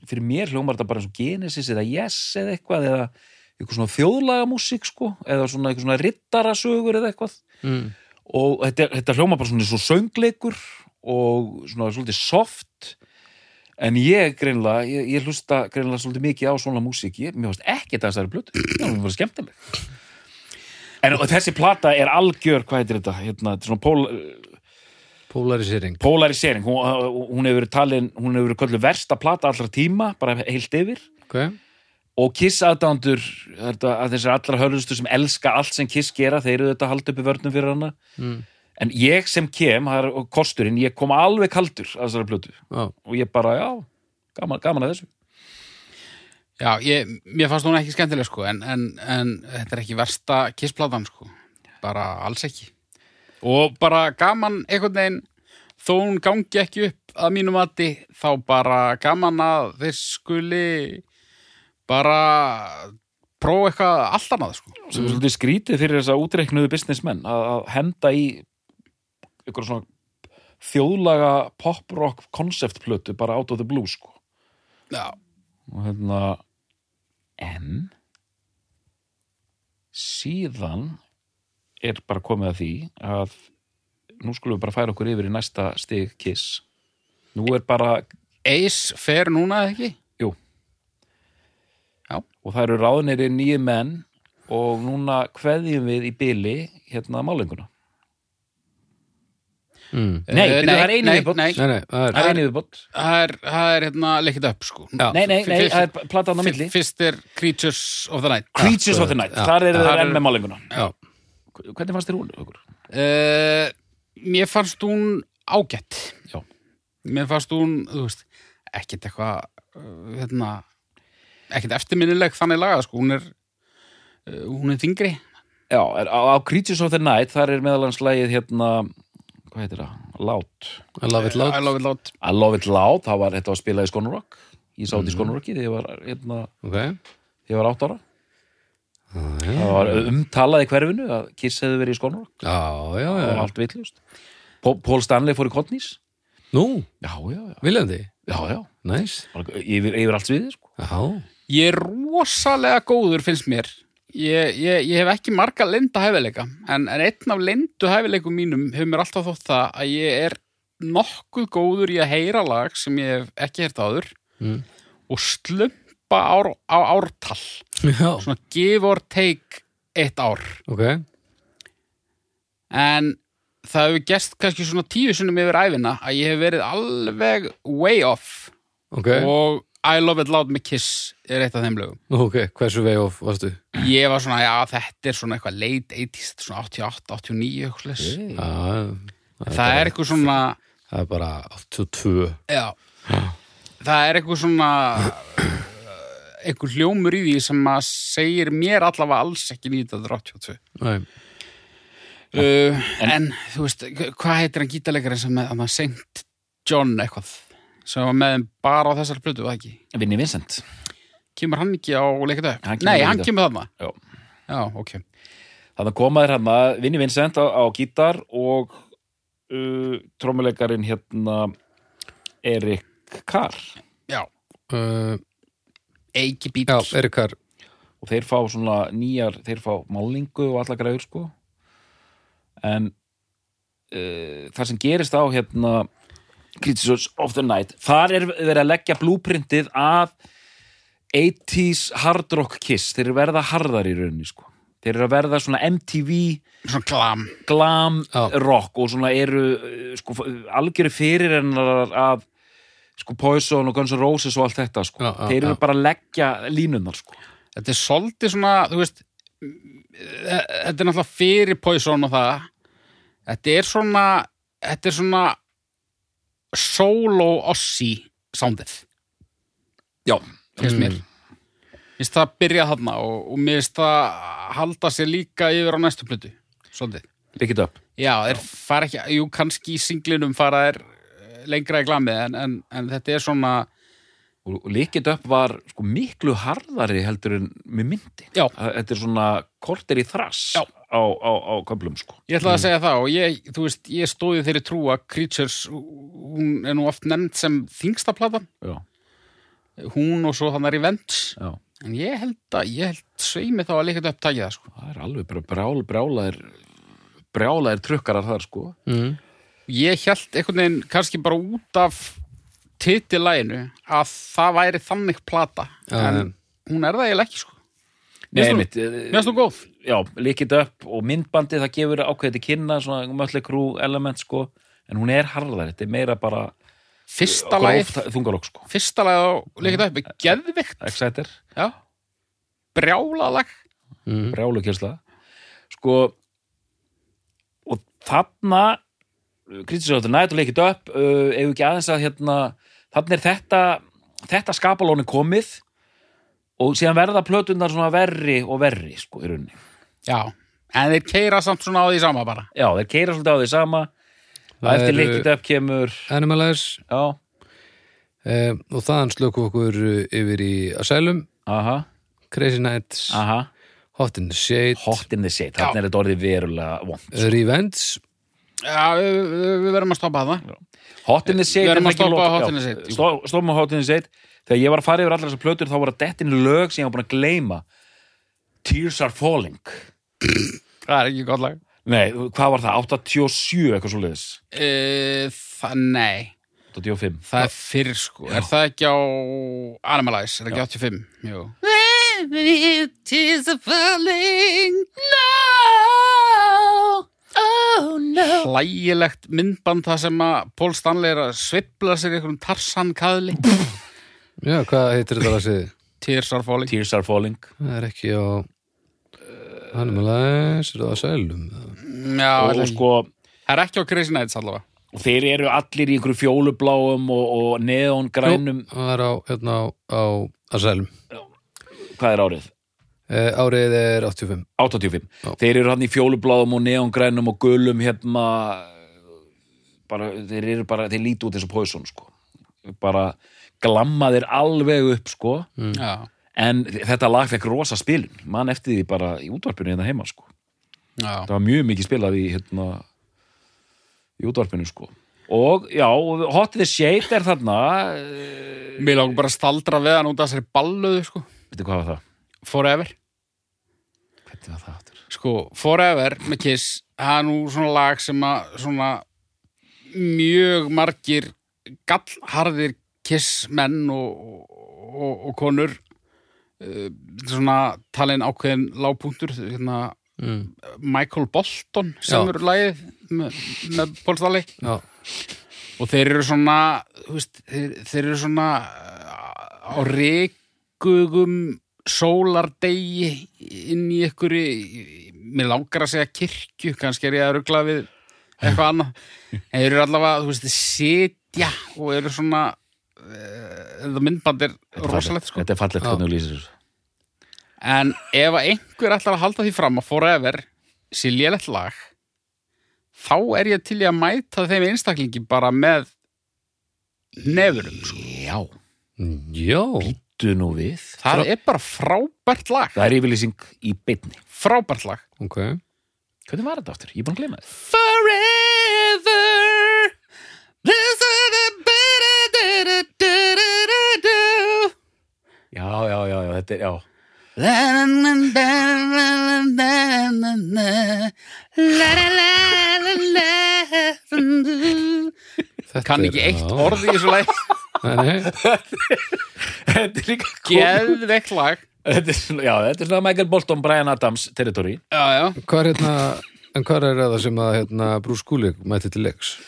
Speaker 2: fyrir mér hljómar þetta bara eins og Genesis eða Yes eða eitthvað eða eitthvað svona þjóðlaga músík sko, eða svona eitthvað svona rittarasögur eða eitthvað
Speaker 1: mm.
Speaker 2: og þetta, þetta hljóma bara svona svo söngleikur og svona svolítið soft en ég greinlega ég, ég hlusta greinlega svolítið mikið á svona músík ég, mér varst ekki þessari blötu það var skemmtileg en og þessi plata er algjör hvað heitir þetta, hérna, þetta er svona pól,
Speaker 1: Polarisering
Speaker 2: polarisering hún, uh, hún hefur verið talin, hún hefur verið köllu versta plata allra tíma, bara heilt yfir
Speaker 1: okay.
Speaker 2: og Kiss aðdándur að þessir allra hörlustu sem elska allt sem Kiss gera, þeir eru þetta haldi uppi vörnum fyrir hana
Speaker 1: mm.
Speaker 2: en ég sem kem, það er kosturinn ég kom alveg kaldur að þessari plötu
Speaker 1: Já,
Speaker 2: og ég bara, já, gaman, gaman að þessu
Speaker 3: Já, ég, mér fannst hún ekki skemmtileg sko, en, en, en þetta er ekki versta kissplatan sko, bara alls ekki. Og bara gaman einhvern veginn, þó hún gangi ekki upp að mínum mati, þá bara gaman að þeir skuli bara prófa eitthvað allt annað sko.
Speaker 2: sem er svolítið skrítið fyrir þess að útreiknuðu businessmenn að, að henda í ykkur svona þjóðlaga pop-rock konceptplötu bara out of the blue sko
Speaker 3: Já.
Speaker 2: og hérna en síðan er bara komið að því að nú skulum við bara færa okkur yfir í næsta stig kiss nú er bara,
Speaker 3: Ace fer núna eða ekki?
Speaker 2: og það eru ráðnir nýju menn og núna kveðjum við í byli hérna málinguna
Speaker 1: mm.
Speaker 2: Nei,
Speaker 3: Eh,
Speaker 2: byrju, það er einu
Speaker 3: nei,
Speaker 2: viðbót.
Speaker 3: nei,
Speaker 1: Nei, nei, það er
Speaker 2: það er einu viðbótt
Speaker 3: það er, það er hérna lekkit upp sko.
Speaker 1: Já.
Speaker 2: nei, nei, nei,
Speaker 3: Fyrst-
Speaker 2: það er platan á milli
Speaker 3: Fyrst er Creatures of the Night.
Speaker 2: Creatures
Speaker 3: Ah,
Speaker 2: of the Night,
Speaker 1: Já.
Speaker 2: þar eru
Speaker 3: Þar
Speaker 2: þeir
Speaker 3: eru-
Speaker 2: enn með málinguna
Speaker 1: Já.
Speaker 2: hvernig fannst þér hún? Okkur?
Speaker 3: Uh, mér fannst hún ágætt.
Speaker 2: Já.
Speaker 3: Mér fannst hún, þú veist, ekkert eitthvað, uh, hérna, ekkert eftirminnileg þannig lagað, sko, hún er, uh, hún er þingri.
Speaker 2: Já, er, á, á Creatures of the Night þar er meðalanslægið hérna hvað heitir það? Lát
Speaker 1: I love it loud
Speaker 3: I love it loud.
Speaker 2: I Love It Loud, það var, þetta var spilað í Skonorokk ég sá þetta í Skonorokki þegar ég var hérna,
Speaker 1: okay.
Speaker 2: þegar ég var átt ára
Speaker 1: Já, já,
Speaker 2: það var umtalað í hverfinu að Kiss hefði verið í Skonorokk
Speaker 1: já, já,
Speaker 2: og
Speaker 1: já.
Speaker 2: allt vitlaust Pó- Paul Stanley fór í Kottnís
Speaker 1: Nú,
Speaker 2: já, já, já,
Speaker 1: viljandi,
Speaker 2: já, já
Speaker 1: næs
Speaker 2: Bara yfir, yfir allt sviðið sko.
Speaker 1: Já,
Speaker 3: Ég er rosalega góður, finnst mér. Ég, ég, ég hef ekki marga linda hæfileika, en, en einn af lindu hæfileikum mínum hefur mér alltaf þótt það að ég er nokkuð góður í að heyra lag sem ég hef ekki heyrt áður
Speaker 1: Mm.
Speaker 3: og slumpa ár, á ártal.
Speaker 1: já,
Speaker 3: svona give or take eitt ár
Speaker 1: ok
Speaker 3: en það hefur gest kannski svona tíu sinnum yfir æfina að ég hef verið alveg way off
Speaker 1: Ok,
Speaker 3: og I Love It Loud með Kiss er eitt af þeim lögum
Speaker 1: ok, hversu vei of varstu?
Speaker 3: ég var svona, já þetta er svona eitthvað late 80s, þetta er svona 88, 89 eitthvað svoleiðis.
Speaker 1: Já,
Speaker 3: það er eitthvað svona
Speaker 1: það er bara 82
Speaker 3: já, það er eitthvað svona eh, eitthvað hljómur í því sem að segir mér allavega alls ekki 1982
Speaker 1: Nei,
Speaker 3: Uh, en, þú veist, hva- hvað heitir hann gítarleikarinn sem með, hann var Saint John eitthvað sem var með þeim bara á þessar plötu, var það ekki?
Speaker 2: Vinni Vincent
Speaker 3: Kemur hann ekki á leikata
Speaker 2: Hann
Speaker 3: upp?
Speaker 2: kemur
Speaker 3: Nei,
Speaker 2: á
Speaker 3: hann
Speaker 2: Leikit Upp.
Speaker 3: kemur þarna.
Speaker 2: Já.
Speaker 3: Já, ok.
Speaker 2: þannig komaðir hann að hérna, Vinni Vincent á, á gítar og uh, trommuleikarin hérna Erik Carr
Speaker 3: Já,
Speaker 1: uh,
Speaker 3: Eiki
Speaker 1: já,
Speaker 3: Beatles.
Speaker 1: Erikar
Speaker 2: og þeir fá svona nýjar, þeir fá málingu og alla græður sko en uh, það sem gerist á hérna Critics of the Night þar er verið að leggja blúprintið af 80s hard rock kiss, þeir eru að verða harðar í rauninni sko, þeir eru að verða svona MTV
Speaker 3: Svona glam.
Speaker 2: glam
Speaker 1: Já.
Speaker 2: rock og svona eru eh, sko, algjöru fyrir hennar af sko Poison og Guns N' Roses og allt þetta sko,
Speaker 1: Já, já,
Speaker 2: þeir eru
Speaker 1: já.
Speaker 2: bara að leggja línunar sko
Speaker 3: Þetta er svolítið svona, þú veist, mm, eh, þetta er náttúrulega fyrir Poison og það. Þetta er svona, þetta er svona solo ossi soundið.
Speaker 2: Já,
Speaker 3: finnst mér finnst það að byrja þarna og, og mér finnst það að halda sér líka yfir á næstu plötu svolítið
Speaker 2: Pick it up
Speaker 3: já, þeir fara ekki, jú, kannski í singlinum fara þeir eh, lengra í glamið en, en, en þetta er svona
Speaker 2: og, og Lick It Up var sko, miklu harðari heldur en með myndi
Speaker 3: Já.
Speaker 2: Þa- þetta er svona korter í þrass
Speaker 3: Já.
Speaker 2: á, á, á köflum sko.
Speaker 3: ég ætlaði að segja það og ég, þú veist, ég stóði þeirri trú að Creatures hún er nú oft nefnd sem þingsta platan
Speaker 2: já,
Speaker 3: hún og svo þannig Revenge
Speaker 2: já.
Speaker 3: En ég held að, ég held sveimi þá að líka þetta upptækja það, sko.
Speaker 2: það er alveg bara brjál, brjálaðir brjálaðir trukkarar þar sko
Speaker 1: mm.
Speaker 3: Ég held einhvern veginn kannski bara út af titilæginu að það væri þannig plata.
Speaker 1: Já,
Speaker 3: en
Speaker 1: já.
Speaker 3: hún er það eiginlega ekki, sko.
Speaker 2: Nei,
Speaker 3: Mér
Speaker 2: einmitt,
Speaker 3: finnst
Speaker 2: eh,
Speaker 3: Mér finnst þú góð.
Speaker 2: já, líkit upp og myndbandi það gefur ákveðið til kynna svona mötli krú element sko en hún er harðar, þetta er meira bara
Speaker 3: Fyrsta lagið,
Speaker 2: þungarokk sko
Speaker 3: fyrsta lagið á líka þetta upp er geðvikt.
Speaker 2: Exciter,
Speaker 3: Já. Brjálalag.
Speaker 2: Mhm.
Speaker 1: Mm.
Speaker 2: brjálukjærsla sko og þarna kritisjóttur nætt og leikit upp uh, ef ekki aðeins að hérna þarna er þetta, þetta skapalóni komið og síðan verða plötunar svona verri og verri sko í rauninni
Speaker 3: Já. En þeir keira samt svona á því sama bara.
Speaker 2: Já, þeir keira svolítið á því sama
Speaker 1: Það
Speaker 2: eftir
Speaker 1: eru-
Speaker 2: líkit upp kemur
Speaker 1: Animalize
Speaker 2: Já,
Speaker 1: eh, og þaðan slökum við okkur eh, yfir í Asylum,
Speaker 2: aha,
Speaker 1: Crazy Nights
Speaker 2: aha
Speaker 1: Hot in the Shade,
Speaker 2: Ah. Hot in the shade, þarna er þetta orðið verulega vond
Speaker 1: Revenge
Speaker 3: Já, við, við- við verðum að stoppa það.
Speaker 2: Hot in the shade
Speaker 3: Við erum að
Speaker 2: er það ekki
Speaker 3: stoppa
Speaker 2: lok-
Speaker 3: Hot
Speaker 2: já,
Speaker 3: in the Shade, jú.
Speaker 2: stop- Stoppum á Hot in the shade Þegar ég var að fara yfir allar þessar plötur þá voru að dettin lög sem ég var búin að gleyma Tears are falling
Speaker 3: Það er ekki gott lag.
Speaker 2: Nei, hvað var það? 87 eitthvað svo liðis
Speaker 3: E, það, nei.
Speaker 2: 85
Speaker 3: Það er fyrr sko, er það ekki á Animalize, er það ekki 85? Jú. It is a falling now Oh no Hlægilegt myndband það sem að Paul Stanley er að svipla sér í einhverjum *laughs* tarsankaðli
Speaker 1: Já, hvað heitir þetta að segja?
Speaker 3: Tears are falling
Speaker 2: Tears are falling
Speaker 1: Það er ekki á eh, Animalize, er það Asylum eða?
Speaker 3: Já, ætla
Speaker 2: og, og
Speaker 3: ekki.
Speaker 2: sko,
Speaker 3: það er ekki á Crazy Nights allavega
Speaker 2: og þeir eru allir í einhverju fjólubláum og, og neongrænum
Speaker 1: Jú, Það er á, hérna á, á Asylum
Speaker 2: Hvað er árið?
Speaker 1: eh, Árið er 85
Speaker 2: 85 þeir eru hann í fjólubláðum og neongrænum og gulum hérna bara, þeir eru bara, þeir lítu út eins og poison sko, bara glamma þeir alveg upp sko
Speaker 3: Já,
Speaker 2: en þetta lag fekk rosa spilun mann eftir því bara í útvarpinu hérna heima sko,
Speaker 3: já
Speaker 2: það var mjög mikið spilað í hérna í útvarpinu sko og já, Hot in the Shade er þarna eh,
Speaker 3: Mér langar bara að staldra við hann út af þessari balluðu sko
Speaker 2: veitir hvað var það?
Speaker 3: Forever
Speaker 2: hvernig var það aftur?
Speaker 3: sko, Forever með Kiss það er nú svona lag sem að svona mjög margir gallharðir Kiss menn og, og, og konur uh, svona talin ákveðin lágpunktur hérna,
Speaker 1: mm.
Speaker 3: Michael Bolton sem
Speaker 1: Já.
Speaker 3: eru lagið með, með Paul Stanley
Speaker 1: Já,
Speaker 3: og þeir eru svona þú veist, þeir, þeir eru svona uh, á reikugum sólardegi inn í ykkur mér langar að segja kirkju kannski er ég að rugla við eitthvað annað en þeir eru allavega, þú veist, sitja og eru svona uh, það myndband er rosalegt sko
Speaker 2: þetta er fallegt hvernig þú lýsir þessu
Speaker 3: en ef að einhver ætlar að halda því fram að forever sé lélegt lag þá er ég til í að mæta þeim einstaklingi bara með nefurum sko.
Speaker 2: já,
Speaker 1: já
Speaker 2: du nú við
Speaker 3: það er bara frábært lag
Speaker 2: það er yfirlýsing í beinni
Speaker 3: frábært lag
Speaker 1: ok
Speaker 2: Hvernig var þetta aftur? Ég er búin að gleyma þetta.
Speaker 3: Forever This is a better do, do, do, do, do.
Speaker 2: Já, já, já, já, þetta er, já. *laughs*
Speaker 1: Þetta
Speaker 3: Kann ekki
Speaker 1: er-
Speaker 3: eitt
Speaker 1: já.
Speaker 3: orð í þessu lag
Speaker 1: Nei, nei.
Speaker 2: þetta er líka
Speaker 3: Geðveikt lag
Speaker 2: Þetta er, svona- já, þetta er svona Michael Bolton, Brian Adams territory.
Speaker 3: Já, já
Speaker 1: Hvað er hérna En hvað er það sem að hérna, Bruce Kulik mæti til leiks?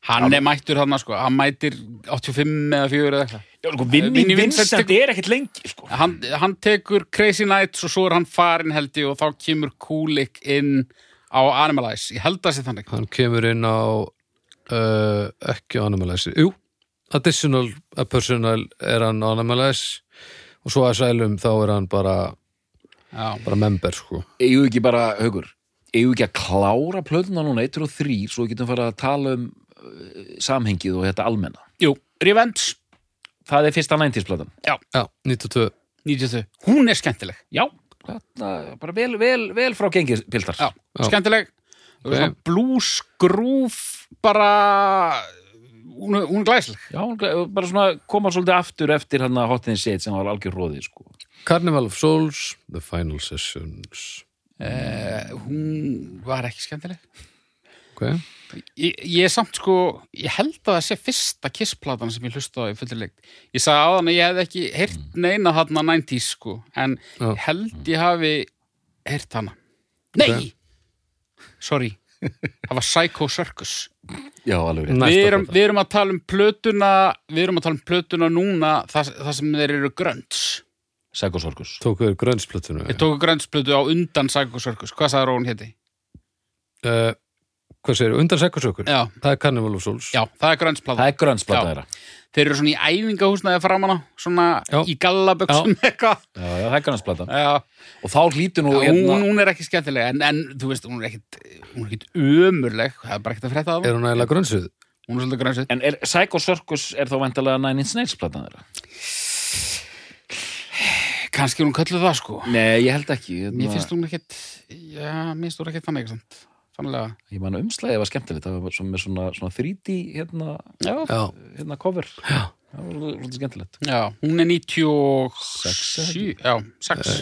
Speaker 3: Hann er mættur hann, sko Hann mætir 85 eða 4 eða eitthvað
Speaker 2: Já, sko, Vinni
Speaker 3: Vinnie Vincent
Speaker 2: Vincent er ekkit lengi, sko.
Speaker 3: hann, hann tekur Crazy Nights og svo er hann farin held ég og þá kemur Kulik inn á Animalize Ég held að sé þannig
Speaker 1: Hann kemur inn á uh, ekki á Animalize Jú, Additional a Personal er hann á Animalize og svo að sælum þá er hann bara,
Speaker 3: Já,
Speaker 1: bara member sko
Speaker 2: Eigum við ekki bara, haugur, eigum við ekki að klára plöðuna núna 1 og 3 svo við getum fara að tala um uh, samhengið og þetta almenna.
Speaker 3: jú, Revenge
Speaker 2: Það er fyrsta 90s platan.
Speaker 1: Já, 92
Speaker 3: 92 Hún er skemmtileg
Speaker 2: Já. Þarna, bara vel, vel, vel frá gengið, Piltar.
Speaker 3: Já, skemmtileg
Speaker 1: Ok.
Speaker 3: okay. Blues, groove bara hún, er- hún er glæsleg
Speaker 2: Já, hún- bara svona koma svolítið aftur eftir hann að hotinni set sem var algjör róðið, sko.
Speaker 1: Carnival of Souls, The Final Sessions
Speaker 3: Eh, hún var ekki skemmtileg.
Speaker 1: ok,
Speaker 3: Ég, ég er samt sko, ég held að það sé fyrsta kissplatan sem ég hlusta á í fullri lengt. Ég sagði á þannig að ég hefði ekki heyrt neina þarna 90s sko, en
Speaker 1: Já.
Speaker 3: ég held ég hafi heyrt hana. Nei! Sorry, það var Psycho Circus.
Speaker 2: Já, alveg rétt.
Speaker 1: Næsta
Speaker 3: Við erum,
Speaker 1: plata.
Speaker 3: við erum að tala um plötuna, við erum að tala um plötuna núna, það, það sem þeir eru grönts.
Speaker 2: Sækosorkus.
Speaker 1: tóku þér grönsplötunu
Speaker 3: Við tóku gröntsplötu á undan Psycho Circus, hvað sagði Rón héti?
Speaker 1: uh, hvað segir, undan sekkursökur
Speaker 3: Já,
Speaker 1: það er Carnival of Souls
Speaker 3: já, það er gröntsplata.
Speaker 2: Það er grönsplata
Speaker 3: Já.
Speaker 2: þeirra.
Speaker 3: Þeir eru svona í æfingahúsnaði framan á, svona
Speaker 1: Já.
Speaker 3: í gallaböksum *laughs* eitthvað.
Speaker 2: Já, já, það er grönsplata.
Speaker 3: Já,
Speaker 2: Og þá hlýtur nú, hérna-
Speaker 3: hún, hún er ekki skemmtileg, en, en þú veist, hún er ekkit, hún er ekkit ömurleg, það er bara ekkit að frétta það.
Speaker 1: er hún ægilega grönsuð?
Speaker 3: Hún er svolítið grænsið.
Speaker 2: En er, Psychosorkus er þá væntalega Nine Inch Nails platan þeirra?
Speaker 3: Kanski hún kölluð það, sko.
Speaker 2: Nei, ég held ekki. hérna-
Speaker 3: Mér finnst hún ekkit, já, mér finnst hún ekkit þannig, ekki sant? Sannlega.
Speaker 2: Ég man að umslæðið var skemmtilegt, það var svona, með svona, svona 3D hérna,
Speaker 3: Já.
Speaker 1: já,
Speaker 2: hérna cover. Já. Það var svolítið skemmtilegt.
Speaker 3: Já, hún er 97,
Speaker 2: Sex,
Speaker 3: já, 6.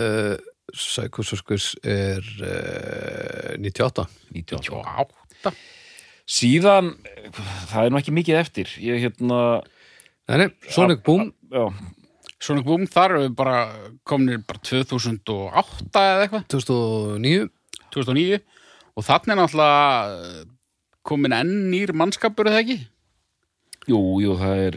Speaker 1: uh, sekkursökurs er uh, 98
Speaker 2: 98.
Speaker 3: 98.
Speaker 2: Síðan, eh, það er nú ekki mikið eftir. Ég hérna,
Speaker 1: Nei, nei, Sonic Boom
Speaker 2: já,
Speaker 3: Svona búm, þar eru við bara komnir bara 2008 eða eitthvað.
Speaker 1: 2009
Speaker 3: 2009 og þannig er náttúrulega eh, komin enn nýr mannskapur er það ekki?
Speaker 2: jú, jú, það er,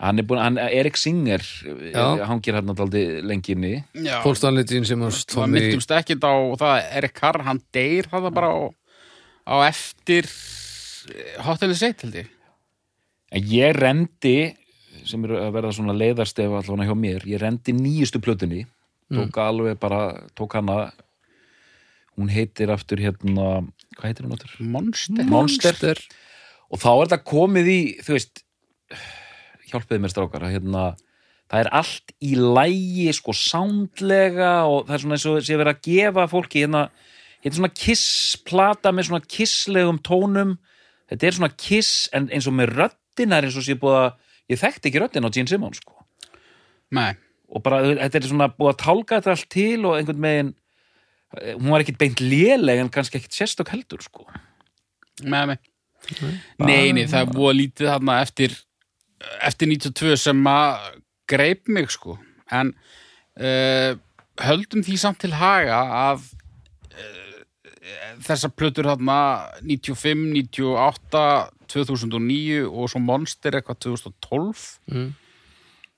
Speaker 2: hann er búin, hann, Erik Singer,
Speaker 1: Já.
Speaker 2: já. hann ger hérna aldrei lenginni.
Speaker 3: Já,
Speaker 1: Paul Stanley, Gene Simmons,
Speaker 3: það
Speaker 1: Tommy
Speaker 3: myndumst ekkit á og það er ekkar, hann deyr það bara á, á eftir hotelið sitt held ég
Speaker 2: En ég rendi, sem er að verða svona leiðarstefa allavega hjá mér, ég rendi nýjustu plötunni, tók alveg bara, tók hana, hún heitir aftur hérna, hvað heitir hún aftur?
Speaker 3: Monster
Speaker 2: Monster. Og þá er þetta komið í, þú veist, hjálpiði mér strákar, að hérna, það er allt í lægi, sko, sándlega og það er svona eins og sé verið að gefa fólki hérna, hérna svona kissplata með svona kisslegum tónum, þetta er svona kiss en eins og með röddina er eins og sé búið að, ég þekkti ekki röddina á Gene Simmons, sko
Speaker 3: Nei,
Speaker 2: og bara þú veist, þetta er svona búið að tálga þetta allt til og einhvern veginn eh, hún var ekkit beint léleg en kannski ekkit sérstök heldur sko
Speaker 3: með mig Nei, nei, það er búið að lítið þarna eftir eftir 92 sem að greip mig sko en uh, höldum því samt til haga að uh, þessar plötur þarna 95, 98 2009 og svo Monster eitthvað 2012
Speaker 1: Mm.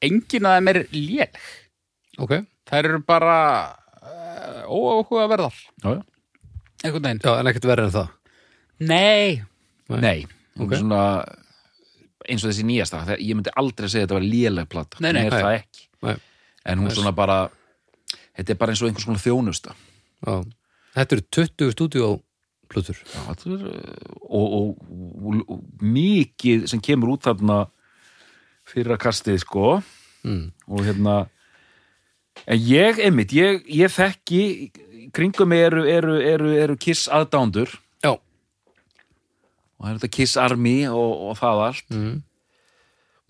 Speaker 3: engin að þeim er léleg
Speaker 1: ok,
Speaker 3: þær eru bara uh, óáhuga verðar
Speaker 2: já, já.
Speaker 3: einhvern veginn
Speaker 1: já, en ekkert verið en það
Speaker 3: Nei,
Speaker 2: nei, hún
Speaker 1: Ok.
Speaker 2: er svona eins og þessi nýjasta, það, ég myndi aldrei segja að þetta var léleg plata,
Speaker 3: Nei, nei.
Speaker 2: hún er
Speaker 1: Nei.
Speaker 2: það ekki
Speaker 1: Nei.
Speaker 2: en hún svona bara þetta er bara eins og einhvers konar þjónusta
Speaker 1: já. þetta eru 20 stúdíóplötur
Speaker 2: Já, þetta er, eh, og, og, og, og mikið sem kemur út þarna fyrra kastið sko
Speaker 1: mm.
Speaker 2: og hérna en ég, einmitt, ég, ég þekki í kringum mig eru, eru, eru, eru kiss aðdándur
Speaker 1: já,
Speaker 2: og það er þetta kiss army og, og það allt
Speaker 1: mm.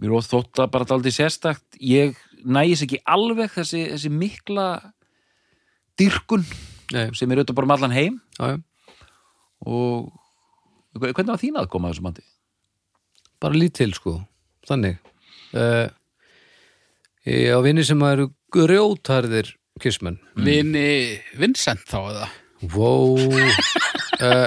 Speaker 2: mér og þótt að bara daldi sérstakt ég nægis ekki alveg þessi, þessi mikla dyrkun
Speaker 1: Nei,
Speaker 2: sem er auðvitað bara um allan heim
Speaker 1: já, já.
Speaker 2: og hvernig var þín aðkoma að þessu mandi?
Speaker 1: bara lítil sko þannig uh, ég á vinni sem eru grjótarðir kissmenn
Speaker 3: vini Vincent þá eða
Speaker 1: wow uh,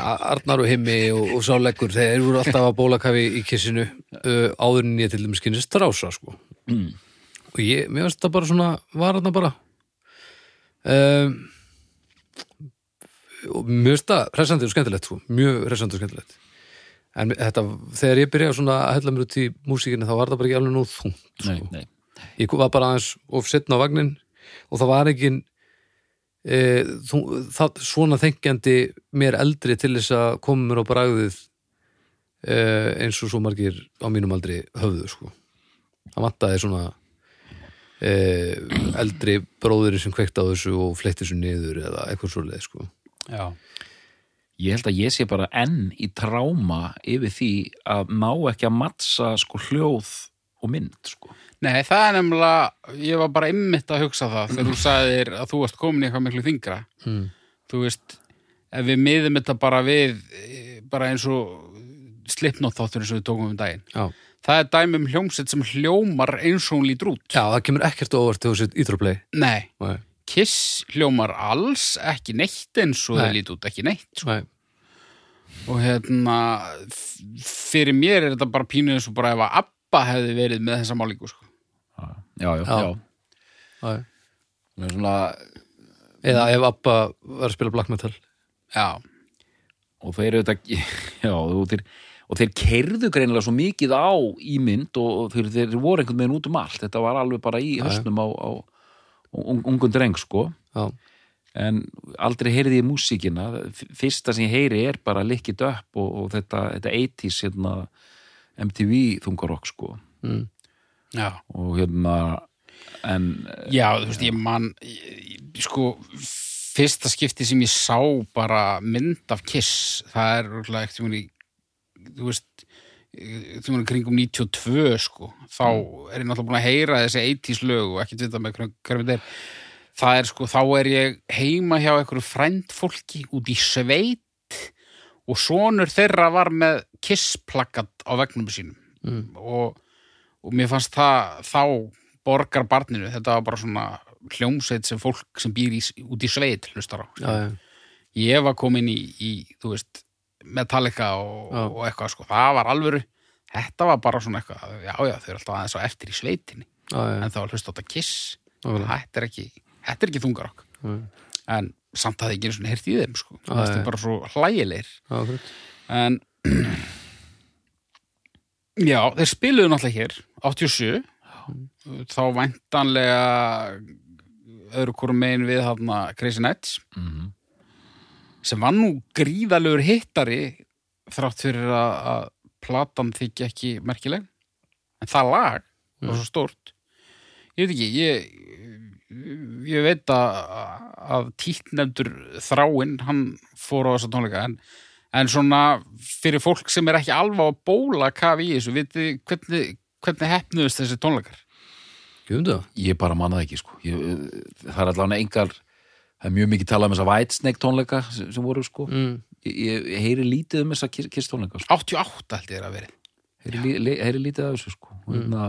Speaker 1: Arnar og Himmi og, og Sáleggur þeir voru alltaf að bólakafi í kissinu uh, áður en ég til þeim skynni strása sko
Speaker 2: Mm.
Speaker 1: og ég, mér finnst það bara svona var þarna bara um, og mér finnst það hressandi og skemmtilegt sko, mjög hressandi og skemmtilegt en þetta, þegar ég byrjaði svona að hella mér út í músíkinni þá var það bara ekki alveg nú þungt sko.
Speaker 2: Nei, nei.
Speaker 1: ég var bara aðeins of setna á vagnin og það var ekki e, þú, það, svona þengjandi mér eldri til þess að koma mér á bragðið e, eins og svo margir á mínum aldri höfðu sko. það vantaði svona e, eldri bróðurinn sem kveikt á þessu og fleitt þessu niður eða eitthvað svoleið sko.
Speaker 3: Já
Speaker 2: Ég held að ég sé bara enn í tráma yfir því að ná ekki að mattsa sko hljóð og mynd sko.
Speaker 3: Nei, það er nefnilega, ég var bara ymmit að hugsa það þegar þú sagðir að þú varst komin í eitthvað miklu þingra.
Speaker 1: Mm.
Speaker 3: Þú veist, ef við miðum þetta bara við, eh, bara eins og slipnótt þáttur eins og við tókum um daginn.
Speaker 1: Já.
Speaker 3: Það er dæmi um hljómsett sem hljómar eins og hún lítur út.
Speaker 1: Já, það kemur ekkert á óvart þegar þú sett íþróplei.
Speaker 3: Nei,
Speaker 1: Nei,
Speaker 3: Kiss hljómar alls, ekki neitt eins og
Speaker 1: Nei.
Speaker 3: það lítur út, ekki neitt. sko.
Speaker 1: nei.
Speaker 3: Og hérna, f- fyrir mér er þetta bara pínu eins og bara ef að Abba hefði verið með þessa málingu, sko.
Speaker 2: já, já,
Speaker 1: Já.
Speaker 2: já.
Speaker 1: nei.
Speaker 2: Hún er Svona,
Speaker 1: Eða ef Abba var að spila black metal.
Speaker 3: Já,
Speaker 2: og þeir auðvitað *laughs* já, og þeir, og þeir keirðu greinilega svo mikið á ímynd og, og þeir, þeir voru einhvern veginn út um allt þetta var alveg bara í höstnum á, á un, ungun dreng sko
Speaker 1: Já,
Speaker 2: en aldrei heyrði ég músíkina F- fyrsta sem ég heyri er bara likkið upp og, og þetta, þetta 80s hérna, MTV þungarokk sko
Speaker 1: mm.
Speaker 3: já.
Speaker 2: og hérna en
Speaker 3: Já, þú veist, ég man ég, ég- sko, fyrsta skipti sem ég sá bara mynd af Kiss, það er rúglega ekkert sem hún í, þú veist þú veist, kringum 92 sko, þá er ég náttúrulega búin að heyra þessi 80s lög og ekki tvita með hvernig hverjum þetta er það er sko, þá er ég heima hjá einhverju frændfólki út í sveit og sonur þeirra var með Kiss-plakkat á vegnum sínum
Speaker 1: Mm.
Speaker 3: og, og mér fannst það þá borgar barninu, þetta var bara svona hljómsveit sem fólk sem býr í, út í sveit hlustar á.
Speaker 1: já, já.
Speaker 3: Ég var komin í, í þú veist, Metallica og,
Speaker 1: Já.
Speaker 3: og eitthvað, sko, það var alvöru þetta var bara svona eitthvað, já, já, þau eru alltaf aðeins á eftir í sveitinni,
Speaker 1: já, já.
Speaker 3: en það var hlusta á þetta kiss,
Speaker 1: Nákvæmlega.
Speaker 3: þetta er ekki þetta er ekki þungar okk,
Speaker 1: Nei.
Speaker 3: en samt að það ekki einu svona heyrt í þeim, sko,
Speaker 1: Já,
Speaker 3: það
Speaker 1: já.
Speaker 3: er bara svo hlægilegir
Speaker 1: Já, akkurat.
Speaker 3: en *clears throat* já, þeir spiluðu náttúrulega hér 87 þá væntanlega öðru hvort megin við þarna Crazy Nights
Speaker 2: mhm,
Speaker 3: sem var nú gríðalegur hittari þrátt fyrir að, að platan þykja ekki merkileg en það lag var svo stórt ég veit ekki ég, ég veit að, að títnefndur þráinn hann fór á þessa tónleika en, en svona fyrir fólk sem er ekki alveg að bóla kaf í þessu vitið þið hvernig, hvernig hefnuðust þessi tónleikar
Speaker 1: Gjöfum það?
Speaker 2: ég bara mannaði ekki sko ég, það er allavega engar það er mjög mikið talað um þessa Whitesnake tónleika sem, sem voru sko
Speaker 1: Mm.
Speaker 2: ég, ég heyri lítið um þessa kiss tónleika sko.
Speaker 3: 88 held ég er að verið
Speaker 2: heyri, lí- lí- heyri lítið af þessu sko mm. hérna,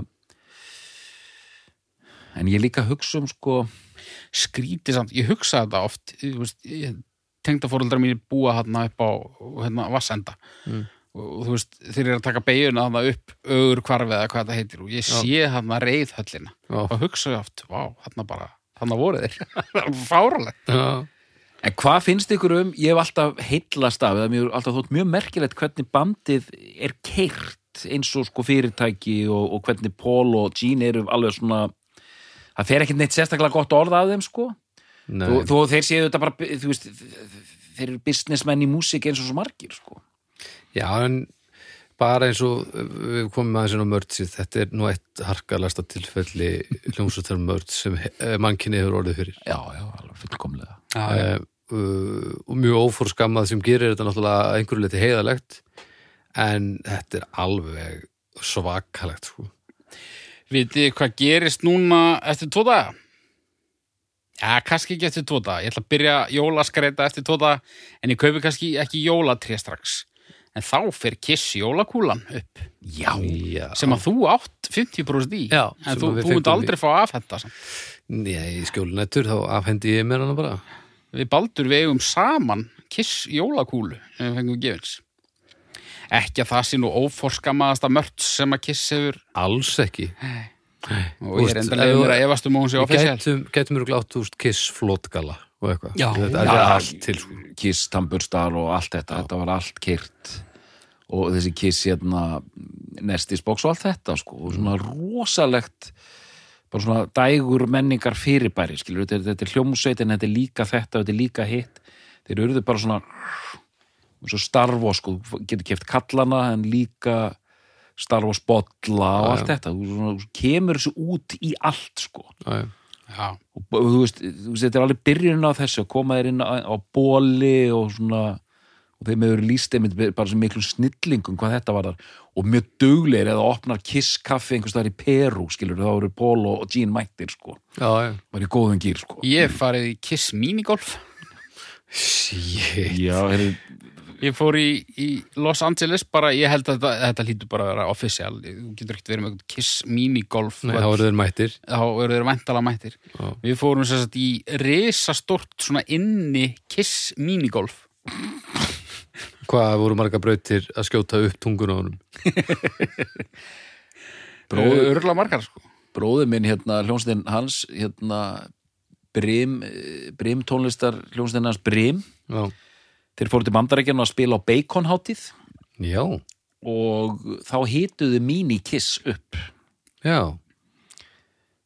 Speaker 2: en ég líka hugsa um sko
Speaker 3: skrítið samt, ég hugsa þetta oft þú veist, ég, tengdafóreldrar mínir búa hérna upp á hérna, vassenda
Speaker 1: Mm.
Speaker 3: og, og þú veist, þeir eru að taka beiguna hérna upp ögur hvarfið eða hvað þetta heitir og ég
Speaker 1: Já.
Speaker 3: sé hérna reyðhöllina
Speaker 1: Já.
Speaker 3: og hugsa ég oft, vá, hérna bara þannig voru þeir, *laughs* það er fáralegt
Speaker 1: *laughs* Já.
Speaker 2: En hvað finnst ykkur um, ég hef alltaf heillast af, eða mér hefur alltaf þótt mjög merkilegt hvernig bandið er keirt eins og sko fyrirtæki og, og hvernig Paul og Gene eru alveg svona, það fer ekkert neitt sérstaklega gott orð af þeim sko,
Speaker 1: Nei.
Speaker 2: þó, þó þeir séu þetta bara, þú veist, þeir eru businessmenn í músík eins og svo margir sko.
Speaker 1: Já, en bara eins og uh, við komum aðeins inn á mördsið, þetta er nú eitt harkalasta tilfelli *laughs* hljómsveitar mörd sem he- mannkyni hefur orðið fyrir.
Speaker 2: Já, já, alveg fullkomlega.
Speaker 3: já,
Speaker 1: uh, uh, og mjög ófórskammað sem gerir þetta náttúrulega að einhverju leiti heiðalegt en þetta er alveg svakalegt sko.
Speaker 3: vitið þið hvað gerist núna eftir tvo daga? Já, kannski ekki eftir tvo daga. Ég ætla að byrja jólaskreita eftir tvo daga, en ég kaupi kannski ekki jólatré strax. En þá fer kiss jólakúlan upp.
Speaker 2: Já,
Speaker 1: Já,
Speaker 3: sem að þú átt 50% í
Speaker 1: Já, sem að við
Speaker 3: en þú, þú myndi
Speaker 1: fengum
Speaker 3: aldrei fá afhenda samt.
Speaker 1: Nei, í skjólinættur þá afhendi ég mér hana bara
Speaker 3: við baldur við eigum saman kiss jólakúlu sem við fengum gefins ekki að það sé nú óforskamaðasta mört sem að kiss hefur
Speaker 1: alls ekki
Speaker 3: og ég
Speaker 1: Úst,
Speaker 3: er
Speaker 1: ef-
Speaker 3: endanlega yfir að efast um að hún sé
Speaker 1: Við
Speaker 3: offisjál
Speaker 1: gætum, gætum mjög glátt úst kiss flotgala og eitthvað
Speaker 3: Já.
Speaker 1: þetta er
Speaker 2: Já.
Speaker 1: allt til sko.
Speaker 2: Kiss, Tamburstar og allt þetta, þetta var allt keirt og þessi Kiss hérna Nestis Box og allt þetta sko og svona
Speaker 1: Mm.
Speaker 2: rosalegt bara svona dægur menningar fyrirbæri skilur, þetta er, þetta er hljómsveit en þetta er líka þetta, þetta er líka hitt þeir eruðu bara svona eins og starfa sko, þú getur keft kallana en líka starfa spotla og
Speaker 1: Já,
Speaker 2: allt þetta þú svona, þú kemur þessu út í allt sko
Speaker 1: Já, já.
Speaker 2: og b- þú veist, þú veist, þetta er alveg byrjun á þessu að koma þér inn á, á bóli og svona og þeim hefur lýst einmitt bara sem miklu snillingum hvað þetta var þar og mjög duglegir eða opnar Kiss kaffi einhvers staðar í Perú skilur þá eru Paul og og Gene mættir sko
Speaker 1: Já, já.
Speaker 2: var í góðum gýr sko
Speaker 3: Ég hef farið í Kiss Minigolf.
Speaker 1: Shit.
Speaker 2: Já, heyrðu,
Speaker 3: Ég fór í, í Los Angeles bara, ég held að þetta, þetta hlýtur bara að vera official. Þú getur ekkert verið með einhvern Kiss Minigolf.
Speaker 1: Nei, þá eru þeir mættir.
Speaker 3: þá eru þeir væntalega mættir.
Speaker 1: Já.
Speaker 3: Við fórum sem sagt í risastort svona inni Kiss Minigolf.
Speaker 1: Hvað voru marga brautir að skjóta upp tungun á honum?
Speaker 2: Bróður-
Speaker 3: Örla margar sko.
Speaker 2: bróður minn hérna hljónstinn hans hérna Brim, eh, Brim tónlistar hljónstinn hans Brim
Speaker 1: Já.
Speaker 2: þeir fóru til bandarækjana að spila á Baconháttið
Speaker 1: Já.
Speaker 2: og þá hituðu Minikiss upp
Speaker 1: Já.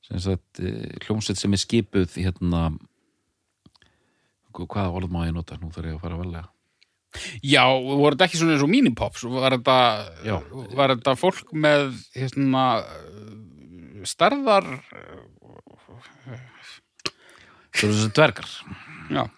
Speaker 2: sem sagt, eh, hljómsveit sem er skipuð hérna hvaða orð má ég nota, nú þarf ég að fara að velja
Speaker 3: Já, voru þetta ekki svona eins og minipops? Var þetta,
Speaker 2: Já.
Speaker 3: var þetta fólk með hérna, starðar?
Speaker 2: það eru þessi dvergar,
Speaker 3: Já.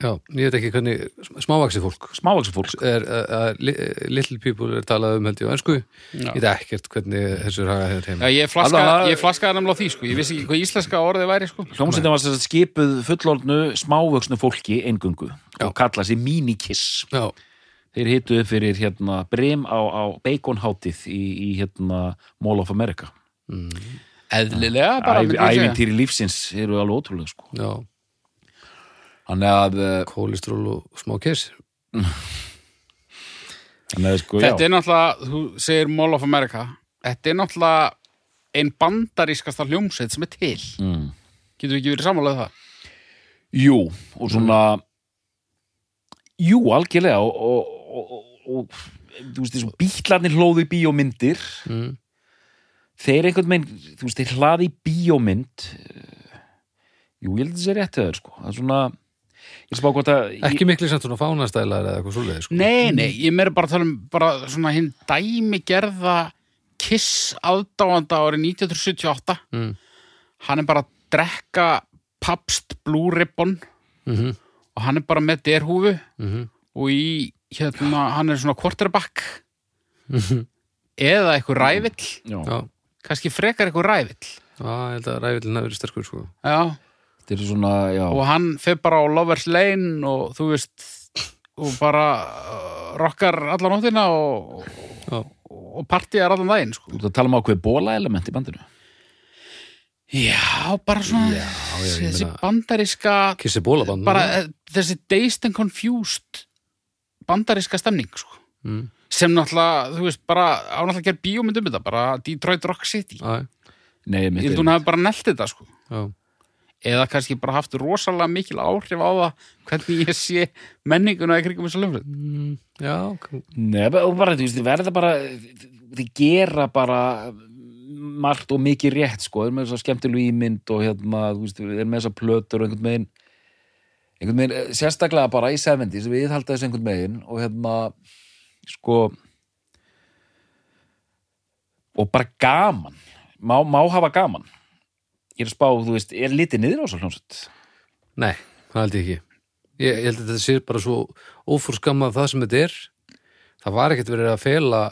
Speaker 1: Já. Ég veit ekki hvernig smávaksi fólk
Speaker 2: smávaksi fólk
Speaker 1: er að- að li- little people er talað um held ég á ennsku.
Speaker 3: Já.
Speaker 1: Ég veit ekkert hvernig þessu raga hefur heim.
Speaker 3: Já, ég flaskaði
Speaker 2: Allavega-
Speaker 3: ég flaskaði nefnilega á því, sko. Ég vissi ekki hvað íslenska orðið væri, sko.
Speaker 2: hljómsveitin var sem sagt, skipuð fullorðnu smávöksnu fólki eingungu og kalla sér Minikiss
Speaker 1: Já.
Speaker 2: þeir hituðu fyrir hérna Brim á, á Baconháttið í, í hérna Mall of America
Speaker 3: Eðlilega, bara myndi ég segja.
Speaker 2: æfintýri lífsins eru alveg ótrúlega sko
Speaker 1: Já.
Speaker 2: þannig að, eh,
Speaker 1: Kólistról og smá kiss.
Speaker 2: þannig að sko,
Speaker 3: Þetta
Speaker 2: já,
Speaker 3: er náttúrulega, þú segir Mall of America, þetta er náttúrulega ein bandarískasta hljómsveit sem er til.
Speaker 2: Mm.
Speaker 3: Getur við ekki verið samanlega það?
Speaker 2: jú og svona jú, algjörlega og, og, og, og, og þú veist, þessu bíklarnir hlóðu í bíómyndir
Speaker 1: Mm.
Speaker 2: þeir einhvern veginn, þú veist, þeir hlaði í bíómynd eh, jú, ég held að þessi rétt hefur sko, það er svona ég spá hvort að
Speaker 1: Ekki miklu samt svona fánastælar eða eitthvað svoleiði, sko.
Speaker 3: Nei, nei, ég meira bara að tala um bara svona hinn dæmigerða Kiss aðdáanda árið 1978.
Speaker 1: Mm.
Speaker 3: Hann er bara að drekka Pabst Blue Ribbon
Speaker 1: Mhm.
Speaker 3: og hann er bara með derhúfu
Speaker 1: Mhm.
Speaker 3: og í, hérna, hann er svona quarterback *laughs* eða eitthvað rævill,
Speaker 2: já,
Speaker 1: Já.
Speaker 3: kannski frekar eitthvað rævill.
Speaker 1: Já, ég held að ræfillin hafi verið sterkur, sko.
Speaker 3: Já,
Speaker 2: þetta er svona, já
Speaker 3: og hann fer bara á Lovers Lane og þú veist og bara uh, rockar allan óttina og,
Speaker 1: Já.
Speaker 3: og partíjar allan daginn sko.
Speaker 2: Þú ert að tala um ákveð bóla element í bandinu
Speaker 3: já, bara svona
Speaker 1: Já, já, ég
Speaker 3: þessi
Speaker 1: meina- Mm.
Speaker 3: bandaríska
Speaker 1: Kissi bólaband.
Speaker 3: bara eh, þessi dazed and confused bandaríska stemning sko.
Speaker 1: Mm.
Speaker 3: sem náttúrulega, þú veist, bara á náttúrulega að gera bíómynd um þetta, bara Detroit Rock City
Speaker 1: Já,
Speaker 2: Nei,
Speaker 3: ég
Speaker 2: mitt
Speaker 3: held
Speaker 2: er
Speaker 3: hún hafi bara nelt þetta sko
Speaker 1: já.
Speaker 3: eða kannski bara haft rosalega mikil áhrif á það hvernig ég sé menninguna í kringum þessu löfrið
Speaker 1: Mm, já, ok.
Speaker 2: Nei, bara- og bara, þú veist, þið verða bara þið gera bara margt og mikið rétt, sko þeir eru með þess að skemmtilu ímynd og hérna þú veist, þeir eru með þess að plötur og einhvern veginn einhvern veginn, eh, sérstaklega bara í 70s, við halda þessu einhvern veginn og hérna, sko og bara gaman má, má hafa gaman ég er að spá, þú veist, er litið niður á svo hljómsveit
Speaker 1: Nei, það held ég ekki. Ég, ég held að þetta sé bara svo ófórskamað það sem þetta er. Það var ekkert verið að fela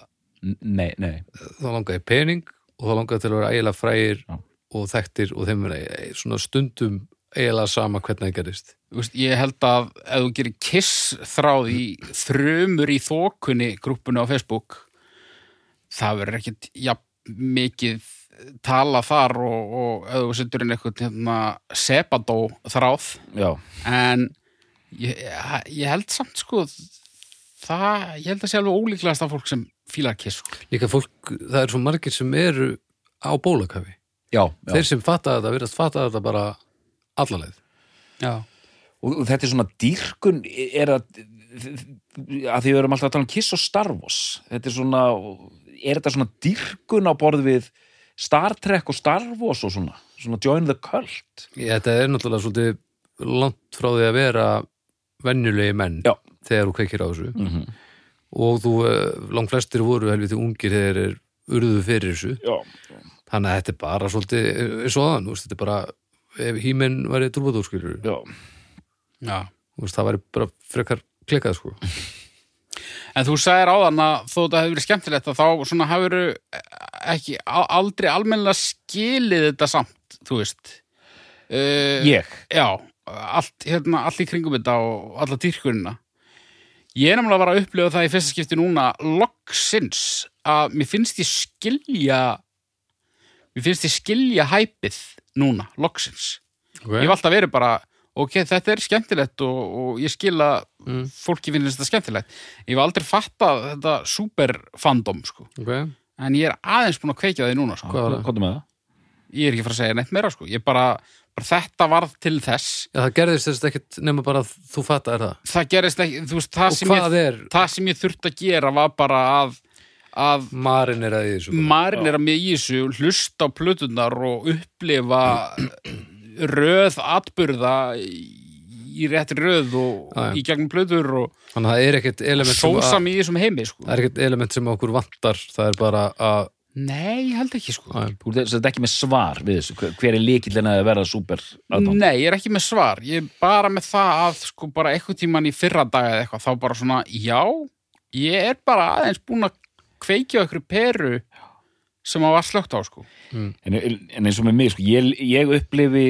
Speaker 2: N- Nei, nei,
Speaker 1: þá langaði í pening og þá langaði til að vera eiginlega frægir
Speaker 2: Já.
Speaker 1: og þekktir og þeim vera eh, svona stundum eiginlega sama hvernig það gerist.
Speaker 3: Þú veist, ég held að ef þú gerir kiss þráð í þrumur í þókunni grúppunu á Facebook það verður ekkit jafn mikið tala þar og, og ef þú setur inn eitthvað hérna, sepadó þráð
Speaker 2: já
Speaker 3: en ég, ég held samt sko það, ég held að sé alveg ólíklegast af fólk sem fílar kiss sko.
Speaker 1: Líka fólk, það eru svo margir sem eru á bólakafi.
Speaker 2: Já, já.
Speaker 1: Þeir sem fatta þetta, verðast fatta þetta bara allaleið.
Speaker 3: Já.
Speaker 2: og, og þetta er svona dýrkun er að, að því við erum alltaf að tala um Kiss og Star Wars þetta er svona, er þetta svona dýrkun á borð við Star Trek og Star Wars og svona svona Join the Cult
Speaker 1: Ég, þetta er náttúrulega svolítið langt frá því að vera venjulegi menn
Speaker 2: Já.
Speaker 1: þegar þú kveikir á þessu.
Speaker 2: mm
Speaker 3: Mhm.
Speaker 2: -hmm.
Speaker 1: og þú, eh, langflestir voru helviti ungir þegar þeir urðu fyrir þessu
Speaker 2: Já,
Speaker 1: þannig að þetta er bara svolítið eh, eins og aðan, þú veist, þetta er bara ef híminn væri trúbadórskilur
Speaker 2: já
Speaker 3: Já.
Speaker 1: það væri bara frekar klikkað sko
Speaker 3: En þú sagðir áðan að þó þetta hefur verið skemmtilegt að þá svona hafur ekki a- aldrei almennilega skilið þetta samt, þú veist. Uh,
Speaker 2: Ég?
Speaker 3: Já, allt, hérna, allt í kringum þetta og alla dýrkurina. Ég er nefnilega bara að upplifa það í fyrsta skipti núna loksins að mér finnst ég skilja mér finnst ég skilja hæpið núna, loksins. Ég hef alltaf verið bara, ok, þetta er skemmtilegt og, og ég skil að
Speaker 1: Mm.
Speaker 3: fólki finnst þetta skemmtilegt. Ég hef aldrei fattað þetta super fandom, sko.
Speaker 1: Ok,
Speaker 3: En ég er aðeins búin að kveikja því núna, sko.
Speaker 1: hvað var það?
Speaker 2: Kottum með það?
Speaker 3: Ég er ekki að fara að segja neitt meira, sko. Ég bara, bara þetta varð til þess.
Speaker 1: Já, það gerðist þess ekkert nema bara að þú fattar það.
Speaker 3: Það gerist ekki, þú veist, það
Speaker 1: Og
Speaker 3: sem, ég,
Speaker 1: hvað er
Speaker 3: það sem ég þurfti að gera var bara að, að
Speaker 1: marinn er að því
Speaker 3: Mm.
Speaker 1: þessu? bara?
Speaker 3: marinera mig í þessu, hlusta á plötunar og upplifa *clears throat* röð atburða í rétt röð og
Speaker 1: Já, já.
Speaker 3: í gegnum plötur og
Speaker 1: Þannig að það er ekkert element sem,
Speaker 3: sósa
Speaker 1: að,
Speaker 3: mig í þessum heimi sko.
Speaker 1: það er ekkert element sem okkur vantar. Það er bara að,
Speaker 3: Nei, ég held ekki sko
Speaker 1: að
Speaker 2: Þú ert þetta ekki með svar við þessu, hver- hver er líkillin að verða super aðdánd?
Speaker 3: Nei, ég er ekki með svar Ég er bara með það að sko bara eitthvað tíman í fyrra daga eða eitthvað þá bara svona, já ég er bara aðeins búin að kveikja okkur peru sem að var slögt á sko
Speaker 2: En, en eins og með mig, sko, ég, ég upplifi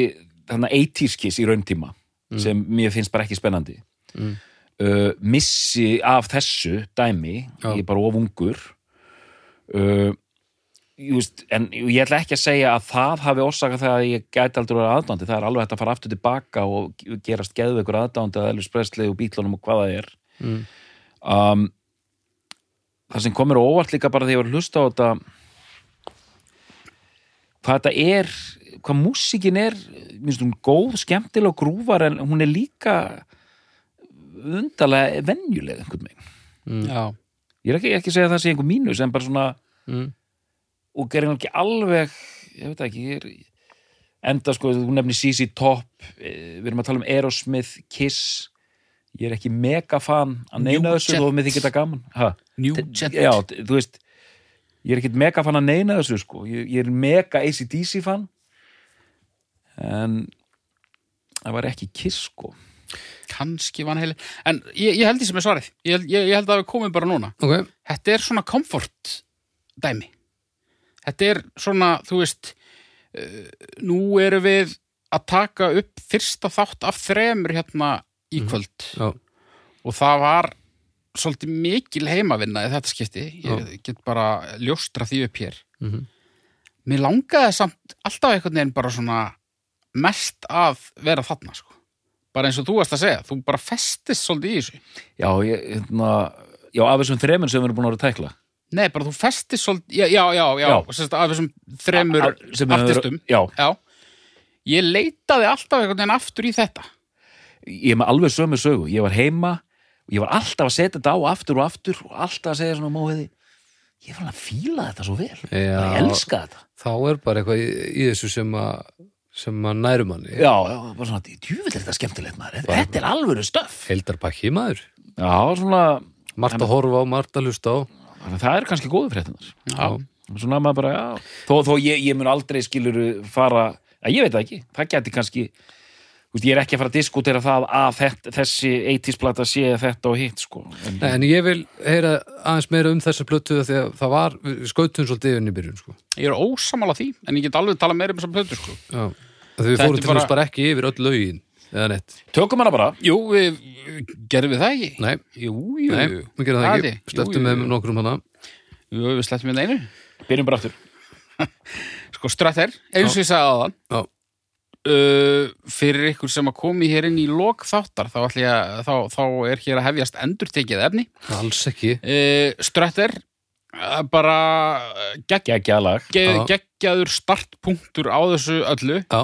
Speaker 2: þannig 80s kiss í rauntíma sem mér finnst bara ekki spennandi.
Speaker 1: Mm.
Speaker 2: Uh, missi af þessu dæmi,
Speaker 1: Já.
Speaker 2: ég er bara ofungur. Uh, just, en ég ætla ekki að segja að það hafi orsakað það að ég gæti aldrei verið aðdándi. Það er alveg hægt að fara aftur tilbaka og gerast geðveikur aðdándi að Elvis Presley og bítlunum og hvað það er.
Speaker 1: Mm.
Speaker 2: Um, það sem komur óvart líka bara þegar ég var að hlusta á þetta hvað þetta er hvað músíkin er minnst hún góð, skemmtileg og grúvar en hún er líka undarlega venjuleg einhvern veginn
Speaker 3: Já,
Speaker 2: ég er ekki, ekki að segja að það sé einhver mínus en bara svona
Speaker 1: Mm.
Speaker 2: og gerir hann ekki alveg ég veit ekki ég er, enda sko, þú nefnir CC Top eh, við erum að tala um Aerosmith, Kiss ég er ekki mega fan að
Speaker 3: New
Speaker 2: neina þessu
Speaker 3: Jet.
Speaker 2: þó að mér þykir þetta gaman ha?
Speaker 3: New Jet
Speaker 2: já, t- þú veist ég er ekkert mega fan að neina þessu sko ég, ég er mega ACDC fan en það var ekki kiss sko
Speaker 3: kannski vann heili En ég, ég held því sem er svarið Ég, held- ég, ég held að við komum bara núna
Speaker 1: ok,
Speaker 3: þetta er svona komfort dæmi þetta er svona, þú veist uh, nú erum við að taka upp fyrsta þátt af þremur hérna í kvöld
Speaker 1: já,
Speaker 3: og það var svolítið mikil heimavinna í þetta skipti ég get bara ljóstra því upp hér
Speaker 1: Mhm.
Speaker 3: mér langaði samt alltaf einhvern veginn bara svona mest að vera þarna sko. bara eins og þú varst að segja þú bara festist svolítið í þessu
Speaker 2: já, ég, hérna, já af þessum þremun sem við erum búin að vera að tækla
Speaker 3: Nei, bara þú festist svolítið, já, já, já, já,
Speaker 2: Já.
Speaker 3: Sest, af þessum þremur
Speaker 2: Að- sem við höfum-
Speaker 3: artistum,
Speaker 2: já,
Speaker 3: já. Ég leitaði alltaf einhvern veginn aftur í þetta.
Speaker 2: ég er með alveg sömu sögu ég var heima og ég var alltaf að setja þetta á aftur og aftur og alltaf að segja svona móhiði ég var að fíla þetta svo vel
Speaker 1: Já.
Speaker 2: Bara ég elska þetta
Speaker 1: þá er bara eitthvað í, í þessu sem að, sem að nærum hann.
Speaker 2: já, já, bara svona, djúvill er þetta skemmtilegt maður þetta er alvöru stöf
Speaker 1: Heldarpakki maður.
Speaker 2: já, svona,
Speaker 1: Margt að horfa á, margt að hlusta á.
Speaker 2: það er kannski góðu fréttinar
Speaker 3: Já.
Speaker 2: svona maður bara, já þó, þó ég, ég mun aldrei skilur fara að ég veit það ekki, það geti kannski þú veist, ég er ekki að fara að diskutera það að þetta, þessi 80s plata sé þetta og hitt sko en,
Speaker 1: Nei, en ég vil heyra aðeins meira um þessa plötu af því að það var, við skautum svolítið yfirn í byrjun, sko.
Speaker 3: Ég er ósamála því, en ég get alveg talað meira um þessar plötu, sko.
Speaker 1: Já. Af því við
Speaker 3: Þetta
Speaker 1: fórum
Speaker 3: er
Speaker 1: til
Speaker 3: bara-
Speaker 1: þess bara ekki yfir öll lögin, eða neitt.
Speaker 2: tökum hana bara
Speaker 3: Jú, við, gerðum við það ekki?
Speaker 1: Nei,
Speaker 3: Jú, jú.
Speaker 1: nei, við gerum það ekki.
Speaker 3: Jú, jú,
Speaker 1: Stöftum með
Speaker 3: jú.
Speaker 1: nokkrum hana.
Speaker 3: Jú, við slettum við það einu.
Speaker 2: byrjum bara aftur
Speaker 3: Sko, Stratter, eins og ég sagði aðan,
Speaker 1: Já.
Speaker 3: uh, fyrir ykkur sem að komi hér inn í lok þáttar, þá, ætla ég að, þá, þá er hér að hefjast endurtekið efni.
Speaker 1: Alls ekki.
Speaker 3: Uh, Stratter, uh, bara eh, gegn
Speaker 2: geggjað lag
Speaker 1: Já.
Speaker 3: Ge geggjaður startpunktur á þessu öllu
Speaker 1: Já,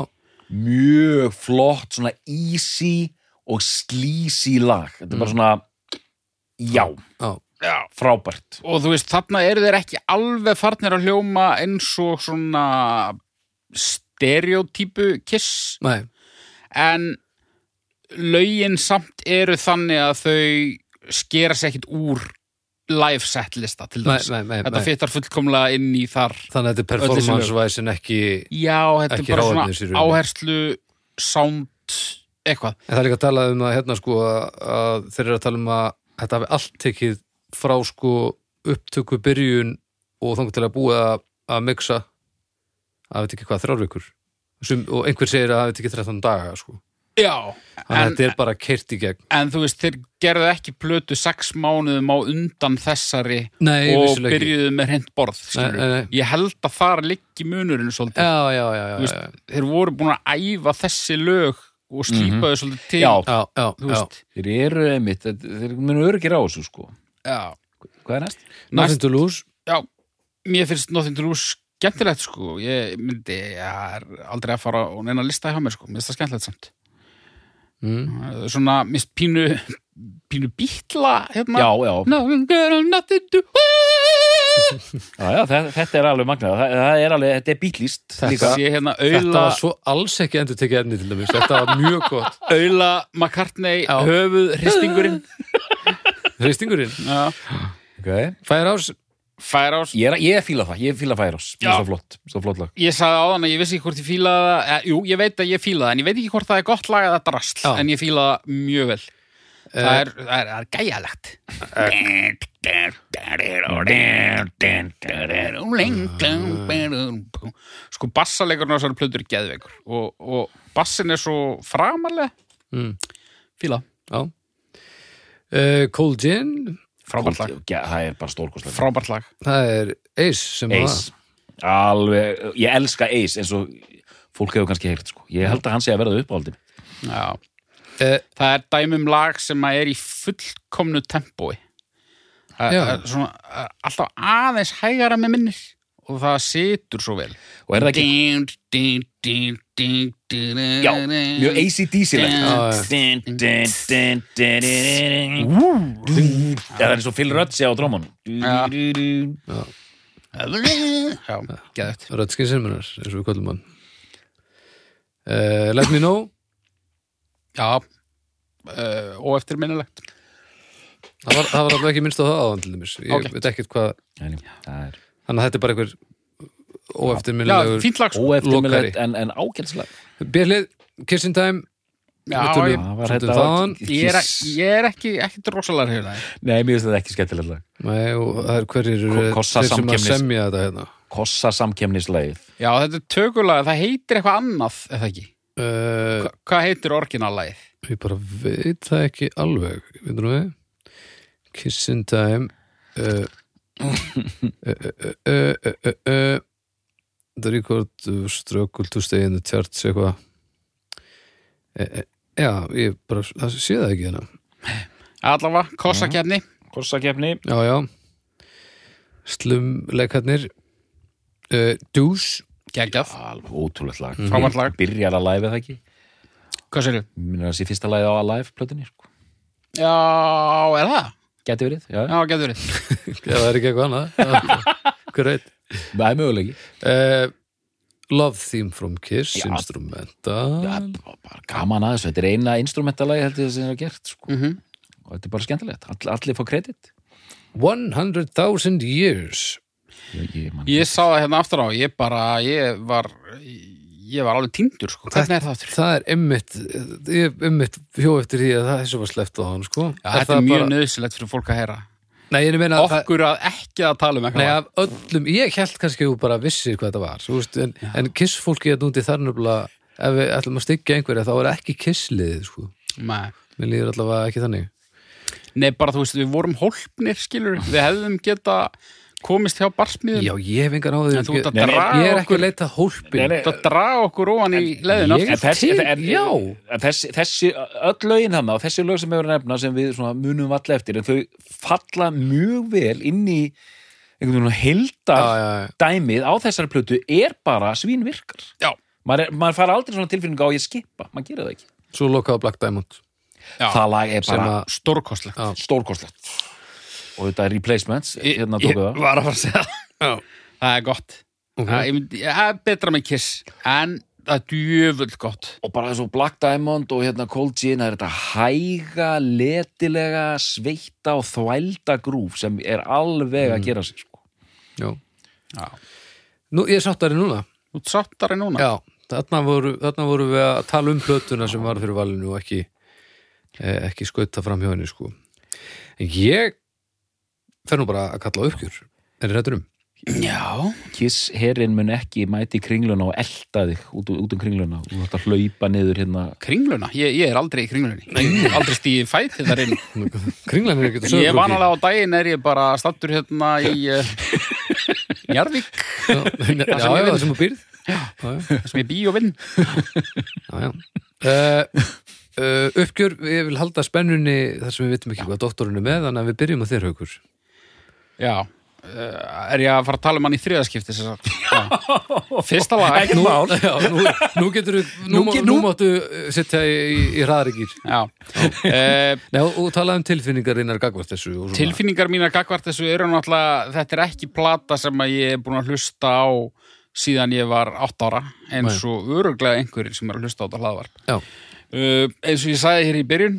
Speaker 2: mjög flott, svona easy og sleazy lag þetta er bara svona Mm. já,
Speaker 1: já,
Speaker 3: Já.
Speaker 2: frábært
Speaker 3: og þú veist, þarna eru þeir ekki alveg farnir að hljóma eins og svona stereotypu kiss
Speaker 1: nei,
Speaker 3: en lögin samt eru þannig að þau skera sér ekkit úr live set lista til
Speaker 1: nei,
Speaker 3: þess
Speaker 1: nei, nei,
Speaker 3: þetta
Speaker 1: nei.
Speaker 3: fyttar fullkomlega inn í þar
Speaker 1: Þannig að þetta er
Speaker 3: Öll þessi lög.
Speaker 1: performance-væsin ekki,
Speaker 3: já, þetta
Speaker 1: Ekki
Speaker 3: er bara
Speaker 1: hráefnis í
Speaker 3: svona
Speaker 1: rauninni.
Speaker 3: áherslu sound, eitthvað
Speaker 1: en það er líka að tala um að hérna sko að- að þeir eru að tala um að þetta hafi allt tekið frá sko upptöku byrjun og þangur til að búa að, að mixa að veit ekki hvað þrjár vikur Sum, og einhver segir að það veit ekki 13 daga sko.
Speaker 3: Já,
Speaker 1: þannig að
Speaker 3: en,
Speaker 1: þetta er bara kert í gegn
Speaker 3: en þú veist, þeir gerðu ekki plötu sex mánuðum á undan þessari
Speaker 1: Nei,
Speaker 3: og
Speaker 1: vissulega ekki.
Speaker 3: byrjuðu með hreint borð
Speaker 1: Nei, eh.
Speaker 3: skilurðu.
Speaker 1: nei, nei.
Speaker 3: Ég held að þar liggi munurinn svolítið.
Speaker 1: Já, já, já,
Speaker 3: Þú
Speaker 1: já,
Speaker 3: veist,
Speaker 1: já,
Speaker 3: Þeir voru búin að æfa þessi lög og slípa
Speaker 2: Mhm.
Speaker 3: þau svolítið til.
Speaker 2: Já.
Speaker 1: já, já,
Speaker 3: þú
Speaker 1: já.
Speaker 3: veist.
Speaker 2: Þeir eru einmitt, þetta- þeir munu örgir á þessu sko
Speaker 3: Já.
Speaker 2: Hvað er næst?
Speaker 1: Nothing to lose
Speaker 3: já, mér finnst Nothing to Lose skemmtilegt sko, ég myndi ég er aldrei að fara og neina lista hjá mér sko, mér finnst það skemmtilegt samt
Speaker 1: mm.
Speaker 3: Eh, svona, mér finnst pínu pínu býtla hérna.
Speaker 2: Já, já,
Speaker 3: no, girl, nothing to lose
Speaker 2: já, já þetta, þetta er alveg magnað það, það er alveg, þetta er bílist líka
Speaker 3: sé hérna
Speaker 1: Þetta
Speaker 3: auðla
Speaker 1: var svo alls ekki endur tekið efni til dæmis Þetta var mjög gott
Speaker 3: auðla McCartney
Speaker 1: Já.
Speaker 3: höfuð
Speaker 1: *laughs*
Speaker 3: hristingurinn
Speaker 1: Hristingurinn
Speaker 2: okay.
Speaker 1: Færa ás
Speaker 3: færa ás
Speaker 2: Ég, er, ég fíla það, ég fíla Færos Mér
Speaker 3: Já.
Speaker 2: er svo flott, svo flott lag
Speaker 3: ég sagði á þannig að ég vissi ekki hvort ég fílaði það eh, jú, ég veit að ég fílaði það, en ég veit ekki hvort það er gott lag eða drasl,
Speaker 1: Já. Eh.
Speaker 3: en ég fílaði það mjög vel það er, það er, það er gæjalegt sko bassaleikurinn á þessari plötur er geðveikur og, og bassin er svo framarlega
Speaker 1: mm.
Speaker 3: fíla,
Speaker 1: Já uh, Cold Gin
Speaker 3: frábært lag
Speaker 2: Ja, Það er bara stórkostlega
Speaker 3: frábært lag
Speaker 1: Það er Ace sem var
Speaker 2: Ace, alveg, ég elska Ace eins og fólk hefur kannski heyrt sko. Ég held að hann sé að verða uppáhaldi
Speaker 3: Já.
Speaker 1: Eh.
Speaker 3: það er dæmum lag sem að er í fullkomnu tempói það
Speaker 1: Já.
Speaker 3: er svona það er alltaf aðeins hægara með minnir og það situr svo vel
Speaker 2: Og er það ekki, já, mjög
Speaker 1: Já, já.
Speaker 2: AC-DC-leg Það er eins og Phil Rudd sé á drómanum
Speaker 3: Já.
Speaker 2: Já,
Speaker 3: Já, geðvægt
Speaker 1: Rödskin Simmunar, eins og við kvöldum hann uh, Let me know
Speaker 3: Já, uh, og eftirminnilegt
Speaker 1: Það var, það var alveg ekki minnst á það áðan til dæmis Ég
Speaker 3: Ágætt.
Speaker 1: veit ekkert hvað
Speaker 2: það er
Speaker 1: Þannig að þetta er bara einhver
Speaker 3: Já,
Speaker 1: óeftirminnilegur
Speaker 3: fínt lag sko
Speaker 2: óeftirmilegt en, en ágætslega
Speaker 1: Bérlið, Kissing Time
Speaker 3: Já,
Speaker 1: við tölum-
Speaker 3: ég,
Speaker 2: Það
Speaker 1: Svolítið
Speaker 2: var þetta
Speaker 1: þaðan.
Speaker 3: ég, er, ég er ekki, ekkert rosalega hérna
Speaker 2: Nei, mér finnst þetta ekki skemmtilega
Speaker 1: Nei, og það er hverjir eru
Speaker 2: Ko- kossa
Speaker 1: þeir sem að
Speaker 2: samkeppnis.
Speaker 1: semja þetta hérna
Speaker 2: Kossa samkemnisleið
Speaker 3: Já, þetta er tökulega, það heitir eitthvað annað eða ekki
Speaker 1: uh,
Speaker 3: Hva, Hvað heitir orginalagið?
Speaker 1: Ég bara veit það ekki alveg Við nú við Kissing Time uh, uh, uh, uh, uh, uh, uh, The Record uh, Struggle to Stay in the Charts eitthvað uh, uh, Já, ég bara það sé það ekki hérna
Speaker 3: Allavega, kossakefni
Speaker 2: Kossakefni
Speaker 1: Já, já Slumleikarnir uh, Deuce
Speaker 3: Geggjað,
Speaker 2: Alveg ótrúlegt lag
Speaker 3: Mhm. Frábært lag.
Speaker 2: Byrjar að live eða ekki
Speaker 3: hvað sér þau?
Speaker 2: Minnur það sé fyrsta lagið á að live plötunni sko.
Speaker 3: Já, er það?
Speaker 2: Gæti verið, já,
Speaker 3: Já, getur verið
Speaker 1: Já, það er ekki eitthvað annað Hver veit
Speaker 2: Það er mögulegi
Speaker 1: uh, Love Theme from Kiss
Speaker 2: Já.
Speaker 1: Instrumenta
Speaker 2: Það er bara- bara gaman að þessu Þetta er eina instrumentalagi heldur þess að það er gert sko.
Speaker 3: Mhm.
Speaker 2: Og þetta er bara skemmtilegt All, Allir fá kredit
Speaker 1: 100,000 Years
Speaker 2: Ég, ég, man-
Speaker 3: Ég sá það hérna aftur á, ég bara, ég var Ég var alveg týndur sko, hvernig er það aftur?
Speaker 1: Það er einmitt ég er einmitt hjó eftir því að það þessu var sleppt á hann sko.
Speaker 3: Já, þetta er mjög bara... nöðsilegt fyrir fólk að heyra
Speaker 1: Nei, ég meina að það
Speaker 3: Okkur að ekki að tala um
Speaker 1: Nei,
Speaker 3: eitthvað
Speaker 1: af öllum, ég held kannski að þú bara vissir hvað þetta var, svo veist, en, en kissfólki að núti þar nefnilega, ef við ætlum að styggja einhverja, þá er ekki kissliðið, sko.
Speaker 3: Nei.
Speaker 1: Mér líður allavega ekki þannig.
Speaker 3: Nei, bara þú veist, við vorum hólpnir, skilur Við hefðum geta komist hjá barsmiðum
Speaker 1: Já, ég hef engan á því.
Speaker 3: En þú ert að
Speaker 2: Nei, nei,
Speaker 3: draga
Speaker 1: Ég er ekki
Speaker 3: okkur
Speaker 1: að leita hólpin.
Speaker 2: Nei, nei,
Speaker 3: Þú ert að draga okkur ofan í leðin
Speaker 1: ég-
Speaker 2: En þessi,
Speaker 1: Til,
Speaker 2: en-
Speaker 1: já.
Speaker 2: en þessi, þessi öll lögin hann og þessi lög sem hefur að nefna sem við svona munum allir eftir en þau falla mjög vel inn í einhvern veginn
Speaker 1: Já,
Speaker 2: heildar
Speaker 1: já, já.
Speaker 2: dæmið á þessari plötu er bara svínvirkar
Speaker 3: Já.
Speaker 2: maður, er, maður fara aldrei svona tilfinning á að ég skipa maður gerir það ekki
Speaker 1: Svo lokaðu Black Diamond.
Speaker 3: Já.
Speaker 2: það lag er
Speaker 1: Sem
Speaker 2: bara
Speaker 1: að
Speaker 3: Stórkostlegt
Speaker 1: Já.
Speaker 2: stórkostlegt og þetta er replacements
Speaker 3: Ég-
Speaker 2: hérna
Speaker 3: ég
Speaker 2: tóku það
Speaker 3: var að fara að segja það. Það er gott
Speaker 1: Ok.
Speaker 3: Það ég myndi- það er betra með kiss En það er djöfull gott
Speaker 2: og bara þessu Black Diamond og hérna Cold Gin það er þetta hæga, letilega sveita og þvælda grúf sem er alveg
Speaker 1: Mm.
Speaker 2: að gera sig sko.
Speaker 1: Já.
Speaker 3: Já.
Speaker 1: Nú, ég er sáttari núna.
Speaker 3: Þú ert sáttari núna
Speaker 1: Já, þarna voru, þarna voru við að tala um plötuna sem var fyrir valinu og ekki, eh, ekki skauta fram hjá henni, sko. En ég fer nú bara að kalla á uppgjör er réttur um
Speaker 3: Já,
Speaker 2: Kiss herrin mun ekki mæti í kringluna og elta þig út, út um kringluna og þú ætti að hlaupa niður hérna
Speaker 3: kringluna, ég, ég er aldrei í kringlunni Ég hef aldrei stíði fætið þar inn
Speaker 1: Kringlan er ekkert að
Speaker 3: Ég
Speaker 1: sögur
Speaker 3: var nálega á daginn er ég bara stattur hérna
Speaker 1: *laughs*
Speaker 3: í uh, Njarvík
Speaker 1: Já, já,
Speaker 3: sem ég
Speaker 1: já,
Speaker 3: vinn.
Speaker 1: það sem þú býrð Já, já,
Speaker 3: sem ég bý og vinn
Speaker 1: já, já. Uh, uh, Uppgjör, ég vil halda spennunni þar sem við vitum ekki hvað doktorinn er með þannig að við byrjum á þér haukur
Speaker 3: Já, uh, er ég að fara að tala um hann í þriðaskipti
Speaker 1: *laughs*
Speaker 3: sem sagt? Já. Fyrsta lag
Speaker 1: Nú, já, nú, nú getur þú nú,
Speaker 2: Nú
Speaker 1: nú,
Speaker 2: get-
Speaker 1: nú
Speaker 2: nú-
Speaker 1: máttu uh, setja í, í hraðarikir
Speaker 3: Já, uh,
Speaker 1: Nei, og, og talaðu um tilfinningar innar gagvart þessu og svona.
Speaker 3: tilfinningar mínar gagvart þessu eru náttúrulega þetta er ekki plata sem að ég er búin að hlusta á síðan ég var 8 ára eins og öruglega einhverjir sem er að hlusta á þetta hlaðvarp
Speaker 1: Já,
Speaker 3: uh, eins og ég sagði hér í byrjun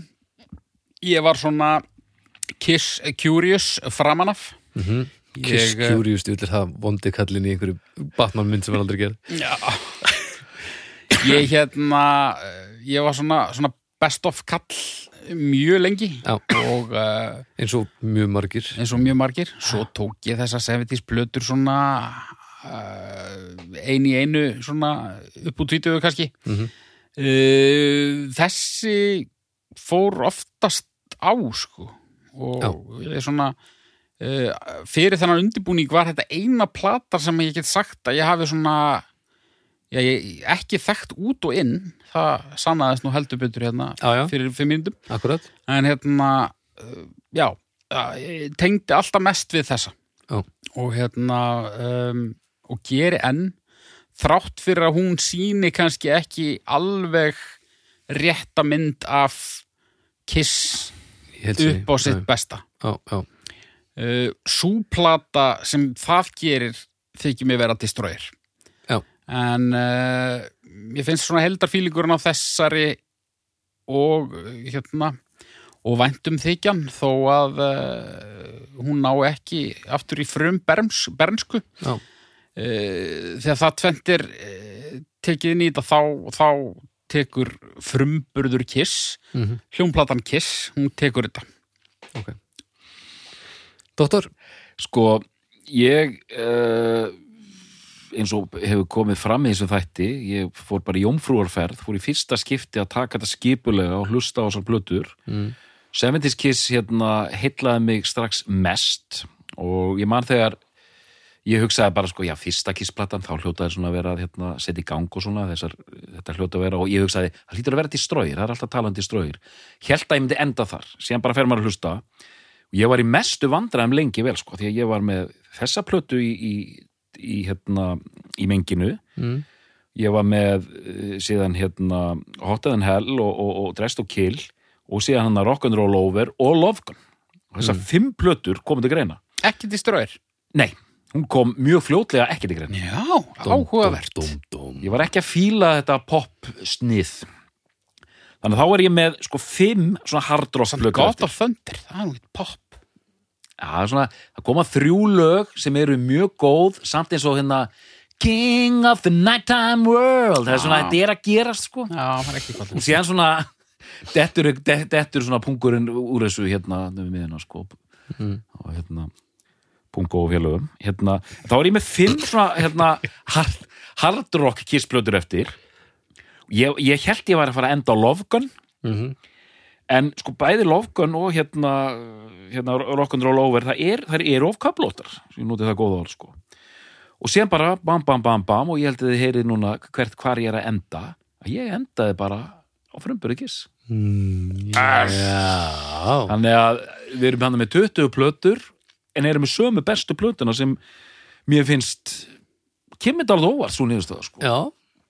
Speaker 3: ég var svona kiss curious framan af -hmm.
Speaker 1: Mhm. Kiss Curious, ég vil það vondi kallin í einhverju Batman mynd sem er aldrei gerð
Speaker 3: Já Ég hérna eh, ég var svona, svona best of kall mjög lengi
Speaker 1: Já.
Speaker 3: og uh,
Speaker 1: eins og mjög margir
Speaker 3: eins og mjög margir svo tók ég þessa 70s plötur svona uh, einu í einu svona upp úr 20 kannski mm
Speaker 1: Mhm.
Speaker 3: Þessi fór oftast á sko og ég svona uh, fyrir þennan undibúning var þetta eina platar sem ég get sagt að ég hafi svona já, ég, ekki þekkt út og inn það sannaðist nú heldur betur hérna
Speaker 1: Já, já,
Speaker 3: fyrir fimm myndum
Speaker 1: akkurat
Speaker 3: en hérna uh, já, uh, ég tengdi alltaf mest við þessa
Speaker 1: Já.
Speaker 3: og hérna um, og geri enn þrátt fyrir að hún síni kannski ekki alveg rétta mynd af kiss
Speaker 1: Ég held segi.
Speaker 3: upp á sitt
Speaker 1: Já,
Speaker 3: besta
Speaker 1: Já, já,
Speaker 3: uh, súplata sem það gerir þykir mér vera destroyer
Speaker 1: Já.
Speaker 3: en uh, ég finnst svona heldarfílingurinn á þessari og eh, hérna og væntum þykjan þó að uh, hún ná ekki aftur í frum berns, bernsku
Speaker 1: já,
Speaker 3: Eh, þegar það tventir tekið inn í þetta þá, þá tekur frumburður Kiss
Speaker 1: Mhm.
Speaker 3: hljómplatan Kiss, hún tekur þetta
Speaker 1: ok Dóttor,
Speaker 2: sko, ég uh, eins og hefur komið fram í þessu þætti, ég fór bara í jómfrúarferð, fór í fyrsta skipti að taka þetta skipulega og hlusta á þessar plötur
Speaker 1: Mm.
Speaker 2: 70's Kiss hérna heillaði mig strax mest og ég man þegar ég hugsaði bara sko, já, fyrsta kissplattan þá hljótaði svona að vera að hérna, setja í gang og svona þessar, þetta hljóta að vera og ég hugsaði, það hlýtur að vera distróir, það er alltaf talandi distróir held að ég myndi enda þar, síðan bara fer maður að hlusta og ég var í mestu vandræðum lengi vel sko, því að ég var með þessa plötu í, í, í hérna, í menginu
Speaker 1: mm.
Speaker 2: ég var með eh, síðan hérna Hotter Than Hell og, og, og Dressed to Kill og síðan hérna hann að Rock'n'Roll Over og Love Gun og þessar fimm plötur komið til greina
Speaker 3: ekki diströðir
Speaker 2: nei, hún kom mjög fljótlega ekki til greina
Speaker 3: Já,
Speaker 1: dóm,
Speaker 3: áhugavert
Speaker 1: dóm, dóm, dóm.
Speaker 2: ég var ekki að fíla þetta pop snið þannig að þá er ég með sko fimm svona hard rock
Speaker 3: Samt
Speaker 2: plötur
Speaker 3: God
Speaker 2: eftir.
Speaker 3: of Thunder, það er nú eitt pop
Speaker 2: Já, það er svona, það koma þrjú lög sem eru mjög góð samt eins og hérna King of the Nighttime World það er svona,
Speaker 3: Já.
Speaker 2: þetta er að gerast sko
Speaker 3: Já, það er ekki hvað
Speaker 2: og síðan svona dettur, det- dettur svona pungurinn úr þessu hérna við miðina sko og hérna pungu og félögum hérna, þá er ég með fimm svona hérna, hard, hard rock kissplötur eftir ég, ég held ég var að fara að enda á Love Gun
Speaker 1: Mhm.
Speaker 2: en sko bæði Love Gun og hérna, hérna Rock'n'Roll Over það er, það er ofkaplótar ég noti það góða orð sko og síðan bara bam bam bam bam og ég held að þið heyrið núna hvert hvar ég er að enda að ég endaði bara á frumböru kiss
Speaker 1: Mm, Já
Speaker 2: Þannig að við erum hann með 20 plötur en erum með sömu bestu plötuna sem mér finnst kemur þetta alveg óvart svo niðurstöða sko.
Speaker 1: Já,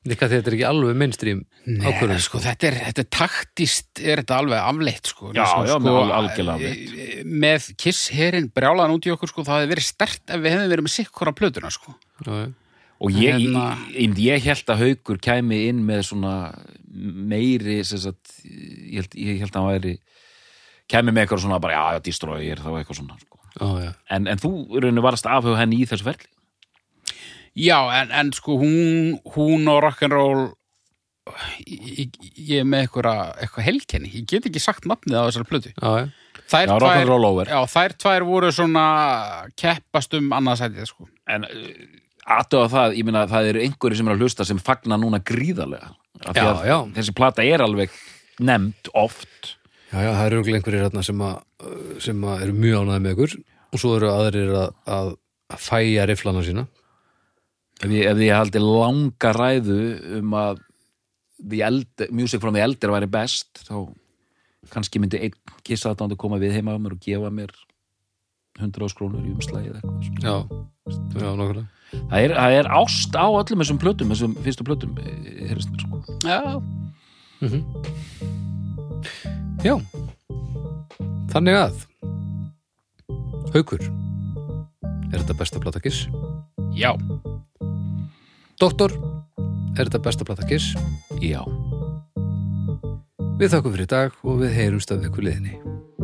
Speaker 1: líka því þetta er ekki alveg mainstream
Speaker 3: Nei,
Speaker 1: ákvörðum
Speaker 3: sko, þetta er, þetta er taktist, er þetta alveg afleitt, sko.
Speaker 2: Já,
Speaker 3: Svo,
Speaker 2: já,
Speaker 3: sko,
Speaker 2: með al- algjörlega afleitt.
Speaker 3: eh, Með Kiss herinn brjálaðan út í okkur, sko, það hefði verið stert ef við hefðum verið með sikkora plötuna, sko.
Speaker 1: Já, já.
Speaker 2: og ég,
Speaker 3: Hérna-
Speaker 2: ég, ég held að haukur kæmi inn með svona meiri sem sagt, ég, held, ég held að hann væri kæmi með eitthvað svona bara já, já, destroyer, það var eitthvað svona sko.
Speaker 1: Já, já.
Speaker 2: en, en þú í rauninu varst afhuga henni í þessu ferli
Speaker 3: Já, en, en sko, hún, hún og rock'n'roll, ég, ég- ég er með eitthvað, eitthvað helkenni. Ég get ekki sagt nafnið á þessari plötu.
Speaker 1: Já, já.
Speaker 3: Þær
Speaker 2: Já,
Speaker 3: tvær,
Speaker 2: rock'n'roll over.
Speaker 3: já, þær tvær voru svona keppast um annarsætið sko.
Speaker 2: En aðtöða það, ég meina það eru einhverju sem er að hlusta sem fagna núna gríðarlega Af því
Speaker 1: Já,
Speaker 2: að
Speaker 1: já.
Speaker 2: Þessi plata er alveg nefnd oft
Speaker 1: Já, já, það eru örugglega einhverjir hérna sem, að, uh, sem að eru mjög ánægði með ykkur og svo eru aðrir að, að, að fæja riflana sína.
Speaker 2: Ef ég, ef ég haldi langa ræðu um að the elder, music from the elder væri best þá kannski myndi einn kissa að koma við heima á mér og gefa mér 100 skrónur í umslagi eða eitthvað svona.
Speaker 1: Já, já, nokkulega.
Speaker 2: það er, það er ást á öllum þessum plötum þessum fyrstu plötum eh, heyrist mér sko
Speaker 3: Já,
Speaker 1: Já, þannig að Haukur Er þetta besta plata kiss?
Speaker 3: já,
Speaker 1: Doktor, er þetta besta plata kiss?
Speaker 2: Já
Speaker 1: Við þakkum fyrir í dag og við heyrumst af ykkur liðinni